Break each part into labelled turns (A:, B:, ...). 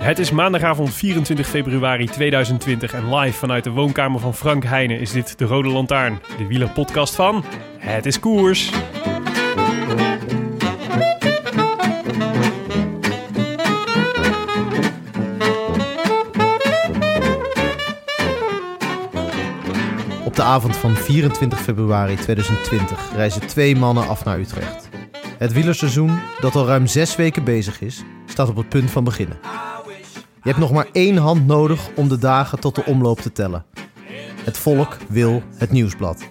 A: Het is maandagavond 24 februari 2020 en live vanuit de woonkamer van Frank Heijnen is dit de Rode Lantaarn, de wielerpodcast van Het is Koers.
B: Op de avond van 24 februari 2020 reizen twee mannen af naar Utrecht. Het wielerseizoen, dat al ruim zes weken bezig is, staat op het punt van beginnen. Je hebt nog maar één hand nodig om de dagen tot de omloop te tellen. Het volk wil het nieuwsblad.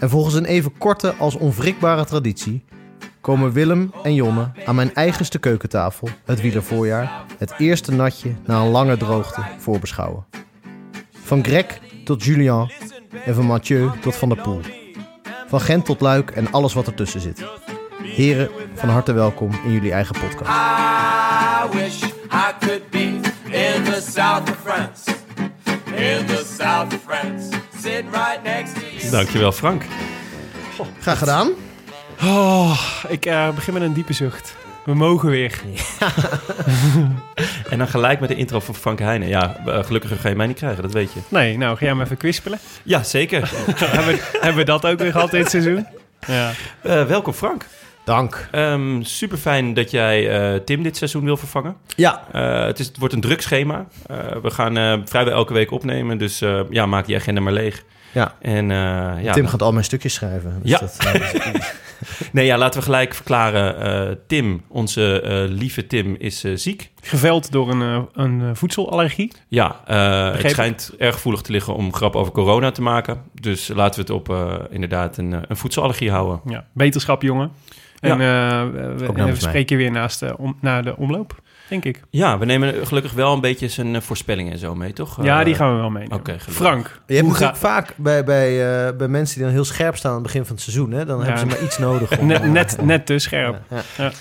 B: En volgens een even korte als onwrikbare traditie komen Willem en Jonne aan mijn eigenste keukentafel, het wielervoorjaar, het eerste natje na een lange droogte voorbeschouwen. Van Greg tot Julien en van Mathieu tot Van der Poel. Van Gent tot Luik en alles wat ertussen zit. Heren, van harte welkom in jullie eigen podcast.
C: I wish I could be in the south of France. In the south of France. Sitting right next to you.
D: Dankjewel Frank.
B: Graag gedaan.
A: Oh, ik eh, begin met een diepe zucht. We mogen weer.
D: En dan gelijk met de intro van Frank Heijnen. Ja, eh, gelukkig ga je mij niet krijgen, dat weet je.
A: Nee, nou ga jij maar even kwispelen.
D: Ja, zeker.
A: hebben, we- hebben we dat ook weer gehad dit seizoen? Ja.
D: Eh, welkom Frank.
B: Dank.
D: super fijn dat jij eh, Tim dit seizoen wil vervangen.
B: Ja,
D: Eh, het, is, het wordt een druk schema. Eh, we gaan eh, vrijwel elke week opnemen, dus eh, ja, maak die agenda maar leeg.
B: Ja.
D: En, eh, ja,
B: Tim gaat al mijn stukjes schrijven. Dus
D: Ja.
B: Dat, eh,
D: Nee, ja, laten we gelijk verklaren. eh, Tim, onze eh, lieve Tim, is eh, ziek.
A: Geveld door een, eh, een eh, voedselallergie.
D: Ja, eh,
A: Begreep
D: het
A: ik.
D: schijnt erg gevoelig te liggen om grap over corona te maken. Dus laten we het op eh, inderdaad een, eh, een voedselallergie houden.
A: Ja. Beterschap, jongen. En eh, we- we,
B: namens
A: we
B: mij.
A: spreken je weer naast de, om, naar de omloop, denk ik.
D: Ja, we nemen gelukkig wel een beetje zijn eh, voorspellingen en zo mee, toch?
A: ja,
D: Eh,
A: die gaan we wel meenemen.
D: oké, gelukkig.
A: Frank,
B: je hebt
A: hoe
B: natuurlijk
A: ga-
B: vaak bij, bij, eh, bij mensen die dan heel scherp staan aan het begin van het seizoen. Hè? Dan
A: Ja.
B: hebben ze maar iets nodig. om- eh,
A: net, net, net te scherp.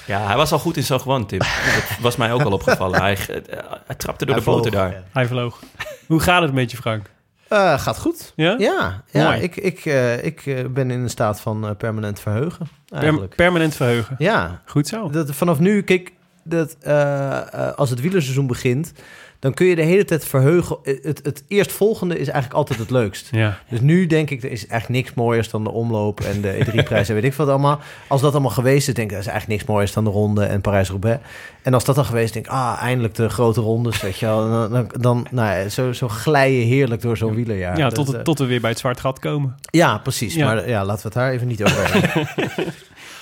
D: Ja, hij was al goed in zo'n gewoon, Tim. Dat was mij ook al opgevallen. Hij, eh, hij trapte door
B: Hij
D: de boter
B: vloog.
D: daar.
B: Ja.
A: Hij vloog. Hoe gaat het met je, Frank?
B: Eh, gaat goed.
A: Ja?
B: Ja, ja
A: Mooi.
B: ik, ik, eh, ik eh, ben in een staat van eh, permanent verheugen.
A: Per-
B: Eigenlijk.
A: permanent verheugen.
B: ja,
A: Goed zo.
B: Oh. Dat, vanaf nu, kijk, dat, eh, eh, als het wielerseizoen begint, dan kun je de hele tijd verheugen. Eh, Het, het, het eerstvolgende is eigenlijk altijd het leukst.
A: Ja.
B: Dus nu denk ik, er is echt niks mooiers dan de omloop en de E3-prijs en weet ik wat allemaal. Als dat allemaal geweest is, denk ik, er is eigenlijk niks mooiers dan de ronde en Parijs-Roubaix. En als dat dan geweest is, denk ik, ah, eindelijk de grote rondes, weet je wel. Dan, dan, dan nou, ja, zo, zo glij je heerlijk door zo'n wielerjaar.
A: Ja,
B: Dat,
A: tot,
B: eh,
A: het- tot we weer bij het zwart gat komen.
B: ja, precies.
A: Ja.
B: Maar ja, laten we het daar even niet over hebben.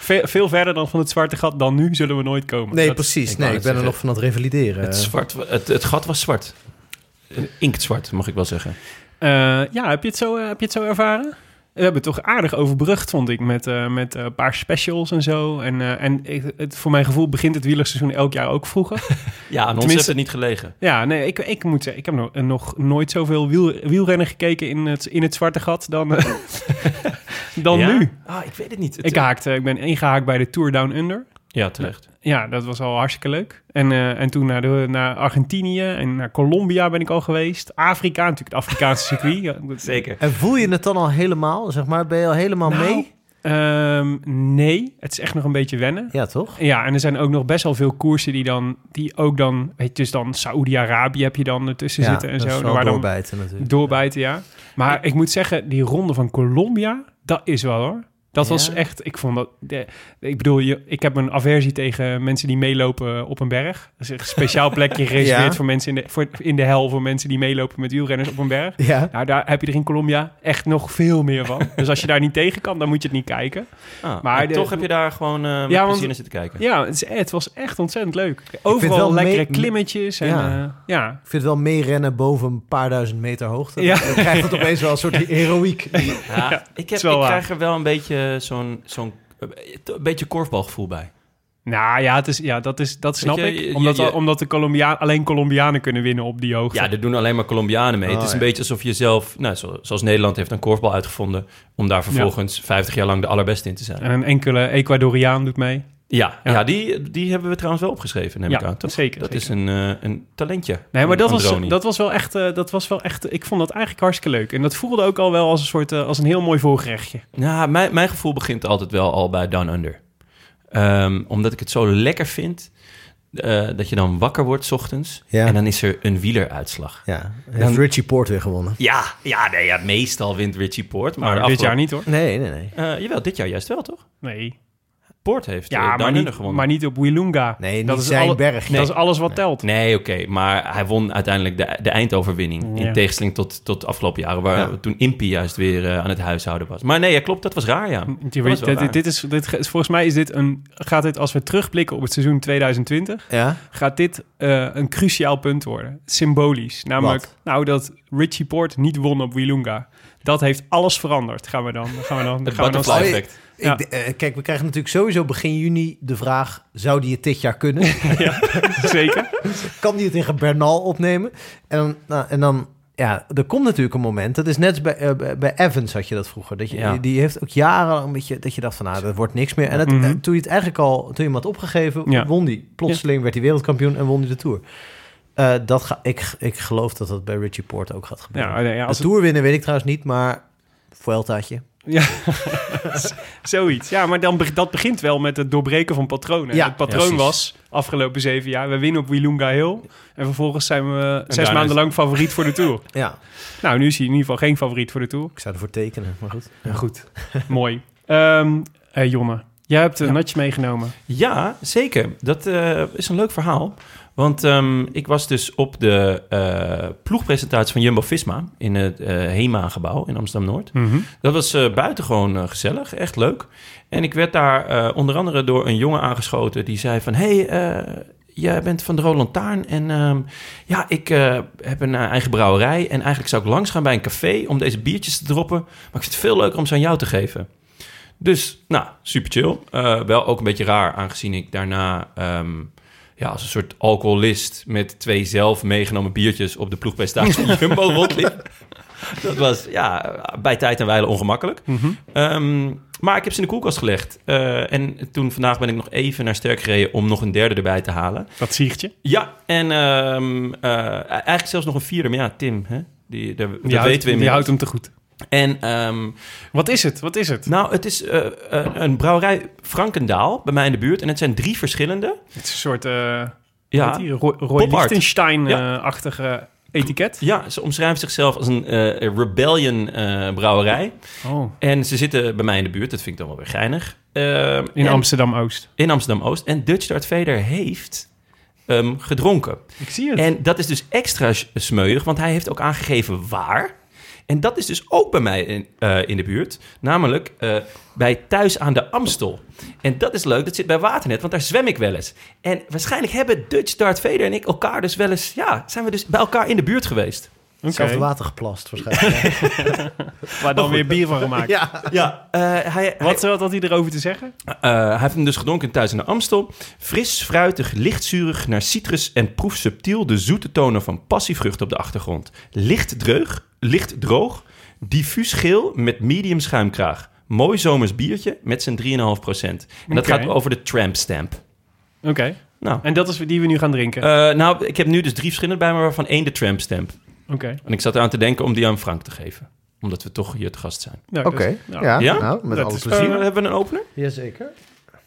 A: Ve- veel verder dan van het zwarte gat dan nu zullen we nooit komen.
B: Nee,
A: Dat-
B: precies. nee,
D: ik wou
B: ik
D: net
B: ben er
D: zeggen,
B: nog van aan het revalideren.
D: Het, zwart, het, het gat was zwart. Eh, Inktzwart, mag ik wel zeggen.
A: Eh, ja, heb je, het zo, eh, heb je het zo ervaren? We hebben het toch aardig overbrugd, vond ik, met, eh, met eh, een paar specials en zo. En, eh, en ik- het, voor mijn gevoel begint het wielerseizoen elk jaar ook vroeger.
D: Ja, aan ons
A: Tenminste-
D: heeft het niet gelegen.
A: ja, nee, ik, ik moet zeggen, ik heb nog, nog nooit zoveel wiel, wielrennen gekeken in het, in het zwarte gat dan, eh, dan
D: Ja?
A: nu.
D: Ah, ik weet het niet. Het-
A: Ik, haakte, ik ben ingehaakt bij de Tour Down Under.
D: Ja, terecht.
A: Ja, dat was al hartstikke leuk. En, eh, en toen naar, de, naar Argentinië en naar Colombia ben ik al geweest. Afrika, natuurlijk het Afrikaanse circuit. Ja, dat-
D: Zeker.
B: En voel je het dan al helemaal? Zeg maar, ben je al helemaal
A: Nou,
B: mee?
A: ehm, nee, het is echt nog een beetje wennen.
B: Ja, toch?
A: Ja, en er zijn ook nog best wel veel koersen die dan, die ook dan, weet je, dus dan Saoedi-Arabië heb je dan ertussen
B: ja,
A: zitten en
B: dat
A: zo.
B: is wel
A: waar dan
B: doorbijten natuurlijk.
A: doorbijten, ja. Maar ik moet zeggen, die ronde van Colombia, dat is wel hoor. Dat
B: Ja.
A: was echt, ik vond dat, de- ik bedoel, je, ik heb een aversie tegen mensen die meelopen op een berg. Dat is een speciaal plekje gereserveerd voor mensen in de, voor, in de hel, voor mensen die meelopen met wielrenners op een berg.
B: Ja.
A: Nou, daar heb je er in Colombia echt nog veel meer van. dus als je daar niet tegen kan, dan moet je het niet kijken.
D: Ah,
A: Maar
D: maar
A: de-
D: toch heb je daar gewoon eh met
A: Ja, want-
D: plezier naar zitten kijken.
A: Ja, het, is- het was echt ontzettend leuk.
B: vind
A: Overal
B: wel
A: lekkere
B: mee-
A: klimmetjes en
B: Ja.
A: ja. ja.
B: Ik vind wel meerennen boven een paar duizend meter hoogte.
A: Ja.
B: Dan krijgt het opeens wel een soort heroïek.
D: Ja, ik, heb,
A: is wel
D: ik
A: waar.
D: krijg er wel een beetje zo'n, zo'n eh, een beetje korfbalgevoel bij.
A: Nou ja, het is, ja dat, is, dat snap
D: je,
A: ik.
D: je- je-
A: omdat,
D: je-
A: omdat de Colombia, alleen Colombianen kunnen winnen op die hoogte.
D: Ja, er doen alleen maar Colombianen mee.
B: Oh,
D: het is een
B: ja.
D: beetje alsof je zelf, nou, zo- zoals Nederland heeft een korfbal uitgevonden, om daar vervolgens 50 jaar lang de allerbeste in te zijn.
A: En een enkele Ecuadoriaan doet mee.
D: Ja, ja.
A: Ja.
D: die, die hebben we trouwens wel opgeschreven, neem
A: Ja,
D: ik aan. toch?
A: zeker,
D: Dat
A: zeker.
D: is een, eh, een talentje.
A: Nee, maar
D: van
A: dat was,
D: Androni.
A: dat was wel echt. eh, dat was wel echt. Ik vond dat eigenlijk hartstikke leuk. En dat voelde ook al wel als een soort. eh, als een heel mooi voorgerechtje.
D: Ja, mijn, mijn gevoel begint altijd wel al bij Down Under. Ehm, omdat ik het zo lekker vind eh, dat je dan wakker wordt 's ochtends
B: Ja.
D: en dan is er een wieleruitslag.
B: Ja, heeft Richie Poort weer gewonnen.
D: Ja, ja, nee, ja, meestal wint Richie Poort. Maar,
A: Maar Nou, dit
D: afgelopen-
A: jaar niet hoor.
B: Nee, nee, nee.
D: Eh, jawel, dit jaar juist wel, toch?
A: Nee.
D: Poort heeft eh,
A: Ja,
D: Down
A: maar
D: Under
A: niet,
D: gewonnen.
A: maar niet op Wilunga.
B: Nee, niet zijn berg.
A: Dat is alles wat telt.
D: Nee, oké, maar hij won uiteindelijk de, de eindoverwinning.
A: Ja.
D: In tegenstelling tot, tot de afgelopen jaren, waar
B: Ja.
D: toen Impy juist weer eh, aan het huishouden was. Maar nee, ja, klopt, dat was raar, ja.
A: Want je
D: Dat
A: weet-
D: was wel
A: dit,
D: raar.
A: dit is, dit, ge- volgens mij is dit een, gaat dit, als we terugblikken op het seizoen 2020,
B: Ja?
A: gaat dit eh, een cruciaal punt worden. Symbolisch. Namelijk,
B: Wat?
A: nou, dat Richie Poort niet won op Wilunga. Dat heeft alles veranderd. Gaan we dan. Gaan we dan,
D: Het
A: gaan we dan
D: butterfly
B: Oh,
D: effect.
A: Ja.
B: Ik, eh, kijk, we krijgen natuurlijk sowieso begin juni de vraag... zou die het dit jaar kunnen?
A: Zeker.
B: kan die het tegen Bernal opnemen? En dan, nou, en dan ja, er komt natuurlijk een moment. Dat is net als bij, eh, bij- bij Evans had je dat vroeger. Dat je,
D: Ja.
B: Die heeft ook jarenlang een beetje dat je dacht van, nou, dat wordt niks meer. En het,
A: Mhm.
B: eh, toen je het eigenlijk al, toen je hem had opgegeven,
A: Ja.
B: won die. Plotseling werd hij wereldkampioen en won hij de Tour. Eh, dat ga, ik, ik geloof dat dat bij Richie Poort ook gaat gebeuren.
A: Ja, Nou, nee, ja, als
B: de
A: het,
B: Tour winnen weet ik trouwens niet, maar Vueltaatje.
A: ja, zoiets. Ja, maar dan, be- dat begint wel met het doorbreken van patronen.
B: Ja,
A: het patroon
D: precies.
A: was afgelopen zeven jaar, we winnen op Wilunga Hill. En vervolgens zijn we zes
D: daarna
A: maanden
D: is-
A: lang favoriet voor de Tour.
B: Ja,
A: nou, nu is hij in ieder geval geen favoriet voor de Tour.
B: ik zou ervoor tekenen, maar goed.
A: Goed, mooi. Ehm eh, Jonne, jij hebt een natje meegenomen.
D: Ja, zeker. Dat eh, is een leuk verhaal. Want ehm, ik was dus op de eh, ploegpresentatie van Jumbo-Visma in het eh, HEMA-gebouw in Amsterdam-Noord. Dat was eh, buitengewoon eh, gezellig, echt leuk. En ik werd daar eh, onder andere door een jongen aangeschoten die zei van... hey, eh, jij bent van de Roland Lantaarn en ehm, ja, ik eh, heb een eh, eigen brouwerij... en eigenlijk zou ik langs gaan bij een café om deze biertjes te droppen... maar ik vind het veel leuker om ze aan jou te geven. Dus, nou, super chill. Eh, wel ook een beetje raar, aangezien ik daarna... ehm, ja, als een soort alcoholist met twee zelf meegenomen biertjes op de ploegpresentatie van Jumbo rondliep. Dat was ja, bij tijd en wijle ongemakkelijk.
A: Mhm.
D: Ehm, maar ik heb ze in de koelkast gelegd. Eh, en toen vandaag ben ik nog even naar Sterk gereden om nog een derde erbij te halen.
A: Dat ziertje.
D: Ja, en ehm, eh, eigenlijk zelfs nog een vierde. Maar ja, Tim, hè? Die, daar- dat
A: Die houdt-
D: weten we
A: Die houdt
D: inmiddels.
A: hem te goed.
D: En ehm,
A: Wat is het? Wat is het?
D: nou, het is eh, eh, een brouwerij Frankendaal bij mij in de buurt. En het zijn drie verschillende.
A: Het is een soort eh
D: Ja,
A: ja. Roy, Roy
D: Pop art. Ja.
A: Lichtenstein-achtige etiket.
D: ja ze omschrijven zichzelf als een eh, rebellion eh, brouwerij.
A: Oh.
D: En ze zitten bij mij in de buurt. Dat vind ik dan wel weer geinig. Ehm,
A: In
D: en-
A: Amsterdam-Oost.
D: in Amsterdam-Oost. En Dutch Dart Vader heeft ehm, gedronken.
A: Ik zie het.
D: En dat is dus extra s- smeuig, want hij heeft ook aangegeven waar. En dat is dus ook bij mij in, eh, in de buurt. Namelijk eh, bij Thuis aan de Amstel. En dat is leuk, dat zit bij Waternet, want daar zwem ik wel eens. En waarschijnlijk hebben Dutch Dart Vader en ik elkaar dus wel eens... Ja, zijn we dus bij elkaar in de buurt geweest.
A: Oké.
B: Hetzelfde water geplast waarschijnlijk.
A: Waar dan weer bier van gemaakt.
B: Oh, ja.
D: Ja, hij,
A: Wat eh, wat had hij erover te zeggen?
D: Eh, hij heeft hem dus gedronken thuis in de Amstel. Fris, fruitig, lichtzurig naar citrus en proef subtiel de zoete tonen van passievrucht op de achtergrond. Licht dreug, licht droog, diffuus geel met medium schuimkraag. Mooi zomers biertje met zijn 3,5%. En dat
A: Oké.
D: gaat over de tramp stamp.
A: Oké.
D: Nou,
A: En dat is die we nu gaan drinken.
D: eh, nou, ik heb nu dus drie verschillende bij me, waarvan één de tramp stamp.
A: Oké.
D: En ik zat eraan te denken om die aan Frank te geven. Omdat we toch hier te gast zijn. Eh,
A: Nou,
B: Oké,
A: dat is- nou,
B: ja,
D: Ja?
B: nou, met
A: Dat
B: alle
A: is- eh,
B: plezier.
D: Hebben we een opener?
B: Jazeker.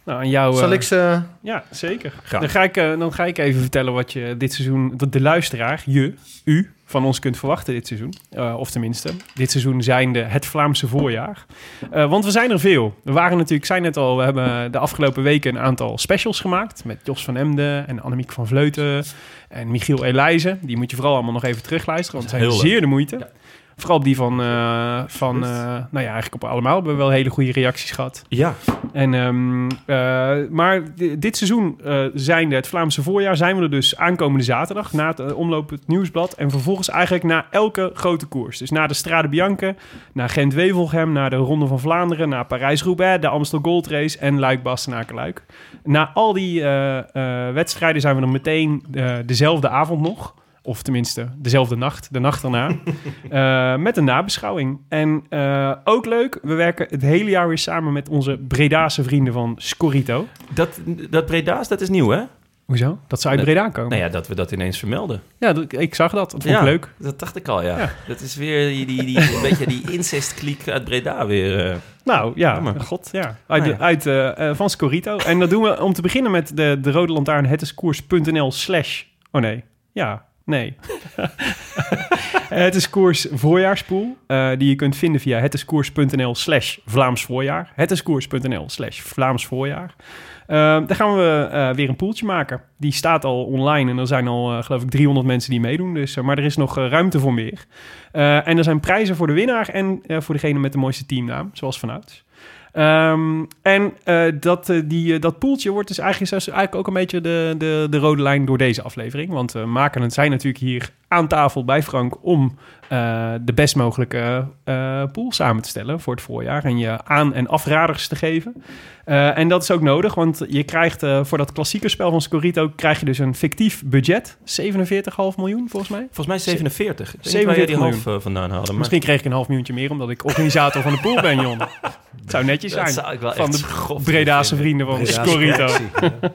A: Nou, aan jou...
B: Zal
A: eh,
B: ik ze...
A: Ja, zeker.
D: Graag.
A: Dan ga, ik, eh, dan ga ik even vertellen wat je dit seizoen, dat de luisteraar, je, u, van ons kunt verwachten dit seizoen. Eh, of tenminste, dit seizoen zijnde het Vlaamse voorjaar. Eh, want we zijn er veel. We waren natuurlijk, zijn net al, we hebben de afgelopen weken een aantal specials gemaakt. Met Jos van Emden en Annemiek van Vleuten en Michiel Elijzen. Die moet je vooral allemaal nog even terugluisteren, want het zijn
D: Heel leuk.
A: zeer de moeite. Vooral op die van, eh, van eh, nou ja, eigenlijk op allemaal hebben we wel hele goede reacties gehad.
D: Ja,
A: En, ehm, eh, maar di- dit seizoen eh zijnde het Vlaamse voorjaar zijn we er dus aankomende zaterdag na het eh, omloop het nieuwsblad. En vervolgens eigenlijk na elke grote koers. Dus na de Strade Bianche, naar Gent-Wevelgem, naar de Ronde van Vlaanderen, naar Parijs-Roubaix, de Amstel Gold Race en Luik-Bastenaken-Luik. Na al die eh, eh, wedstrijden zijn we dan meteen eh, dezelfde avond nog. Of tenminste, dezelfde nacht, de nacht erna. Eh, met een nabeschouwing. En eh, ook leuk, we werken het hele jaar weer samen met onze Bredase vrienden van Scorito.
D: dat, dat Breda's, dat is nieuw, hè?
A: Hoezo? Dat ze uit
D: Nee.
A: Breda komen.
D: Nou ja, dat we dat ineens vermelden.
A: Ja, dat- ik zag dat. Dat vond
D: ja,
A: ik leuk.
D: Dat dacht ik al, ja.
A: Ja.
D: Dat is weer die, die, die, een beetje die incestkliek uit Breda weer. eh.
A: Nou ja,
D: Jammer.
A: god ja. Uit,
D: Nou ja.
A: Uit, eh, eh, van Scorito. En dat doen we om te beginnen met de, de rode lantaarn hetiskoers.nl slash... Oh nee, ja, nee. het is koers voorjaarspool, eh, die je kunt vinden via hetiskoers.nl slash Vlaams voorjaar. Hetiskoers.nl slash Vlaams voorjaar. Eh, daar gaan we eh, weer een poeltje maken. Die staat al online en er zijn al, eh, geloof ik, 300 mensen die meedoen. Dus, eh, maar er is nog eh, ruimte voor meer. Eh, en er zijn prijzen voor de winnaar en eh, voor degene met de mooiste teamnaam, zoals vanouds. Ehm, en eh, dat, eh, die, eh, dat poeltje wordt dus eigenlijk, is eigenlijk ook een beetje de, de, de rode lijn door deze aflevering. Want we maken het zijn natuurlijk hier aan tafel bij Frank om eh, de best mogelijke eh, pool samen te stellen voor het voorjaar. En je aan- en afraders te geven. Eh, en dat is ook nodig, want je krijgt eh, voor dat klassieke spel van Scorito krijg je dus een fictief budget. 47,5 miljoen volgens mij.
D: volgens mij 47. Ik weet niet waar
A: 47
D: jij die half eh, vandaan hadden. Maar
A: Misschien kreeg ik een half miljoentje meer omdat ik organisator van de pool ben, Jon. Het zou netjes
D: dat
A: zijn.
D: zou ik wel
A: Van
D: echt
A: de
D: grof
A: Bredaanse
D: vinden.
A: vrienden van
B: Bredaanse
A: Scorito.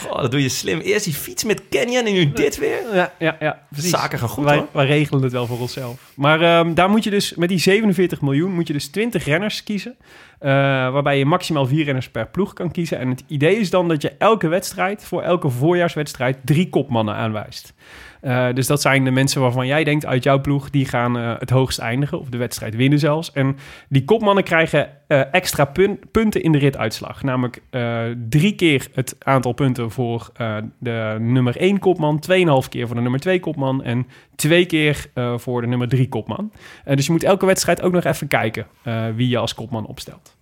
D: Goh, dat doe je slim. Eerst die fiets met Canyon en nu dit weer.
A: Ja, ja, ja precies.
D: Zaken gaan goed,
A: wij,
D: hoor.
A: wij regelen het wel voor onszelf. Maar ehm, daar moet je dus, met die 47 miljoen, moet je dus 20 renners kiezen. eh, waarbij je maximaal vier renners per ploeg kan kiezen. En het idee is dan dat je elke wedstrijd, voor elke voorjaarswedstrijd, drie kopmannen aanwijst. Eh, dus dat zijn de mensen waarvan jij denkt uit jouw ploeg, die gaan eh, het hoogst eindigen, of de wedstrijd winnen zelfs. En die kopmannen krijgen eh, extra pun- punten in de rituitslag. Namelijk eh, drie keer het aantal punten voor eh, de nummer 1 kopman, 2,5 keer voor de nummer 2 kopman en twee keer eh, voor de nummer 3 kopman. Eh, dus je moet elke wedstrijd ook nog even kijken eh, wie je als kopman opstelt.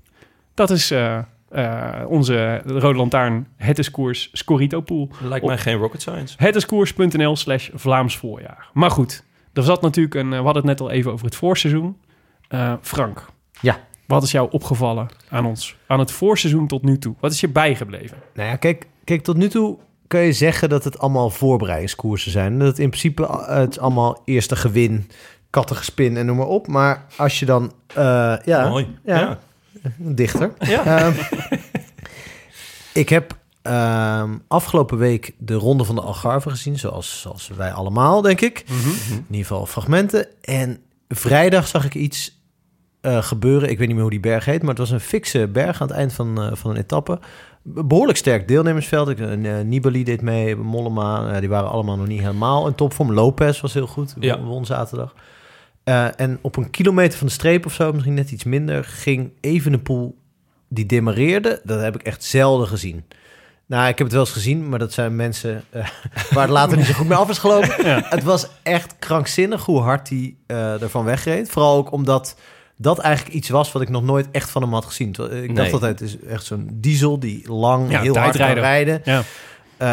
A: Dat is eh, eh, onze Rode Lantaarn Het is Koers Scorito Pool.
D: Lijkt mij geen rocket science.
A: Hetescours.nl slash Vlaams voorjaar. Maar goed, er zat natuurlijk een... eh, We hadden het net al even over het voorseizoen. Eh, Frank.
B: Ja.
A: Wat is jou opgevallen aan ons? Aan het voorseizoen tot nu toe. Wat is je bijgebleven?
B: Nou ja, kijk, kijk, tot nu toe kun je zeggen dat het allemaal voorbereidingskoersen zijn. Dat het in principe eh, het is allemaal eerste gewin, kattengespin en noem maar op. Maar als je dan... eh, ja,
D: Mooi.
B: Ja.
D: Ja.
B: dichter.
D: Ja.
B: Ehm, ik heb ehm, afgelopen week de Ronde van de Algarve gezien, zoals, zoals wij allemaal, denk ik. In ieder geval fragmenten. En vrijdag zag ik iets eh, gebeuren. Ik weet niet meer hoe die berg heet, maar het was een fikse berg aan het eind van, eh, van een etappe. Be- Behoorlijk sterk deelnemersveld. Ik, eh, Nibali deed mee, Mollema, eh, die waren allemaal nog niet helemaal in topvorm. Lopez was heel goed,
D: Ja.
B: won- won zaterdag. Eh, en op een kilometer van de streep of zo, misschien net iets minder, ging Evenepoel, die demareerde. Dat heb ik echt zelden gezien. Nou, ik heb het wel eens gezien, maar dat zijn mensen eh, waar het later niet zo goed mee af is gelopen. Het was echt krankzinnig hoe hard hij eh ervan wegreed. Vooral ook omdat dat eigenlijk iets was wat ik nog nooit echt van hem had gezien. Terwijl, eh, Ik
D: Nee.
B: dacht altijd, het is echt zo'n diesel die lang
A: Ja,
B: heel hard kan
A: tijdrijder.
B: rijden.
A: Ja.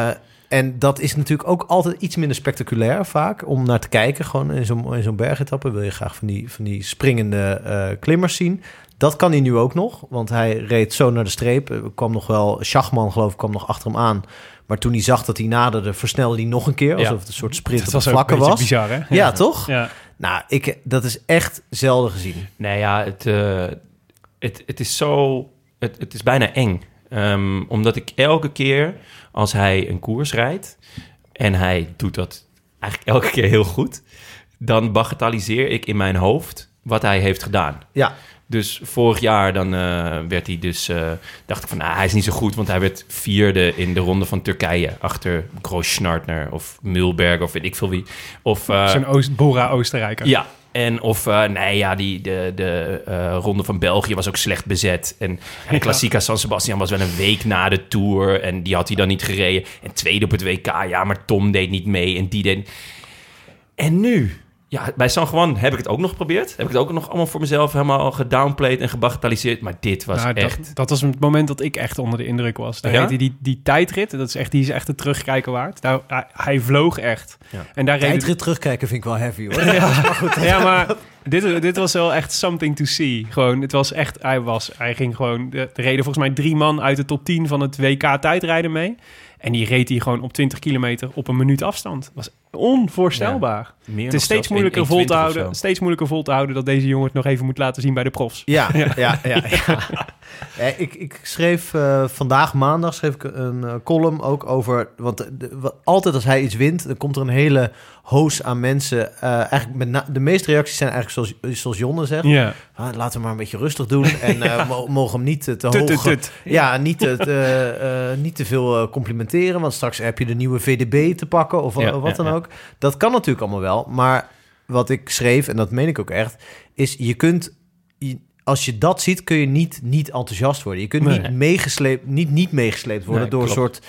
B: Eh, en dat is natuurlijk ook altijd iets minder spectaculair vaak om naar te kijken. Gewoon in zo'n, in zo'n bergetappe wil je graag van die, van die springende eh, klimmers zien. Dat kan hij nu ook nog, want hij reed zo naar de streep. Er kwam nog wel, Schachman geloof ik kwam nog achter hem aan. Maar toen hij zag dat hij naderde, versnelde hij nog een keer. Alsof het een soort sprint
A: Dat
B: op
A: was
B: de
A: ook
B: vlakke
A: een beetje
B: was.
A: bizar, hè?
B: Ja, toch?
A: Ja.
B: Nou, ik, dat is echt zelden gezien.
D: Nou ja, het, eh, het, het is zo... Het, het is bijna eng. Ehm, omdat ik elke keer als hij een koers rijdt... en hij doet dat eigenlijk elke keer heel goed... dan bagatelliseer ik in mijn hoofd wat hij heeft gedaan.
B: Ja,
D: Dus vorig jaar dan eh, werd hij dus... eh, dacht ik van, nou, hij is niet zo goed. Want hij werd vierde in de ronde van Turkije. Achter Großschartner of Mulberg of weet ik veel wie. Of, eh,
A: Zo'n Oost, Bora Oostenrijker.
D: ja, en of eh, nee, ja, die, de, de eh, ronde van België was ook slecht bezet. En, en Klassica San Sebastian was wel een week na de Tour. En die had hij dan niet gereden. En tweede op het WK, ja, maar Tom deed niet mee. En die deed... En nu? Ja, bij San Juan heb ik het ook nog geprobeerd. Heb ik het ook nog allemaal voor mezelf helemaal gedownplayed en gebagatelliseerd. Maar dit was
A: Nou,
D: echt...
A: Dat, dat was het moment dat ik echt onder de indruk was. Daar
D: Ja?
A: reed hij die, die tijdrit, dat is echt, die is echt het terugkijken waard. Daar, hij, hij vloog echt.
D: Ja.
A: En daar reed
B: Tijdrit terugkijken vind ik wel heavy hoor.
A: Ja, maar dit, dit was wel echt something to see. Gewoon, het was echt, hij was, hij ging gewoon, er er reden volgens mij drie man uit de top 10 van het WK tijdrijden mee. En die reed hij gewoon op 20 kilometer op een minuut afstand. Dat was onvoorstelbaar.
D: meer
A: het
D: nog
A: is steeds
D: zelfs,
A: moeilijker,
D: 1,21
A: vol te
D: of
A: houden,
D: zo.
A: steeds moeilijker vol te houden dat deze jongen het nog even moet laten zien bij de profs.
B: Ja, ja, ja. ja, Eh, ik, ik schreef eh, vandaag maandag schreef ik een eh, column ook over. Want eh, de- de- wa- altijd als hij iets wint, dan komt er een hele hoos aan mensen. eh, eigenlijk met na- de meeste reacties zijn eigenlijk zoals, zoals Jonne zegt.
A: Ja,
B: Ah, laten we maar een beetje rustig doen. En eh, mo- mogen hem niet eh, te
A: tut,
B: hoog.
A: tut, tut.
B: Ja, niet te, eh, eh, niet te veel eh, complimenteren. Want straks heb je de nieuwe VDB te pakken of, wa-
D: Ja,
B: wat
D: ja,
B: dan
D: ja.
B: ook. Dat kan natuurlijk allemaal wel. Maar wat ik schreef, en dat meen ik ook echt, is je kunt. je- als je dat ziet, kun je niet, niet enthousiast worden. Je kunt
A: Nee.
B: niet, meegesleept, niet, niet meegesleept worden
D: Nee,
B: door een
D: klopt.
B: soort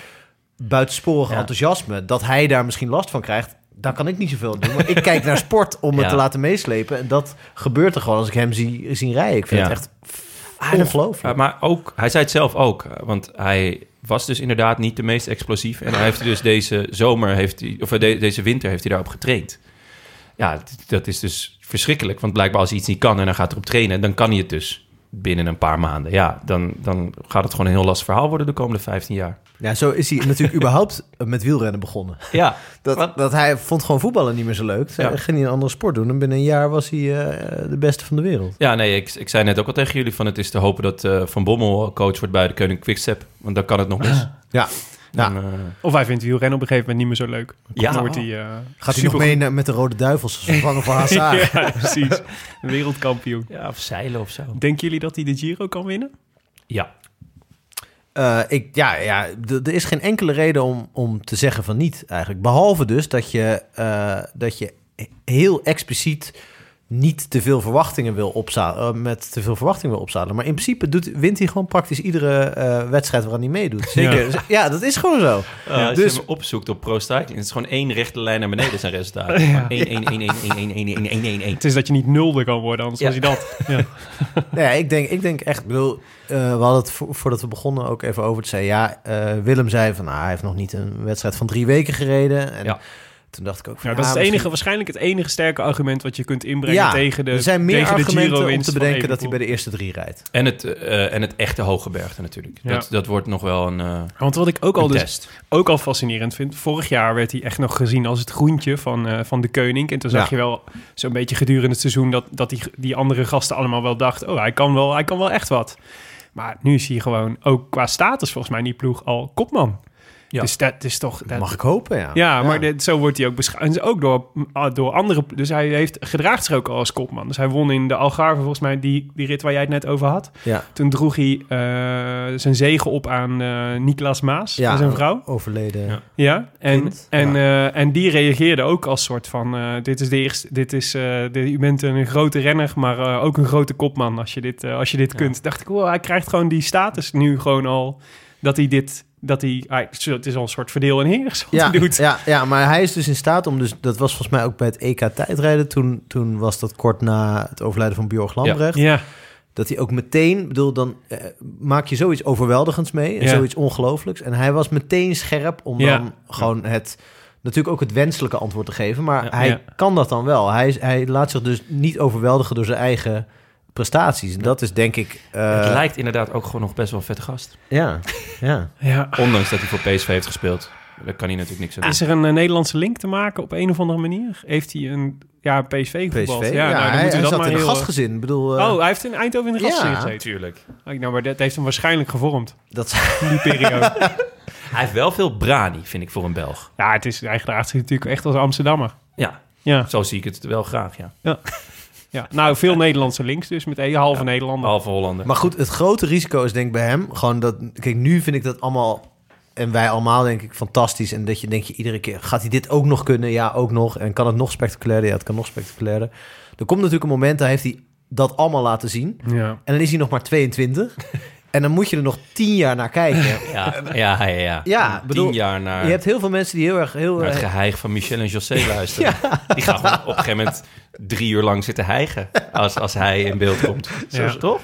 B: buitensporig
D: Ja.
B: enthousiasme. Dat hij daar misschien last van krijgt, daar kan ik niet zoveel aan doen. Maar ik kijk naar sport om
D: Ja.
B: het te laten meeslepen. En dat gebeurt er gewoon als ik hem zie, zien rijden. Ik vind
D: Ja.
B: het echt ongelooflijk.
D: Uh, maar ook, hij zei het zelf ook, eh, want hij was dus inderdaad niet de meest explosief. En hij heeft dus deze zomer, heeft hij, of eh, de- deze winter heeft hij daarop getraind. Ja, d- dat is dus verschrikkelijk, want blijkbaar als hij iets niet kan en hij gaat erop trainen, dan kan hij het dus binnen een paar maanden. Ja, dan, dan gaat het gewoon een heel lastig verhaal worden de komende 15 jaar.
B: Ja, zo is hij natuurlijk überhaupt met wielrennen begonnen.
D: Ja,
B: Dat, dat hij vond gewoon voetballen niet meer zo leuk. Hij
D: Ja.
B: ging hij een andere sport doen. En binnen een jaar was hij eh, de beste van de wereld.
D: ja nee, ik, ik zei net ook al tegen jullie van het is te hopen dat eh, Van Bommel coach wordt bij de Koning Quickstep, want dan kan het nog mis.
B: Ja. Ja.
D: Dan, eh,
A: Of hij vindt wielrennen op een gegeven moment niet meer zo leuk.
D: Ja.
A: Dan wordt hij... eh,
B: Gaat hij nog
A: supergoed.
B: mee naar- met de Rode Duivels als vervanger van Hazard?
A: Ja, precies. Wereldkampioen.
D: ja, of zeilen of zo.
A: Denken jullie dat hij de Giro kan winnen?
D: Ja,
B: Eh, ik, ja, ja, d- er is geen enkele reden om, om te zeggen van niet eigenlijk. Behalve dus dat je, eh, dat je heel expliciet niet te veel verwachtingen wil opzadelen. met te veel verwachtingen wil opzadelen. Maar in principe doet, wint hij gewoon praktisch iedere eh, wedstrijd waaraan hij meedoet. Zeker. Ja. dat is gewoon zo.
D: Uh, als
B: dus-
D: je hem opzoekt op Pro Cycling, het is gewoon één rechte lijn naar beneden zijn resultaten.
A: Ja.
D: 1, 1, 1, 1, 1, 1, 1, 1, 1, 1.
A: Het is dat je niet nulde kan worden, anders
D: Ja.
A: was hij dat. Ja.
B: Nou ja, ik denk, ik denk echt, ik bedoel, eh, we hadden het vo- voordat we begonnen ook even over te zeggen. Ja, eh, Willem zei van, nou, hij heeft nog niet een wedstrijd van drie weken gereden. En
D: Ja.
B: toen dacht ik ook van,
A: Ja, dat is het
B: misschien-
A: enige, waarschijnlijk het enige sterke argument wat je kunt inbrengen
B: Ja,
A: tegen de
B: er zijn meer
A: tegen de
B: argumenten om
A: Giro-winst
B: te
A: van
B: bedenken dat hij
A: Evenepoel.
B: bij de eerste drie rijdt.
D: En het, eh, en het echte Hogebergte natuurlijk.
A: Ja.
D: Dat, dat wordt nog wel een, eh
A: Want wat ik ook al,
D: een
A: dus,
D: test.
A: ook al fascinerend vind, vorig jaar werd hij echt nog gezien als het groentje van, eh, van de koning. En toen zag je
B: Ja.
A: wel zo'n beetje gedurende het seizoen dat, dat die, die andere gasten allemaal wel dachten, oh hij kan wel, hij kan wel echt wat. Maar nu is hij gewoon ook qua status volgens mij in die ploeg al kopman.
D: Ja.
A: Dus dat is toch... dat-
B: Mag ik hopen, ja.
A: Ja, maar dit- zo wordt hij ook beschouwd. En Ook door, ah, door andere. Dus hij heeft gedraagt zich ook al als kopman. Dus hij won in de Algarve, volgens mij, die, die rit waar jij het net over had.
B: Ja.
A: Toen droeg hij eh, zijn zegen op aan eh Niklas Maas,
B: Ja.
A: zijn vrouw.
B: Overleden.
D: Ja.
A: Ja, en,
B: Kind.
A: en, eh, en die reageerde ook als soort van... eh, dit is de eerste, dit is, eh, de, u bent een grote renner, maar eh, ook een grote kopman als je dit, eh, als je dit kunt. Dacht ik, wow, hij krijgt gewoon die status nu gewoon al, dat hij dit... Dat hij, hij- het is al een soort verdeel en heers wat
B: Ja,
A: hij doet.
B: ja, ja, maar hij is dus in staat om, dus, dat was volgens mij ook bij het EK tijdrijden, toen, toen was dat kort na het overlijden van Bjorg Lambrecht,
A: Ja,
B: dat hij ook meteen, ik bedoel, dan eh, maak je zoiets overweldigends mee, en
A: Ja.
B: zoiets ongelooflijks. En hij was meteen scherp om
A: Ja.
B: dan gewoon het, natuurlijk ook het wenselijke antwoord te geven, maar
D: Ja.
B: hij
A: Ja.
B: kan dat dan wel. Hij, is- hij laat zich dus niet overweldigen door zijn eigen prestaties. En dat is denk ik... eh,
D: het lijkt inderdaad ook gewoon nog best wel een vette gast.
B: Ja, ja.
A: ja.
D: Ondanks dat hij voor PSV heeft gespeeld. Daar kan hij natuurlijk niks
B: Ah.
D: aan
A: Is
D: doen.
A: er een eh, Nederlandse link te maken op een of andere manier? Heeft hij een ja, PSV voetbal?
B: PSV.
A: Ja, nou, dan moeten
B: hij, hij
A: we dat
B: zat
A: maar
B: in een
A: heel...
B: gastgezin. Ik bedoel, eh,
A: Oh, hij heeft in Eindhoven in de
B: Ja.
A: gastserie gezeten.
D: Natuurlijk.
A: Kijk, Nou, maar dat heeft hem waarschijnlijk gevormd,
B: dat,
A: die periode.
D: Hij heeft wel veel brani, vind ik, voor een Belg.
A: ja, het is, hij gedraagt zich natuurlijk echt als Amsterdammer.
D: Ja,
A: Ja,
D: zo zie ik het wel graag, ja.
A: Ja. Ja. Nou, veel Nederlandse links dus, met een halve Nederlander.
D: Halve Hollander.
B: Maar goed, het grote risico is denk ik bij hem gewoon dat... Kijk, nu vind ik dat allemaal... En wij allemaal denk ik fantastisch. En dat je denk je iedere keer, gaat hij dit ook nog kunnen? Ja, ook nog. En kan het nog spectaculairder? Ja, het kan nog spectaculairder. Er komt natuurlijk een moment, daar heeft hij dat allemaal laten zien.
A: Ja.
B: En dan is hij nog maar 22. en dan moet je er nog 10 jaar naar kijken.
D: Ja, ja, ja. ja.
B: Ja,
D: Tien
B: bedoel,
D: jaar naar,
B: Je hebt heel veel mensen die heel erg... Heel,
D: naar het
B: erg-
D: geheig van Michel en José luisteren. Die gaan gewoon op een gegeven moment drie uur lang zitten hijgen als, als hij in beeld komt. Zo is het toch?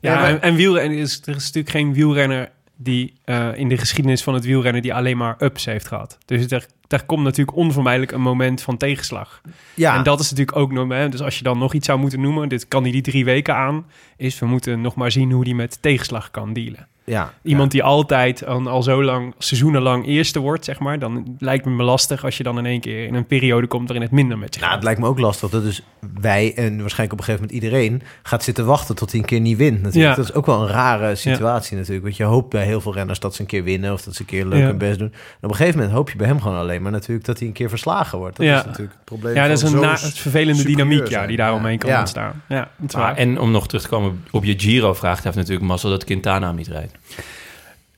A: Ja,
B: Ja, maar-
A: en, en wielrennen is, er is natuurlijk geen wielrenner die eh, in de geschiedenis van het wielrennen die alleen maar ups heeft gehad. Dus er, daar komt natuurlijk onvermijdelijk een moment van tegenslag.
B: ja,
A: En dat is natuurlijk ook nog. hè, Dus als je dan nog iets zou moeten noemen, dit kan hij die drie weken aan, is we moeten nog maar zien hoe die met tegenslag kan dealen.
B: ja,
A: Iemand die altijd al, al zo lang, seizoenenlang eerste wordt, zeg maar, dan lijkt het me lastig als je dan in één keer in een periode komt waarin het minder met je
B: Nou,
A: gaat.
B: het lijkt me ook lastig dat dus wij en waarschijnlijk op een gegeven moment iedereen gaat zitten wachten tot hij een keer niet wint. Natuurlijk.
A: Ja.
B: Dat is ook wel een rare situatie natuurlijk. Want je hoopt bij heel veel renners dat ze een keer winnen of dat ze een keer leuk
A: Ja.
B: hun best doen. En op een gegeven moment hoop je bij hem gewoon alleen maar natuurlijk dat hij een keer verslagen wordt. Dat
A: Ja.
B: is natuurlijk het probleem.
A: ja, dat is
B: van
A: een
B: zo'n
A: na- vervelende
B: superieur
A: dynamiek ja,
B: zijn.
A: die daar omheen kan
B: Ja.
A: ontstaan. Ja, dat is
D: Maar,
A: waar.
D: en om nog terug te komen op je Giro-vraag, hij heeft natuurlijk mazzel dat Quintana hem niet rijdt.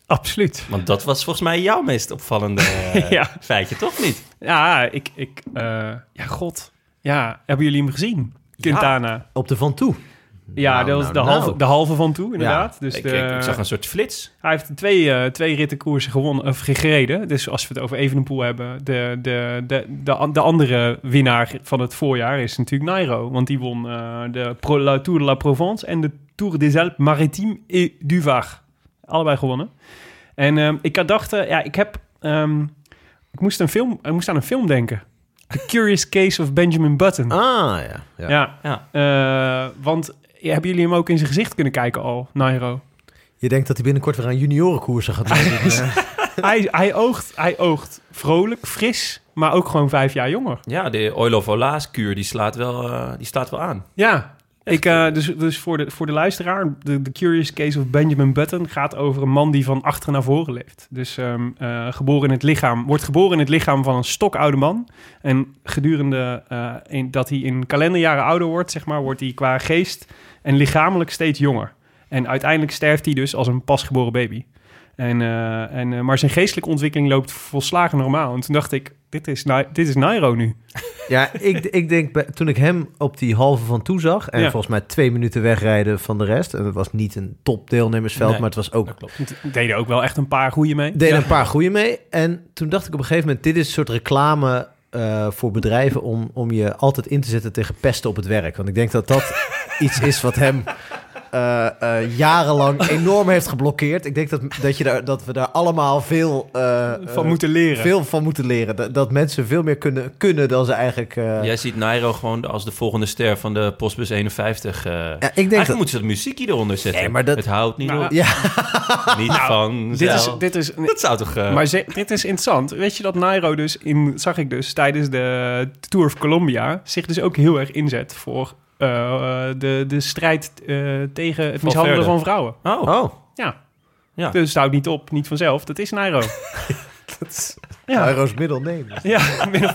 A: Absoluut.
D: Want dat was volgens mij jouw meest opvallende eh,
A: Ja.
D: feitje, toch niet?
A: Ja, ik... ik eh, ja, god. Ja, hebben jullie hem gezien? Quintana.
B: Op de van toe.
A: Ja,
B: Nou,
A: dat was
B: nou,
A: de,
B: nou.
A: halve, de halve van toe, inderdaad. dus
D: ik,
A: de-
D: ik, ik zag een soort flits.
A: Hij heeft twee, eh, twee rittenkoersen gewonnen, of gereden. Dus als we het over Evenepoel hebben, de, de, de, de, an- de andere winnaar van het voorjaar is natuurlijk Nairo. Want die won eh, de Pro, la Tour de la Provence en de Tour des Alpes Maritimes et du Var. Allebei gewonnen. En ehm, ik had dacht, eh, ja, ik heb... ehm, ik, moest een film, ik moest aan een film denken. The Curious Case of Benjamin Button.
B: Ah ja. ja.
A: Ja.
D: Ja.
A: Eh, want ja, hebben jullie hem ook in zijn gezicht kunnen kijken al, Nairo?
B: Je denkt dat hij binnenkort weer aan juniorenkoersen gaat doen. Ja.
A: hij, hij, oogt, hij oogt vrolijk, fris, maar ook gewoon vijf jaar jonger.
D: Ja, de Oilo Olaas-kuur, die, slaat wel, eh, die slaat wel aan.
A: Ja. Ik, eh, dus dus voor, de, voor de luisteraar, de, de Curious Case of Benjamin Button gaat over een man die van achter naar voren leeft. Dus ehm, eh, geboren in het lichaam, wordt geboren in het lichaam van een stokoude man. En gedurende eh, in, dat hij in kalenderjaren ouder wordt, zeg maar, wordt hij qua geest en lichamelijk steeds jonger. En uiteindelijk sterft hij dus als een pasgeboren baby. En, eh, en, eh, maar zijn geestelijke ontwikkeling loopt volslagen normaal. En toen dacht ik, dit is, Nai- dit is Nairo nu.
B: ja, ik, ik denk bij- toen ik hem op die halve van toe zag en
A: Ja.
B: volgens mij twee minuten wegrijden van de rest. En het was niet een top deelnemersveld,
D: Nee.
B: maar het was ook
D: Dat klopt.
A: Er Deden ook wel echt een paar goede mee.
B: deden een paar goede mee. En toen dacht ik op een gegeven moment, dit is een soort reclame eh, voor bedrijven om, om je altijd in te zetten tegen pesten op het werk. Want ik denk dat dat iets is wat hem eh, eh, jarenlang enorm heeft geblokkeerd. Ik denk dat, dat, je daar, dat we daar allemaal veel, eh,
A: van
B: eh,
A: moeten leren.
B: veel van moeten leren. Dat, dat mensen veel meer kunnen, kunnen dan ze eigenlijk... eh,
D: Jij ziet Nairo gewoon als de volgende ster van de Postbus 51. eh
B: ja, ik denk
D: Eigenlijk
B: dat...
D: moeten ze dat muziekje eronder zetten.
B: Nee, maar dat-
D: Het houdt niet
A: Nou,
D: op.
B: Ja.
D: Niet van.
A: Dit is, dit is,
D: Dat zou toch... eh,
A: maar ze- dit is interessant. Weet je dat Nairo dus, in, zag ik dus tijdens de Tour of Colombia, zich dus ook heel erg inzet voor eh, eh, de, de strijd eh, tegen het mishandelen
D: verder.
A: van vrouwen.
D: Oh,
B: Oh,
A: Ja.
D: Ja.
A: Dus het houdt niet op, niet vanzelf. Dat is Nairo. Ja.
B: Nairo's middel, nee.
A: ja, min of,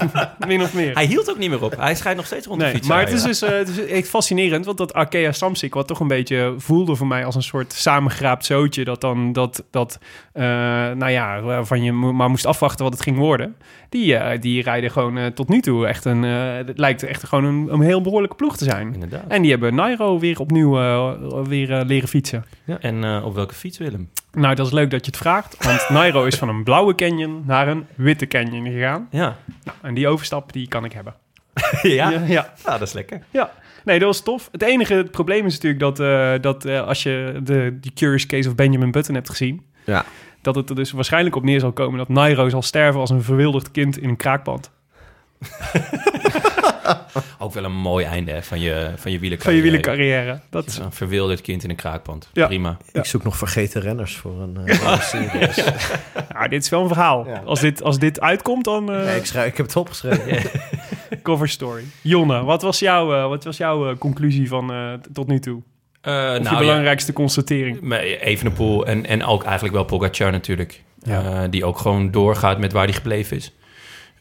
A: min of meer.
D: hij hield ook niet meer op. Hij schijnt nog steeds rond te
A: Nee,
D: fietsen.
A: maar het is
D: Ja.
A: dus eh, het is echt fascinerend, want dat Arkea Samsic, wat toch een beetje voelde voor mij als een soort samengeraapt zootje, dat dan dat, dat eh, nou ja, waarvan je mo- maar moest afwachten wat het ging worden, die, eh, die rijden gewoon eh, tot nu toe echt een, eh, het lijkt echt gewoon een, een heel behoorlijke ploeg te zijn.
D: Inderdaad.
A: En die hebben Nairo weer opnieuw eh, weer eh, leren fietsen.
D: En eh, op welke fiets, Willem?
A: Nou, dat is leuk dat je het vraagt, want Nairo is van een blauwe canyon naar een witte canyon gegaan.
D: Ja.
A: Nou, en die overstap, die kan ik hebben.
D: ja. ja.
A: ja.
D: dat is lekker.
A: Ja, nee, dat was tof. Het enige het probleem is natuurlijk dat, eh, dat eh, als je de, die Curious Case of Benjamin Button hebt gezien...
B: Ja.
A: dat het er dus waarschijnlijk op neer zal komen dat Nairo zal sterven als een verwilderd kind in een kraakpand.
D: Ook wel een mooi einde hè, van je, van je wielencarrière.
A: Van je wielencarrière. Dat
D: Dat
A: is
D: is Een verwilderd kind in een kraakpand.
A: Ja.
D: Prima.
B: Ik zoek nog vergeten renners voor een... eh, serie.
A: nou, dit is wel een verhaal.
B: Ja.
A: Als, dit, als dit uitkomt, dan eh,
B: Nee, ik, schrijf, ik heb het opgeschreven.
A: cover story. Jonne, wat was jouw, eh, wat was jouw eh, conclusie van eh, t- tot nu toe?
D: Eh,
A: Of
D: nou,
A: je
D: ja.
A: belangrijkste constatering?
D: Maar Evenepoel en, en ook eigenlijk wel Pogacar natuurlijk.
A: Ja.
D: Eh, die ook gewoon doorgaat met waar hij gebleven is.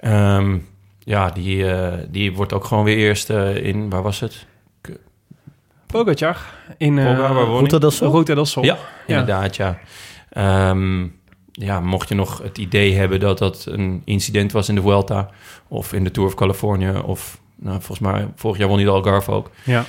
D: Ehm, ja, die, eh, die wordt ook gewoon weer eerst eh, in... Waar was het?
A: Pogacar in eh
D: Pogacar, waar woon
B: Ruta del Sol?
A: Ruta del Sol.
D: Ja, inderdaad, ja. Ehm, ja, mocht je nog het idee hebben dat dat een incident was in de Vuelta... of in de Tour of California of... Nou, volgens mij, vorig jaar won hij de Algarve ook.
A: Ja.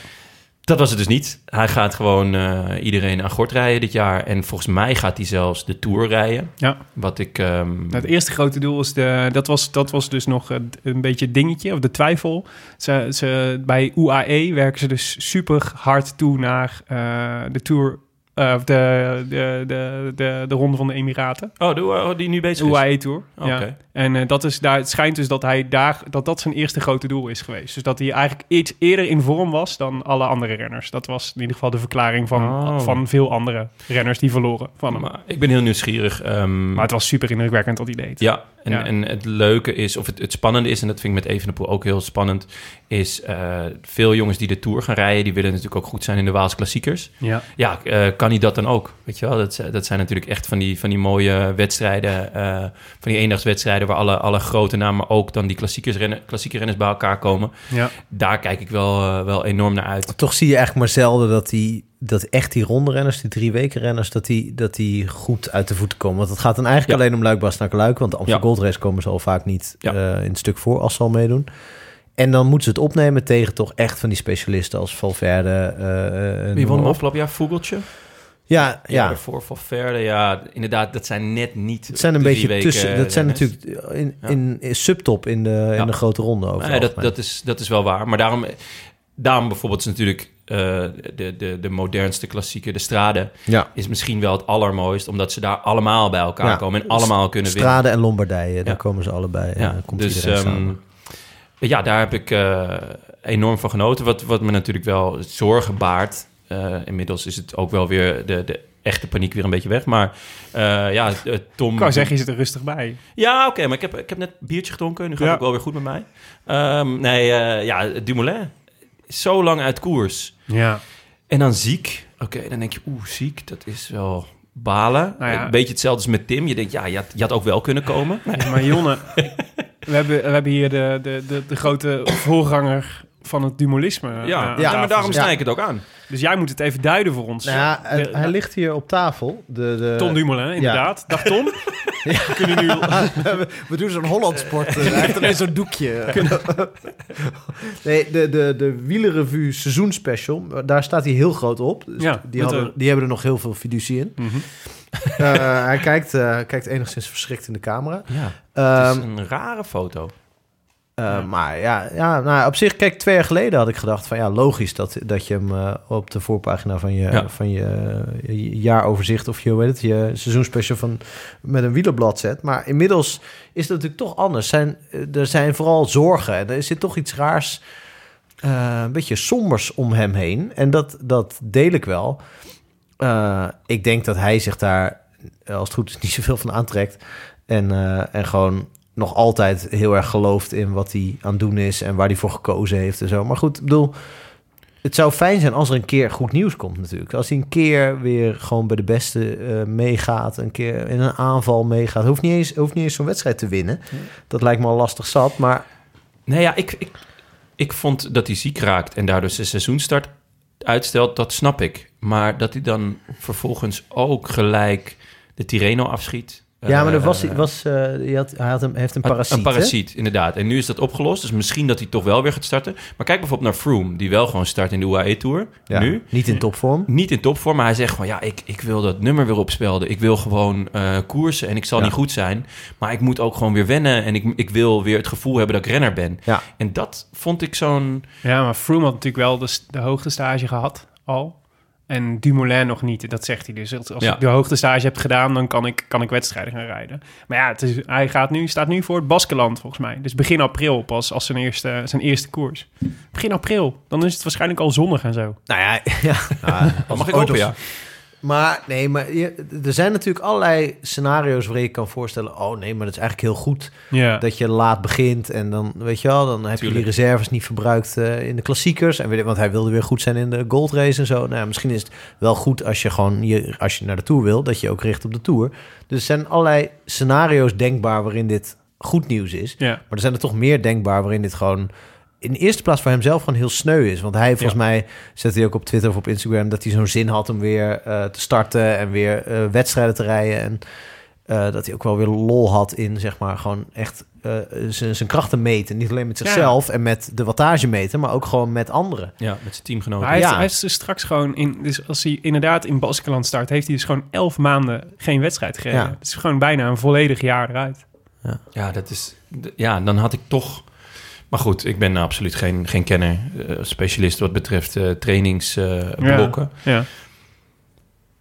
D: Dat was het dus niet. Hij gaat gewoon eh, iedereen aan gort rijden dit jaar. En volgens mij gaat hij zelfs de Tour rijden.
A: Ja.
D: Wat ik... ehm,
A: Nou, het eerste grote doel is de. Dat was, dat was dus nog eh, een beetje het dingetje, of de twijfel. Ze, ze, bij UAE werken ze dus super hard toe naar eh, de Tour. eh, of de, de, de, de, de Ronde van de Emiraten.
D: Oh, de, oh, die nu bezig
A: De
D: is.
A: UAE Tour.
D: Oké.
A: Ja. En eh, dat is, daar, het schijnt dus dat hij daar, dat dat zijn eerste grote doel is geweest. Dus dat hij eigenlijk iets eerder in vorm was dan alle andere renners. Dat was in ieder geval de verklaring van,
D: Oh.
A: van veel andere renners die verloren van hem. Maar,
D: Maar ik ben heel nieuwsgierig. ehm,
A: het was super indrukwekkend dat hij deed.
D: Ja, en,
A: Ja.
D: en het leuke is, of het, het spannende is, en dat vind ik met Evenepoel ook heel spannend, is eh, veel jongens die de Tour gaan rijden, die willen natuurlijk ook goed zijn in de Waals klassiekers.
A: ja.
D: Ja, eh, kan hij dat dan ook? Weet je wel, dat, z- dat zijn natuurlijk echt van die, van die mooie wedstrijden, eh, van die eendagswedstrijden waar alle, alle grote namen, maar ook dan die klassiekers rennen, klassieke renners bij elkaar komen.
A: ja.
D: Daar kijk ik wel, eh, wel enorm naar uit.
B: Toch zie je eigenlijk maar zelden dat, die, dat echt die rondrenners, die drie weken renners, dat die, dat die goed uit de voeten komen. Want het gaat dan eigenlijk
D: Ja.
B: alleen om Luik, naar Luik. Want de Amsterdam
D: Ja.
B: Gold Race komen ze al vaak niet
D: Ja.
B: eh, in het stuk voor als ze al meedoen. En dan moeten ze het opnemen tegen toch echt van die specialisten als Valverde. eh, eh,
D: Wie won
B: noem
D: hem
B: maar op.
D: afgelopen jaar? Vogeltje?
B: Ja, ja.
D: Voor Valverde, ja. Inderdaad, dat zijn net niet...
B: Het zijn een
D: de drie
B: beetje
D: weken eh,
B: tussen. Dat zijn
D: renners.
B: natuurlijk in, in, in subtop in de,
D: Ja.
B: in de grote ronde over.
D: Nee,
B: het
D: dat,
B: algemeen.
D: dat, is, dat is wel waar. Maar daarom, daarom bijvoorbeeld is natuurlijk eh, de, de, de modernste klassieke, de Strade,
B: ja.
D: is misschien wel het allermooist, omdat ze daar allemaal bij elkaar
B: Ja.
D: komen en allemaal kunnen winnen.
B: Strade en Lombardije, daar
D: Ja.
B: komen ze allebei. en dan eh, komt
D: dus
B: iedereen
D: ehm,
B: samen.
D: ja, daar heb ik eh, enorm van genoten. Wat, wat me natuurlijk wel zorgen baart. eh, inmiddels is het ook wel weer de, de echte paniek weer een beetje weg. Maar eh, ja, eh, Tom...
A: Ik kan zeggen, je zit er rustig bij.
D: Ja, oké, maar ik heb, ik heb net biertje gedronken. Nu
A: Ja.
D: gaat het ook wel weer goed met mij. Ehm, nee, eh, ja, Dumoulin. Zo lang uit koers.
A: Ja.
D: En dan ziek. Oké, dan denk je, oeh, ziek, dat is wel balen.
A: Nou ja.
D: Een beetje hetzelfde als met Tim. Je denkt, ja, je had, je had ook wel kunnen komen.
A: Maar Jonne, we hebben, we hebben hier de, de, de, de grote voorganger van het dumolisme. eh,
D: ja,
A: aan
D: ja,
A: tafel
D: maar daarom
A: zitten.
D: snij ik het ook aan.
A: Dus jij moet het even duiden voor ons.
B: Nou ja, hij,
A: de-
B: hij ligt hier op tafel. De, de,
A: Tom Dumoulin, inderdaad. Dag Tom. We kunnen nu...
B: We doen zo'n Hollandsport. sport. dus hij heeft alleen zo'n doekje. nee, de, de, de wielerrevue seizoenspecial, daar staat hij heel groot op. Dus
A: Ja, met
B: die, hadden,
A: de-
B: die hebben er nog heel veel fiducie in.
A: Mhm.
B: Eh, hij kijkt, eh, hij kijkt enigszins verschrikt in de camera.
D: Ja,
B: Ehm,
D: het is een rare foto.
B: Eh, Maar ja, ja nou, op zich, kijk, twee jaar geleden had ik gedacht van ja, logisch dat, dat je hem eh, op de voorpagina van je,
D: Ja.
B: van je, eh, je jaaroverzicht of je, hoe heet het, je seizoensspecial van, met een wielerblad zet. Maar inmiddels is dat natuurlijk toch anders. Zijn, eh, er zijn vooral zorgen en er zit toch iets raars, eh, een beetje sombers om hem heen. En dat, dat deel ik wel. Eh, ik denk dat hij zich daar, eh, als het goed is, niet zoveel van aantrekt. En, eh, en gewoon nog altijd heel erg gelooft in wat hij aan het doen is en waar hij voor gekozen heeft en zo. Maar goed, ik bedoel, het zou fijn zijn als er een keer goed nieuws komt natuurlijk. Als hij een keer weer gewoon bij de beste eh, meegaat, een keer in een aanval meegaat. Hoeft niet eens, hoeft niet eens zo'n wedstrijd te winnen. Dat lijkt me al lastig zat, maar
D: Nee, ja, ik, ik, ik vond dat hij ziek raakt en daardoor zijn seizoenstart uitstelt, dat snap ik. Maar dat hij dan vervolgens ook gelijk de Tireno afschiet.
B: ja, maar er
D: Eh,
B: was, was, eh, hij, had, hij had hem, heeft een parasiet.
D: Een
B: hè?
D: parasiet, inderdaad. En nu is dat opgelost, dus misschien dat hij toch wel weer gaat starten. Maar kijk bijvoorbeeld naar Froome, die wel gewoon start in de UAE-tour.
B: Ja,
D: Nu.
B: Niet in topvorm.
D: Niet in topvorm, maar hij zegt gewoon... ja, ik, ik wil dat nummer weer opspelden. Ik wil gewoon eh, koersen en ik zal
B: Ja.
D: niet goed zijn. Maar ik moet ook gewoon weer wennen... en ik, ik wil weer het gevoel hebben dat ik renner ben.
B: Ja.
D: En dat vond ik zo'n...
A: Ja, maar Froome had natuurlijk wel de, s- de hoogtestage gehad al. En Dumoulin nog niet, dat zegt hij dus. Als
D: Ja.
A: ik de hoogtestage heb gedaan, dan kan ik, kan ik wedstrijden gaan rijden. Maar ja, het is, hij gaat nu, staat nu voor het Baskeland volgens mij. Dus begin april pas als zijn eerste, zijn eerste koers. Begin april, dan is het waarschijnlijk al zonnig en zo.
B: Nou ja, ja. Nou, als
D: Mag ik
B: ooit
D: hopen, ja.
B: nog- Maar nee, maar je- er zijn natuurlijk allerlei scenario's waarin je kan voorstellen... oh nee, maar dat is eigenlijk heel goed
A: Ja,
B: dat je laat begint... en dan, weet je wel, dan heb je
D: Tuurlijk.
B: die reserves niet verbruikt eh, in de klassiekers. En weet, ik- want hij wilde weer goed zijn in de gold race en zo. Nou, ja, misschien is het wel goed als je gewoon je, als je naar de Tour wil... dat je ook richt op de Tour. Dus er zijn allerlei scenario's denkbaar waarin dit goed nieuws is.
A: ja.
B: Maar er zijn er toch meer denkbaar waarin dit gewoon in de eerste plaats voor hemzelf gewoon heel sneu is. Want hij, volgens
D: Ja.
B: mij, zette hij ook op Twitter of op Instagram... dat hij zo'n zin had om weer eh, te starten en weer eh, wedstrijden te rijden. En eh, dat hij ook wel weer lol had in, zeg maar, gewoon echt eh, zijn zijn krachten meten. Niet alleen met
A: Ja.
B: zichzelf en met de wattage meten, maar ook gewoon met anderen.
D: Ja, met zijn teamgenoten.
A: Maar hij,
B: Ja.
A: heeft, hij is dus straks gewoon in. Dus als hij inderdaad in Baskeland start, heeft hij dus gewoon elf maanden geen wedstrijd gereden.
B: Ja.
A: Het is gewoon bijna een volledig jaar eruit.
D: Ja, dat is. d- Ja, dan had ik toch. Maar goed, ik ben absoluut geen, geen kenner, eh, specialist wat betreft eh, trainingsblokken.
A: Ja.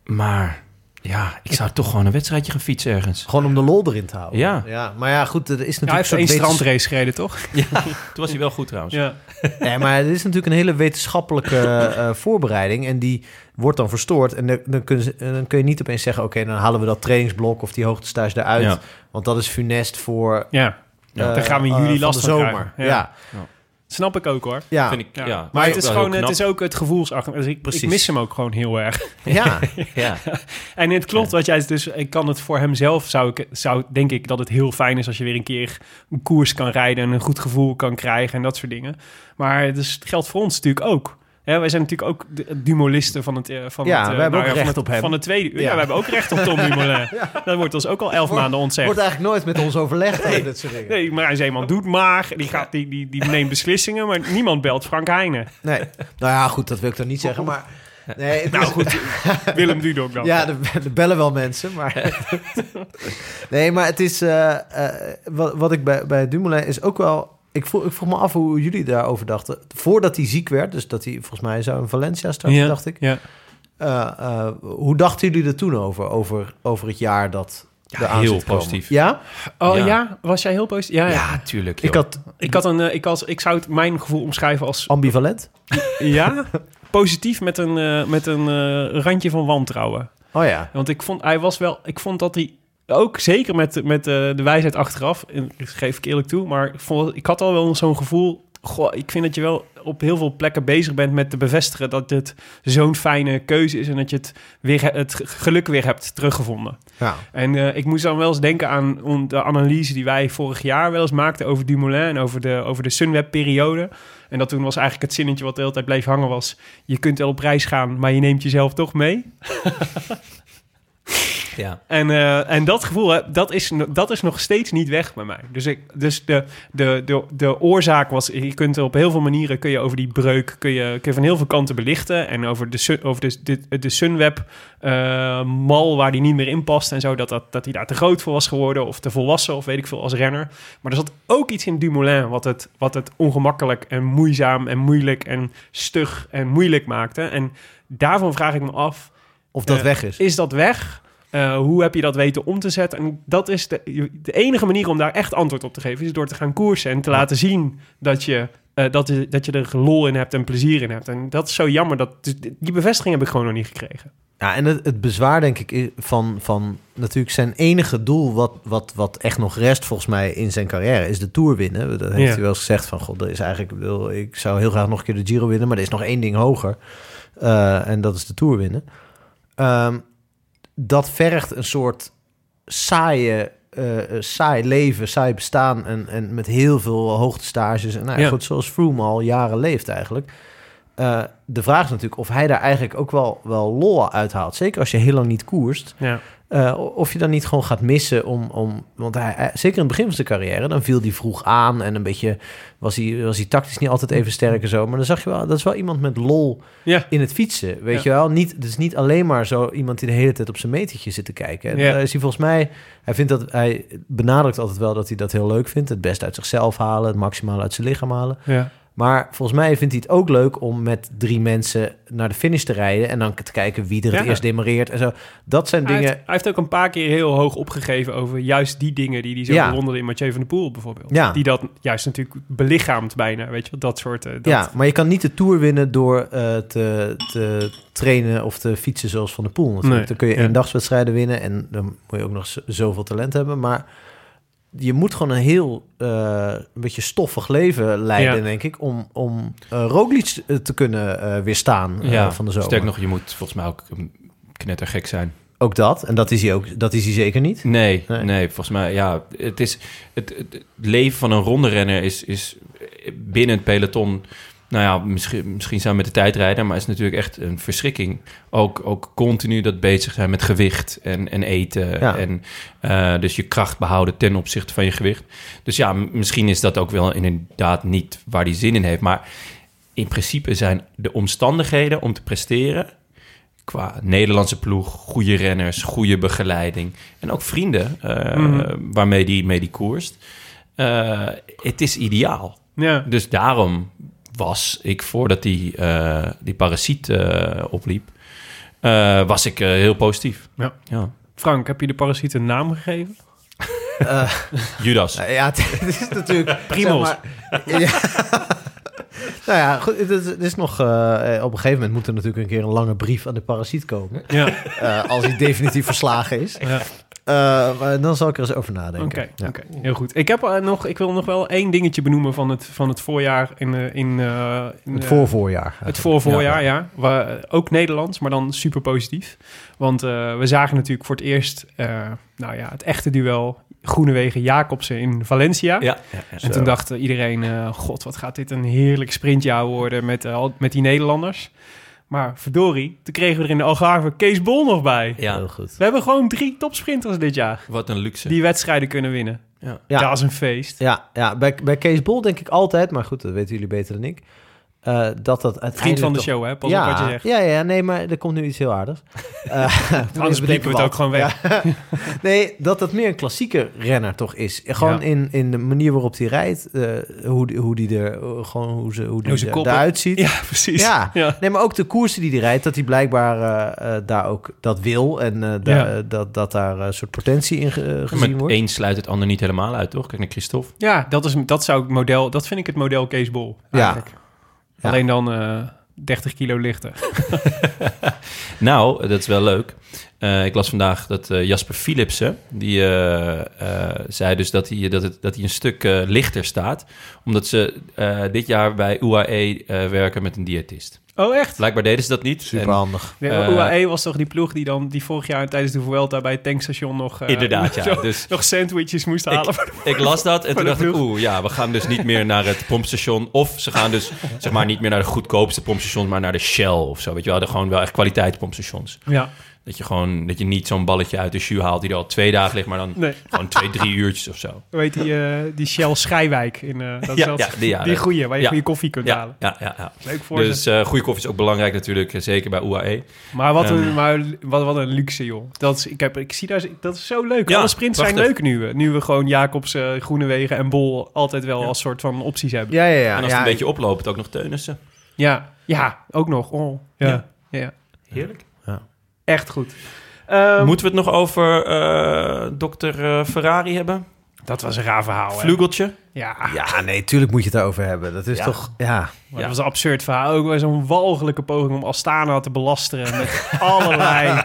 D: Maar ja, ik zou toch gewoon een wedstrijdje gaan fietsen ergens.
B: Gewoon om de lol erin te houden.
D: Ja.
B: maar ja, goed, er is natuurlijk
A: Hij heeft
B: een
A: één
B: soort wetens-
A: strandrace gereden, toch?
D: Toen was hij wel goed trouwens.
A: Ja.
B: Nee, maar het is natuurlijk een hele wetenschappelijke eh, voorbereiding. En die wordt dan verstoord. En dan, dan, kun, je, dan kun je niet opeens zeggen... oké, dan halen we dat trainingsblok of die hoogtestage eruit.
D: Ja.
B: Want dat is funest voor...
A: ja.
D: Ja.
B: eh,
A: Daar gaan we in
B: eh,
A: juli
B: van
A: last
B: de
A: van
B: zomer.
A: krijgen.
B: Ja.
A: Ja.
B: Ja.
A: Snap ik ook hoor.
B: Ja.
D: Vind ik, ja.
A: Maar, het, is gewoon, het is
D: ook.
A: ook het gevoelsachter. Dus ik, ik
D: Precies.
A: mis hem ook gewoon heel erg.
B: ja.
D: Ja.
A: En het klopt wat jij dus. Ik kan het voor hemzelf. Zou ik, zou, denk ik dat het heel fijn is als je weer een keer een koers kan rijden en een goed gevoel kan krijgen en dat soort dingen. Maar het is- het geldt voor ons natuurlijk ook. Hè, wij zijn natuurlijk ook de dumolisten van het. eh, Van
B: Ja,
A: het, eh,
B: we hebben ook
A: ja, van
B: recht
A: het-
B: op hem.
A: Van de tweede uur.
B: Ja.
A: Ja. we hebben ook recht op Tom Dumoulin. Dat wordt ons ook al elf
B: Wordt-
A: maanden ontzegd.
B: Wordt eigenlijk nooit met ons overlegd over dit soort dingen.
A: Nee, maar hij is eenmaal doet maar. Die, gaat, die, die, die neemt beslissingen, maar niemand belt Frank Heijnen.
B: Nee. Nou ja, goed, dat wil ik dan niet zeggen, maar... Nee, het
A: Nou,
B: is Nou goed.
A: Willem Dudok dan.
B: Ja, er, er bellen wel mensen, maar... nee, maar het is... eh, eh, wat, wat ik bij, bij Dumoulin is ook wel... Ik vroeg, ik vroeg me af hoe jullie daarover dachten. Voordat hij ziek werd, dus dat hij volgens mij zou in Valencia starten, dacht ik.
A: Ja.
B: Eh, eh, hoe dachten jullie er toen over? Over, over het jaar dat er aan
D: heel
B: zit te komen?
D: positief.
B: Ja?
A: Oh
D: Ja.
A: ja. was jij heel positief? Ja, ja.
D: Ja, tuurlijk.
B: Ik
D: joh.
B: had
A: Ik, had een, eh, ik, als, ik zou het mijn gevoel omschrijven als
B: ambivalent.
A: ja, positief met een, eh, met een eh, randje van wantrouwen.
B: Oh ja.
A: Want ik vond, hij was wel, ik vond dat hij ook zeker met, met eh, de wijsheid achteraf, en dat geef ik eerlijk toe, maar ik, vond, ik had al wel zo'n gevoel. Goh, ik vind dat je wel op heel veel plekken bezig bent met te bevestigen dat dit zo'n fijne keuze is en dat je het, weer, he- het geluk weer hebt teruggevonden.
B: Ja.
A: En eh, ik moest dan wel eens denken aan on- de analyse die wij vorig jaar wel eens maakten over Dumoulin en over de, over de Sunweb-periode. En dat toen was eigenlijk het zinnetje wat de hele tijd bleef hangen was... je kunt wel op reis gaan, maar je neemt jezelf toch mee.
D: Ja.
A: En, eh, en dat gevoel, hè, dat, is, no- dat is nog steeds niet weg bij mij. Dus, ik, dus de, de, de, de oorzaak was, je kunt op heel veel manieren kun je over die breuk, kun je, kun je van heel veel kanten belichten. En over de, sun- over de, de, de Sunweb eh, mal waar die niet meer in past en zo, dat, dat, dat hij daar te groot voor was geworden of te volwassen of weet ik veel als renner. Maar er zat ook iets in Dumoulin wat het, wat het ongemakkelijk en moeizaam en moeilijk en stug en moeilijk maakte. En daarvan vraag ik me af,
B: Of dat
A: Eh,
B: weg is.
A: is dat weg? Eh, hoe heb je dat weten om te zetten? En dat is de, de enige manier om daar echt antwoord op te geven, is door te gaan koersen en te laten zien dat je, eh, dat, je- dat je er lol in hebt en plezier in hebt. En dat is zo jammer. Dat, dus die bevestiging heb ik gewoon nog niet gekregen.
B: Ja, en het, het bezwaar, denk ik, is van, van natuurlijk zijn enige doel, wat, wat, wat echt nog rest volgens mij in zijn carrière, is de Tour winnen. Dat heeft
A: Ja.
B: hij wel eens gezegd van, god, dat is eigenlijk, ik, bedoel, ik zou heel graag nog een keer de Giro winnen, maar er is nog één ding hoger. Eh, en dat is de Tour winnen. Ehm, dat vergt een soort saaie, eh, eh, saai leven, saai bestaan en, en met heel veel hoogtestages. En nou, ja.
A: Ja.
B: goed, zoals Froome al jaren leeft eigenlijk. Eh, de vraag is natuurlijk of hij daar eigenlijk ook wel, wel lol uithaalt. Zeker als je heel lang niet koerst.
A: Ja.
B: Eh, of je dan niet gewoon gaat missen om... om want hij, hij- zeker in het begin van zijn carrière, dan viel hij vroeg aan... en een beetje was hij, was hij tactisch niet altijd even sterk en zo. Maar dan zag je wel, dat is wel iemand met lol
A: Ja.
B: in het fietsen,
A: Ja.
B: weet je wel. Niet, dus niet alleen maar zo iemand die de hele tijd op zijn metertje zit te kijken. En
A: Ja.
B: daar is hij volgens mij... Hij, vindt dat, hij benadrukt altijd wel dat hij dat heel leuk vindt. Het best uit zichzelf halen, het maximale uit zijn lichaam halen.
A: Ja.
B: Maar volgens mij vindt hij het ook leuk om met drie mensen naar de finish te rijden... en dan te kijken wie er het
A: Ja.
B: eerst demareert en zo. Dat zijn
A: Hij,
B: dingen...
A: heeft, hij heeft ook een paar keer heel hoog opgegeven over juist die dingen die hij zo
B: Ja.
A: bewonderde in Mathieu van der Poel bijvoorbeeld.
B: Ja.
A: Die dat juist natuurlijk belichaamt bijna, weet je wel, dat soort... eh, dat,
B: Ja, maar je kan niet de Tour winnen door eh, te, te trainen of te fietsen zoals Van de Poel. natuurlijk.
A: Nee,
B: dan kun je
A: ja.
B: eendagswedstrijden winnen en dan moet je ook nog z- zoveel talent hebben. Maar je moet gewoon een heel eh, een beetje stoffig leven leiden,
A: Ja.
B: denk ik, om, om eh, Roglic eh, te kunnen eh, weerstaan eh,
D: ja.
B: van de zomer.
D: Sterk nog, je moet volgens mij ook een knettergek zijn.
B: Ook dat, en dat is hij, ook, dat is hij zeker niet.
D: Nee,
B: Nee.
D: nee, volgens mij, ja, het is het, het- het leven van een ronde renner is, is binnen het peloton. Nou ja, misschien, misschien samen met de tijdrijder, maar het is natuurlijk echt een verschrikking. Ook, ook continu dat bezig zijn met gewicht en, en eten.
B: Ja.
D: En eh, dus je kracht behouden ten opzichte van je gewicht. Dus ja, m- misschien is dat ook wel inderdaad niet waar die zin in heeft. Maar in principe zijn de omstandigheden om te presteren qua Nederlandse ploeg, goede renners, goede begeleiding en ook vrienden eh, waarmee die, mee die koerst. Eh, het is ideaal.
A: Ja.
D: Dus daarom was ik, voordat die, eh, die parasiet eh, opliep, eh, was ik eh, heel positief.
A: Ja.
D: Ja.
A: Frank, heb je de parasiet een naam gegeven?
D: Judas.
B: Nou ja, het het is natuurlijk...
A: Primos.
B: zeg maar- ja. Nou ja, goed, het is, het is nog... eh, eh, op een gegeven moment moet er natuurlijk een keer een lange brief aan de parasiet komen.
A: Ja,
B: eh, als hij definitief verslagen is.
A: ja.
B: Eh, maar dan zal ik er eens over nadenken.
A: Oké,
B: Ja.
A: oké, heel goed. Ik, heb, eh, nog, ik wil nog wel één dingetje benoemen van het, van het voorjaar in, eh, in, eh, in,
B: Het
A: eh,
B: voorvoorjaar.
A: Het voorvoorjaar, ja. Waar, eh, ook Nederlands, maar dan super positief. Want eh, we zagen natuurlijk voor het eerst eh, nou ja, het echte duel Groenewegen-Jacobsen in Valencia.
D: Ja.
A: en toen dacht eh, iedereen, eh, god, wat gaat dit een heerlijk sprintjaar worden met, eh, al- met die Nederlanders. Maar verdorie, toen kregen we er in de Algarve Kees Bol nog bij.
B: Ja.
D: ja.
B: Heel goed.
A: We hebben gewoon drie topsprinters dit jaar
D: Wat een luxe.
A: die wedstrijden kunnen winnen.
D: Ja.
B: Ja.
A: Dat is een feest.
B: Ja, ja bij, bij Kees Bol denk ik altijd, maar goed, dat weten jullie beter dan ik. eh, dat dat uiteindelijk
A: Vriend van de
B: toch-
A: show, hè? Pas op
B: ja,
A: wat je zegt.
B: ja, ja, nee, maar er komt nu iets heel aardigs. Eh,
A: Anders
B: bedenken
A: bliepen we het ook gewoon weg.
B: Ja. nee, dat dat meer een klassieke renner toch is. Gewoon
A: Ja.
B: in, in de manier waarop hij rijdt, eh, hoe, die- hoe die er eh, gewoon hoe ze, hoe die
A: Hoe ze
B: er-
A: koppen.
B: eruit ziet.
A: Ja, precies.
B: Ja.
A: ja.
B: Nee, maar ook de koersen die hij rijdt, dat hij blijkbaar eh, eh, daar ook dat wil en eh, daar-
A: Ja.
B: eh, dat, dat daar een soort potentie in ge- eh,
D: Ja, maar
B: gezien wordt.
D: één sluit het ander niet helemaal uit, toch? Kijk naar Christophe.
A: Ja, dat, is, dat, zou ik model, dat vind ik het model Kees Bol. Eigenlijk.
B: Ja.
A: Alleen dan eh 30 kilo lichter.
D: Nou, dat is wel leuk. Eh, ik las vandaag dat eh, Jasper Philipsen, die eh, eh, zei dus dat hij, dat, het, dat hij een stuk eh, lichter staat. Omdat ze eh, dit jaar bij UAE eh, werken met een diëtist.
A: Oh, echt?
D: Blijkbaar deden ze dat niet.
B: Super
D: En-
B: handig.
A: Nee, maar
D: Eh,
A: UAE E was toch die ploeg die dan die vorig jaar tijdens de Vuelta bij het tankstation nog, eh,
D: Inderdaad, ja.
A: nog-
D: Dus
A: nog sandwiches moest halen.
D: ik, ik las dat en
A: voor
D: toen
A: de
D: dacht ik,
A: ploeg.
D: oeh, ja, we gaan dus niet meer naar het pompstation. Of ze gaan dus, zeg maar, niet meer naar de goedkoopste pompstation, maar naar de Shell of zo. Weet je wel, de- gewoon wel echt kwaliteit pompstations.
A: Ja,
D: Dat je gewoon, dat je niet zo'n balletje uit de shoe haalt die er al twee dagen ligt, maar dan
A: nee.
D: gewoon twee, drie uurtjes of zo.
A: Hoe heet die, eh, die Shell Schijwijk? In, eh, dat is
D: Ja,
A: dat-
D: ja, die,
A: die,
D: ja, dat-
A: goeie, waar je
D: ja.
A: goede koffie kunt
D: Ja,
A: halen.
D: ja, ja. ja.
A: Leuk voor
D: Dus
A: ze.
D: eh, goede koffie is ook belangrijk natuurlijk, eh, zeker bij UAE.
A: Maar, wat een,
D: ehm,
A: maar wat, wat een luxe, joh. Dat is, ik, heb, ik zie daar, dat is zo leuk.
D: Ja,
A: Alle sprints zijn leuk
D: prachtig.
A: nu. eh, Nu we gewoon Jacobs, eh, Groenewegen en Bol altijd wel
D: Ja.
A: als soort van opties hebben.
B: Ja, ja, ja.
D: en als
B: ja,
D: het een beetje oploopt, ook nog Teunissen.
A: Ja, ja, ook nog. Oh, ja. Ja.
D: Ja. Heerlijk.
A: echt goed. Ehm,
D: Moeten we het nog over eh dokter eh, Ferrari
B: Oh,
D: hebben?
A: dat was een raar verhaal. hè?
D: Vlugeltje?
A: Ja,
B: Ja, nee, tuurlijk moet je het daarover hebben. Dat is
D: Ja.
B: toch, ja.
A: maar dat was een absurd verhaal. Ook wel zo'n walgelijke poging om Astana te belasteren met allerlei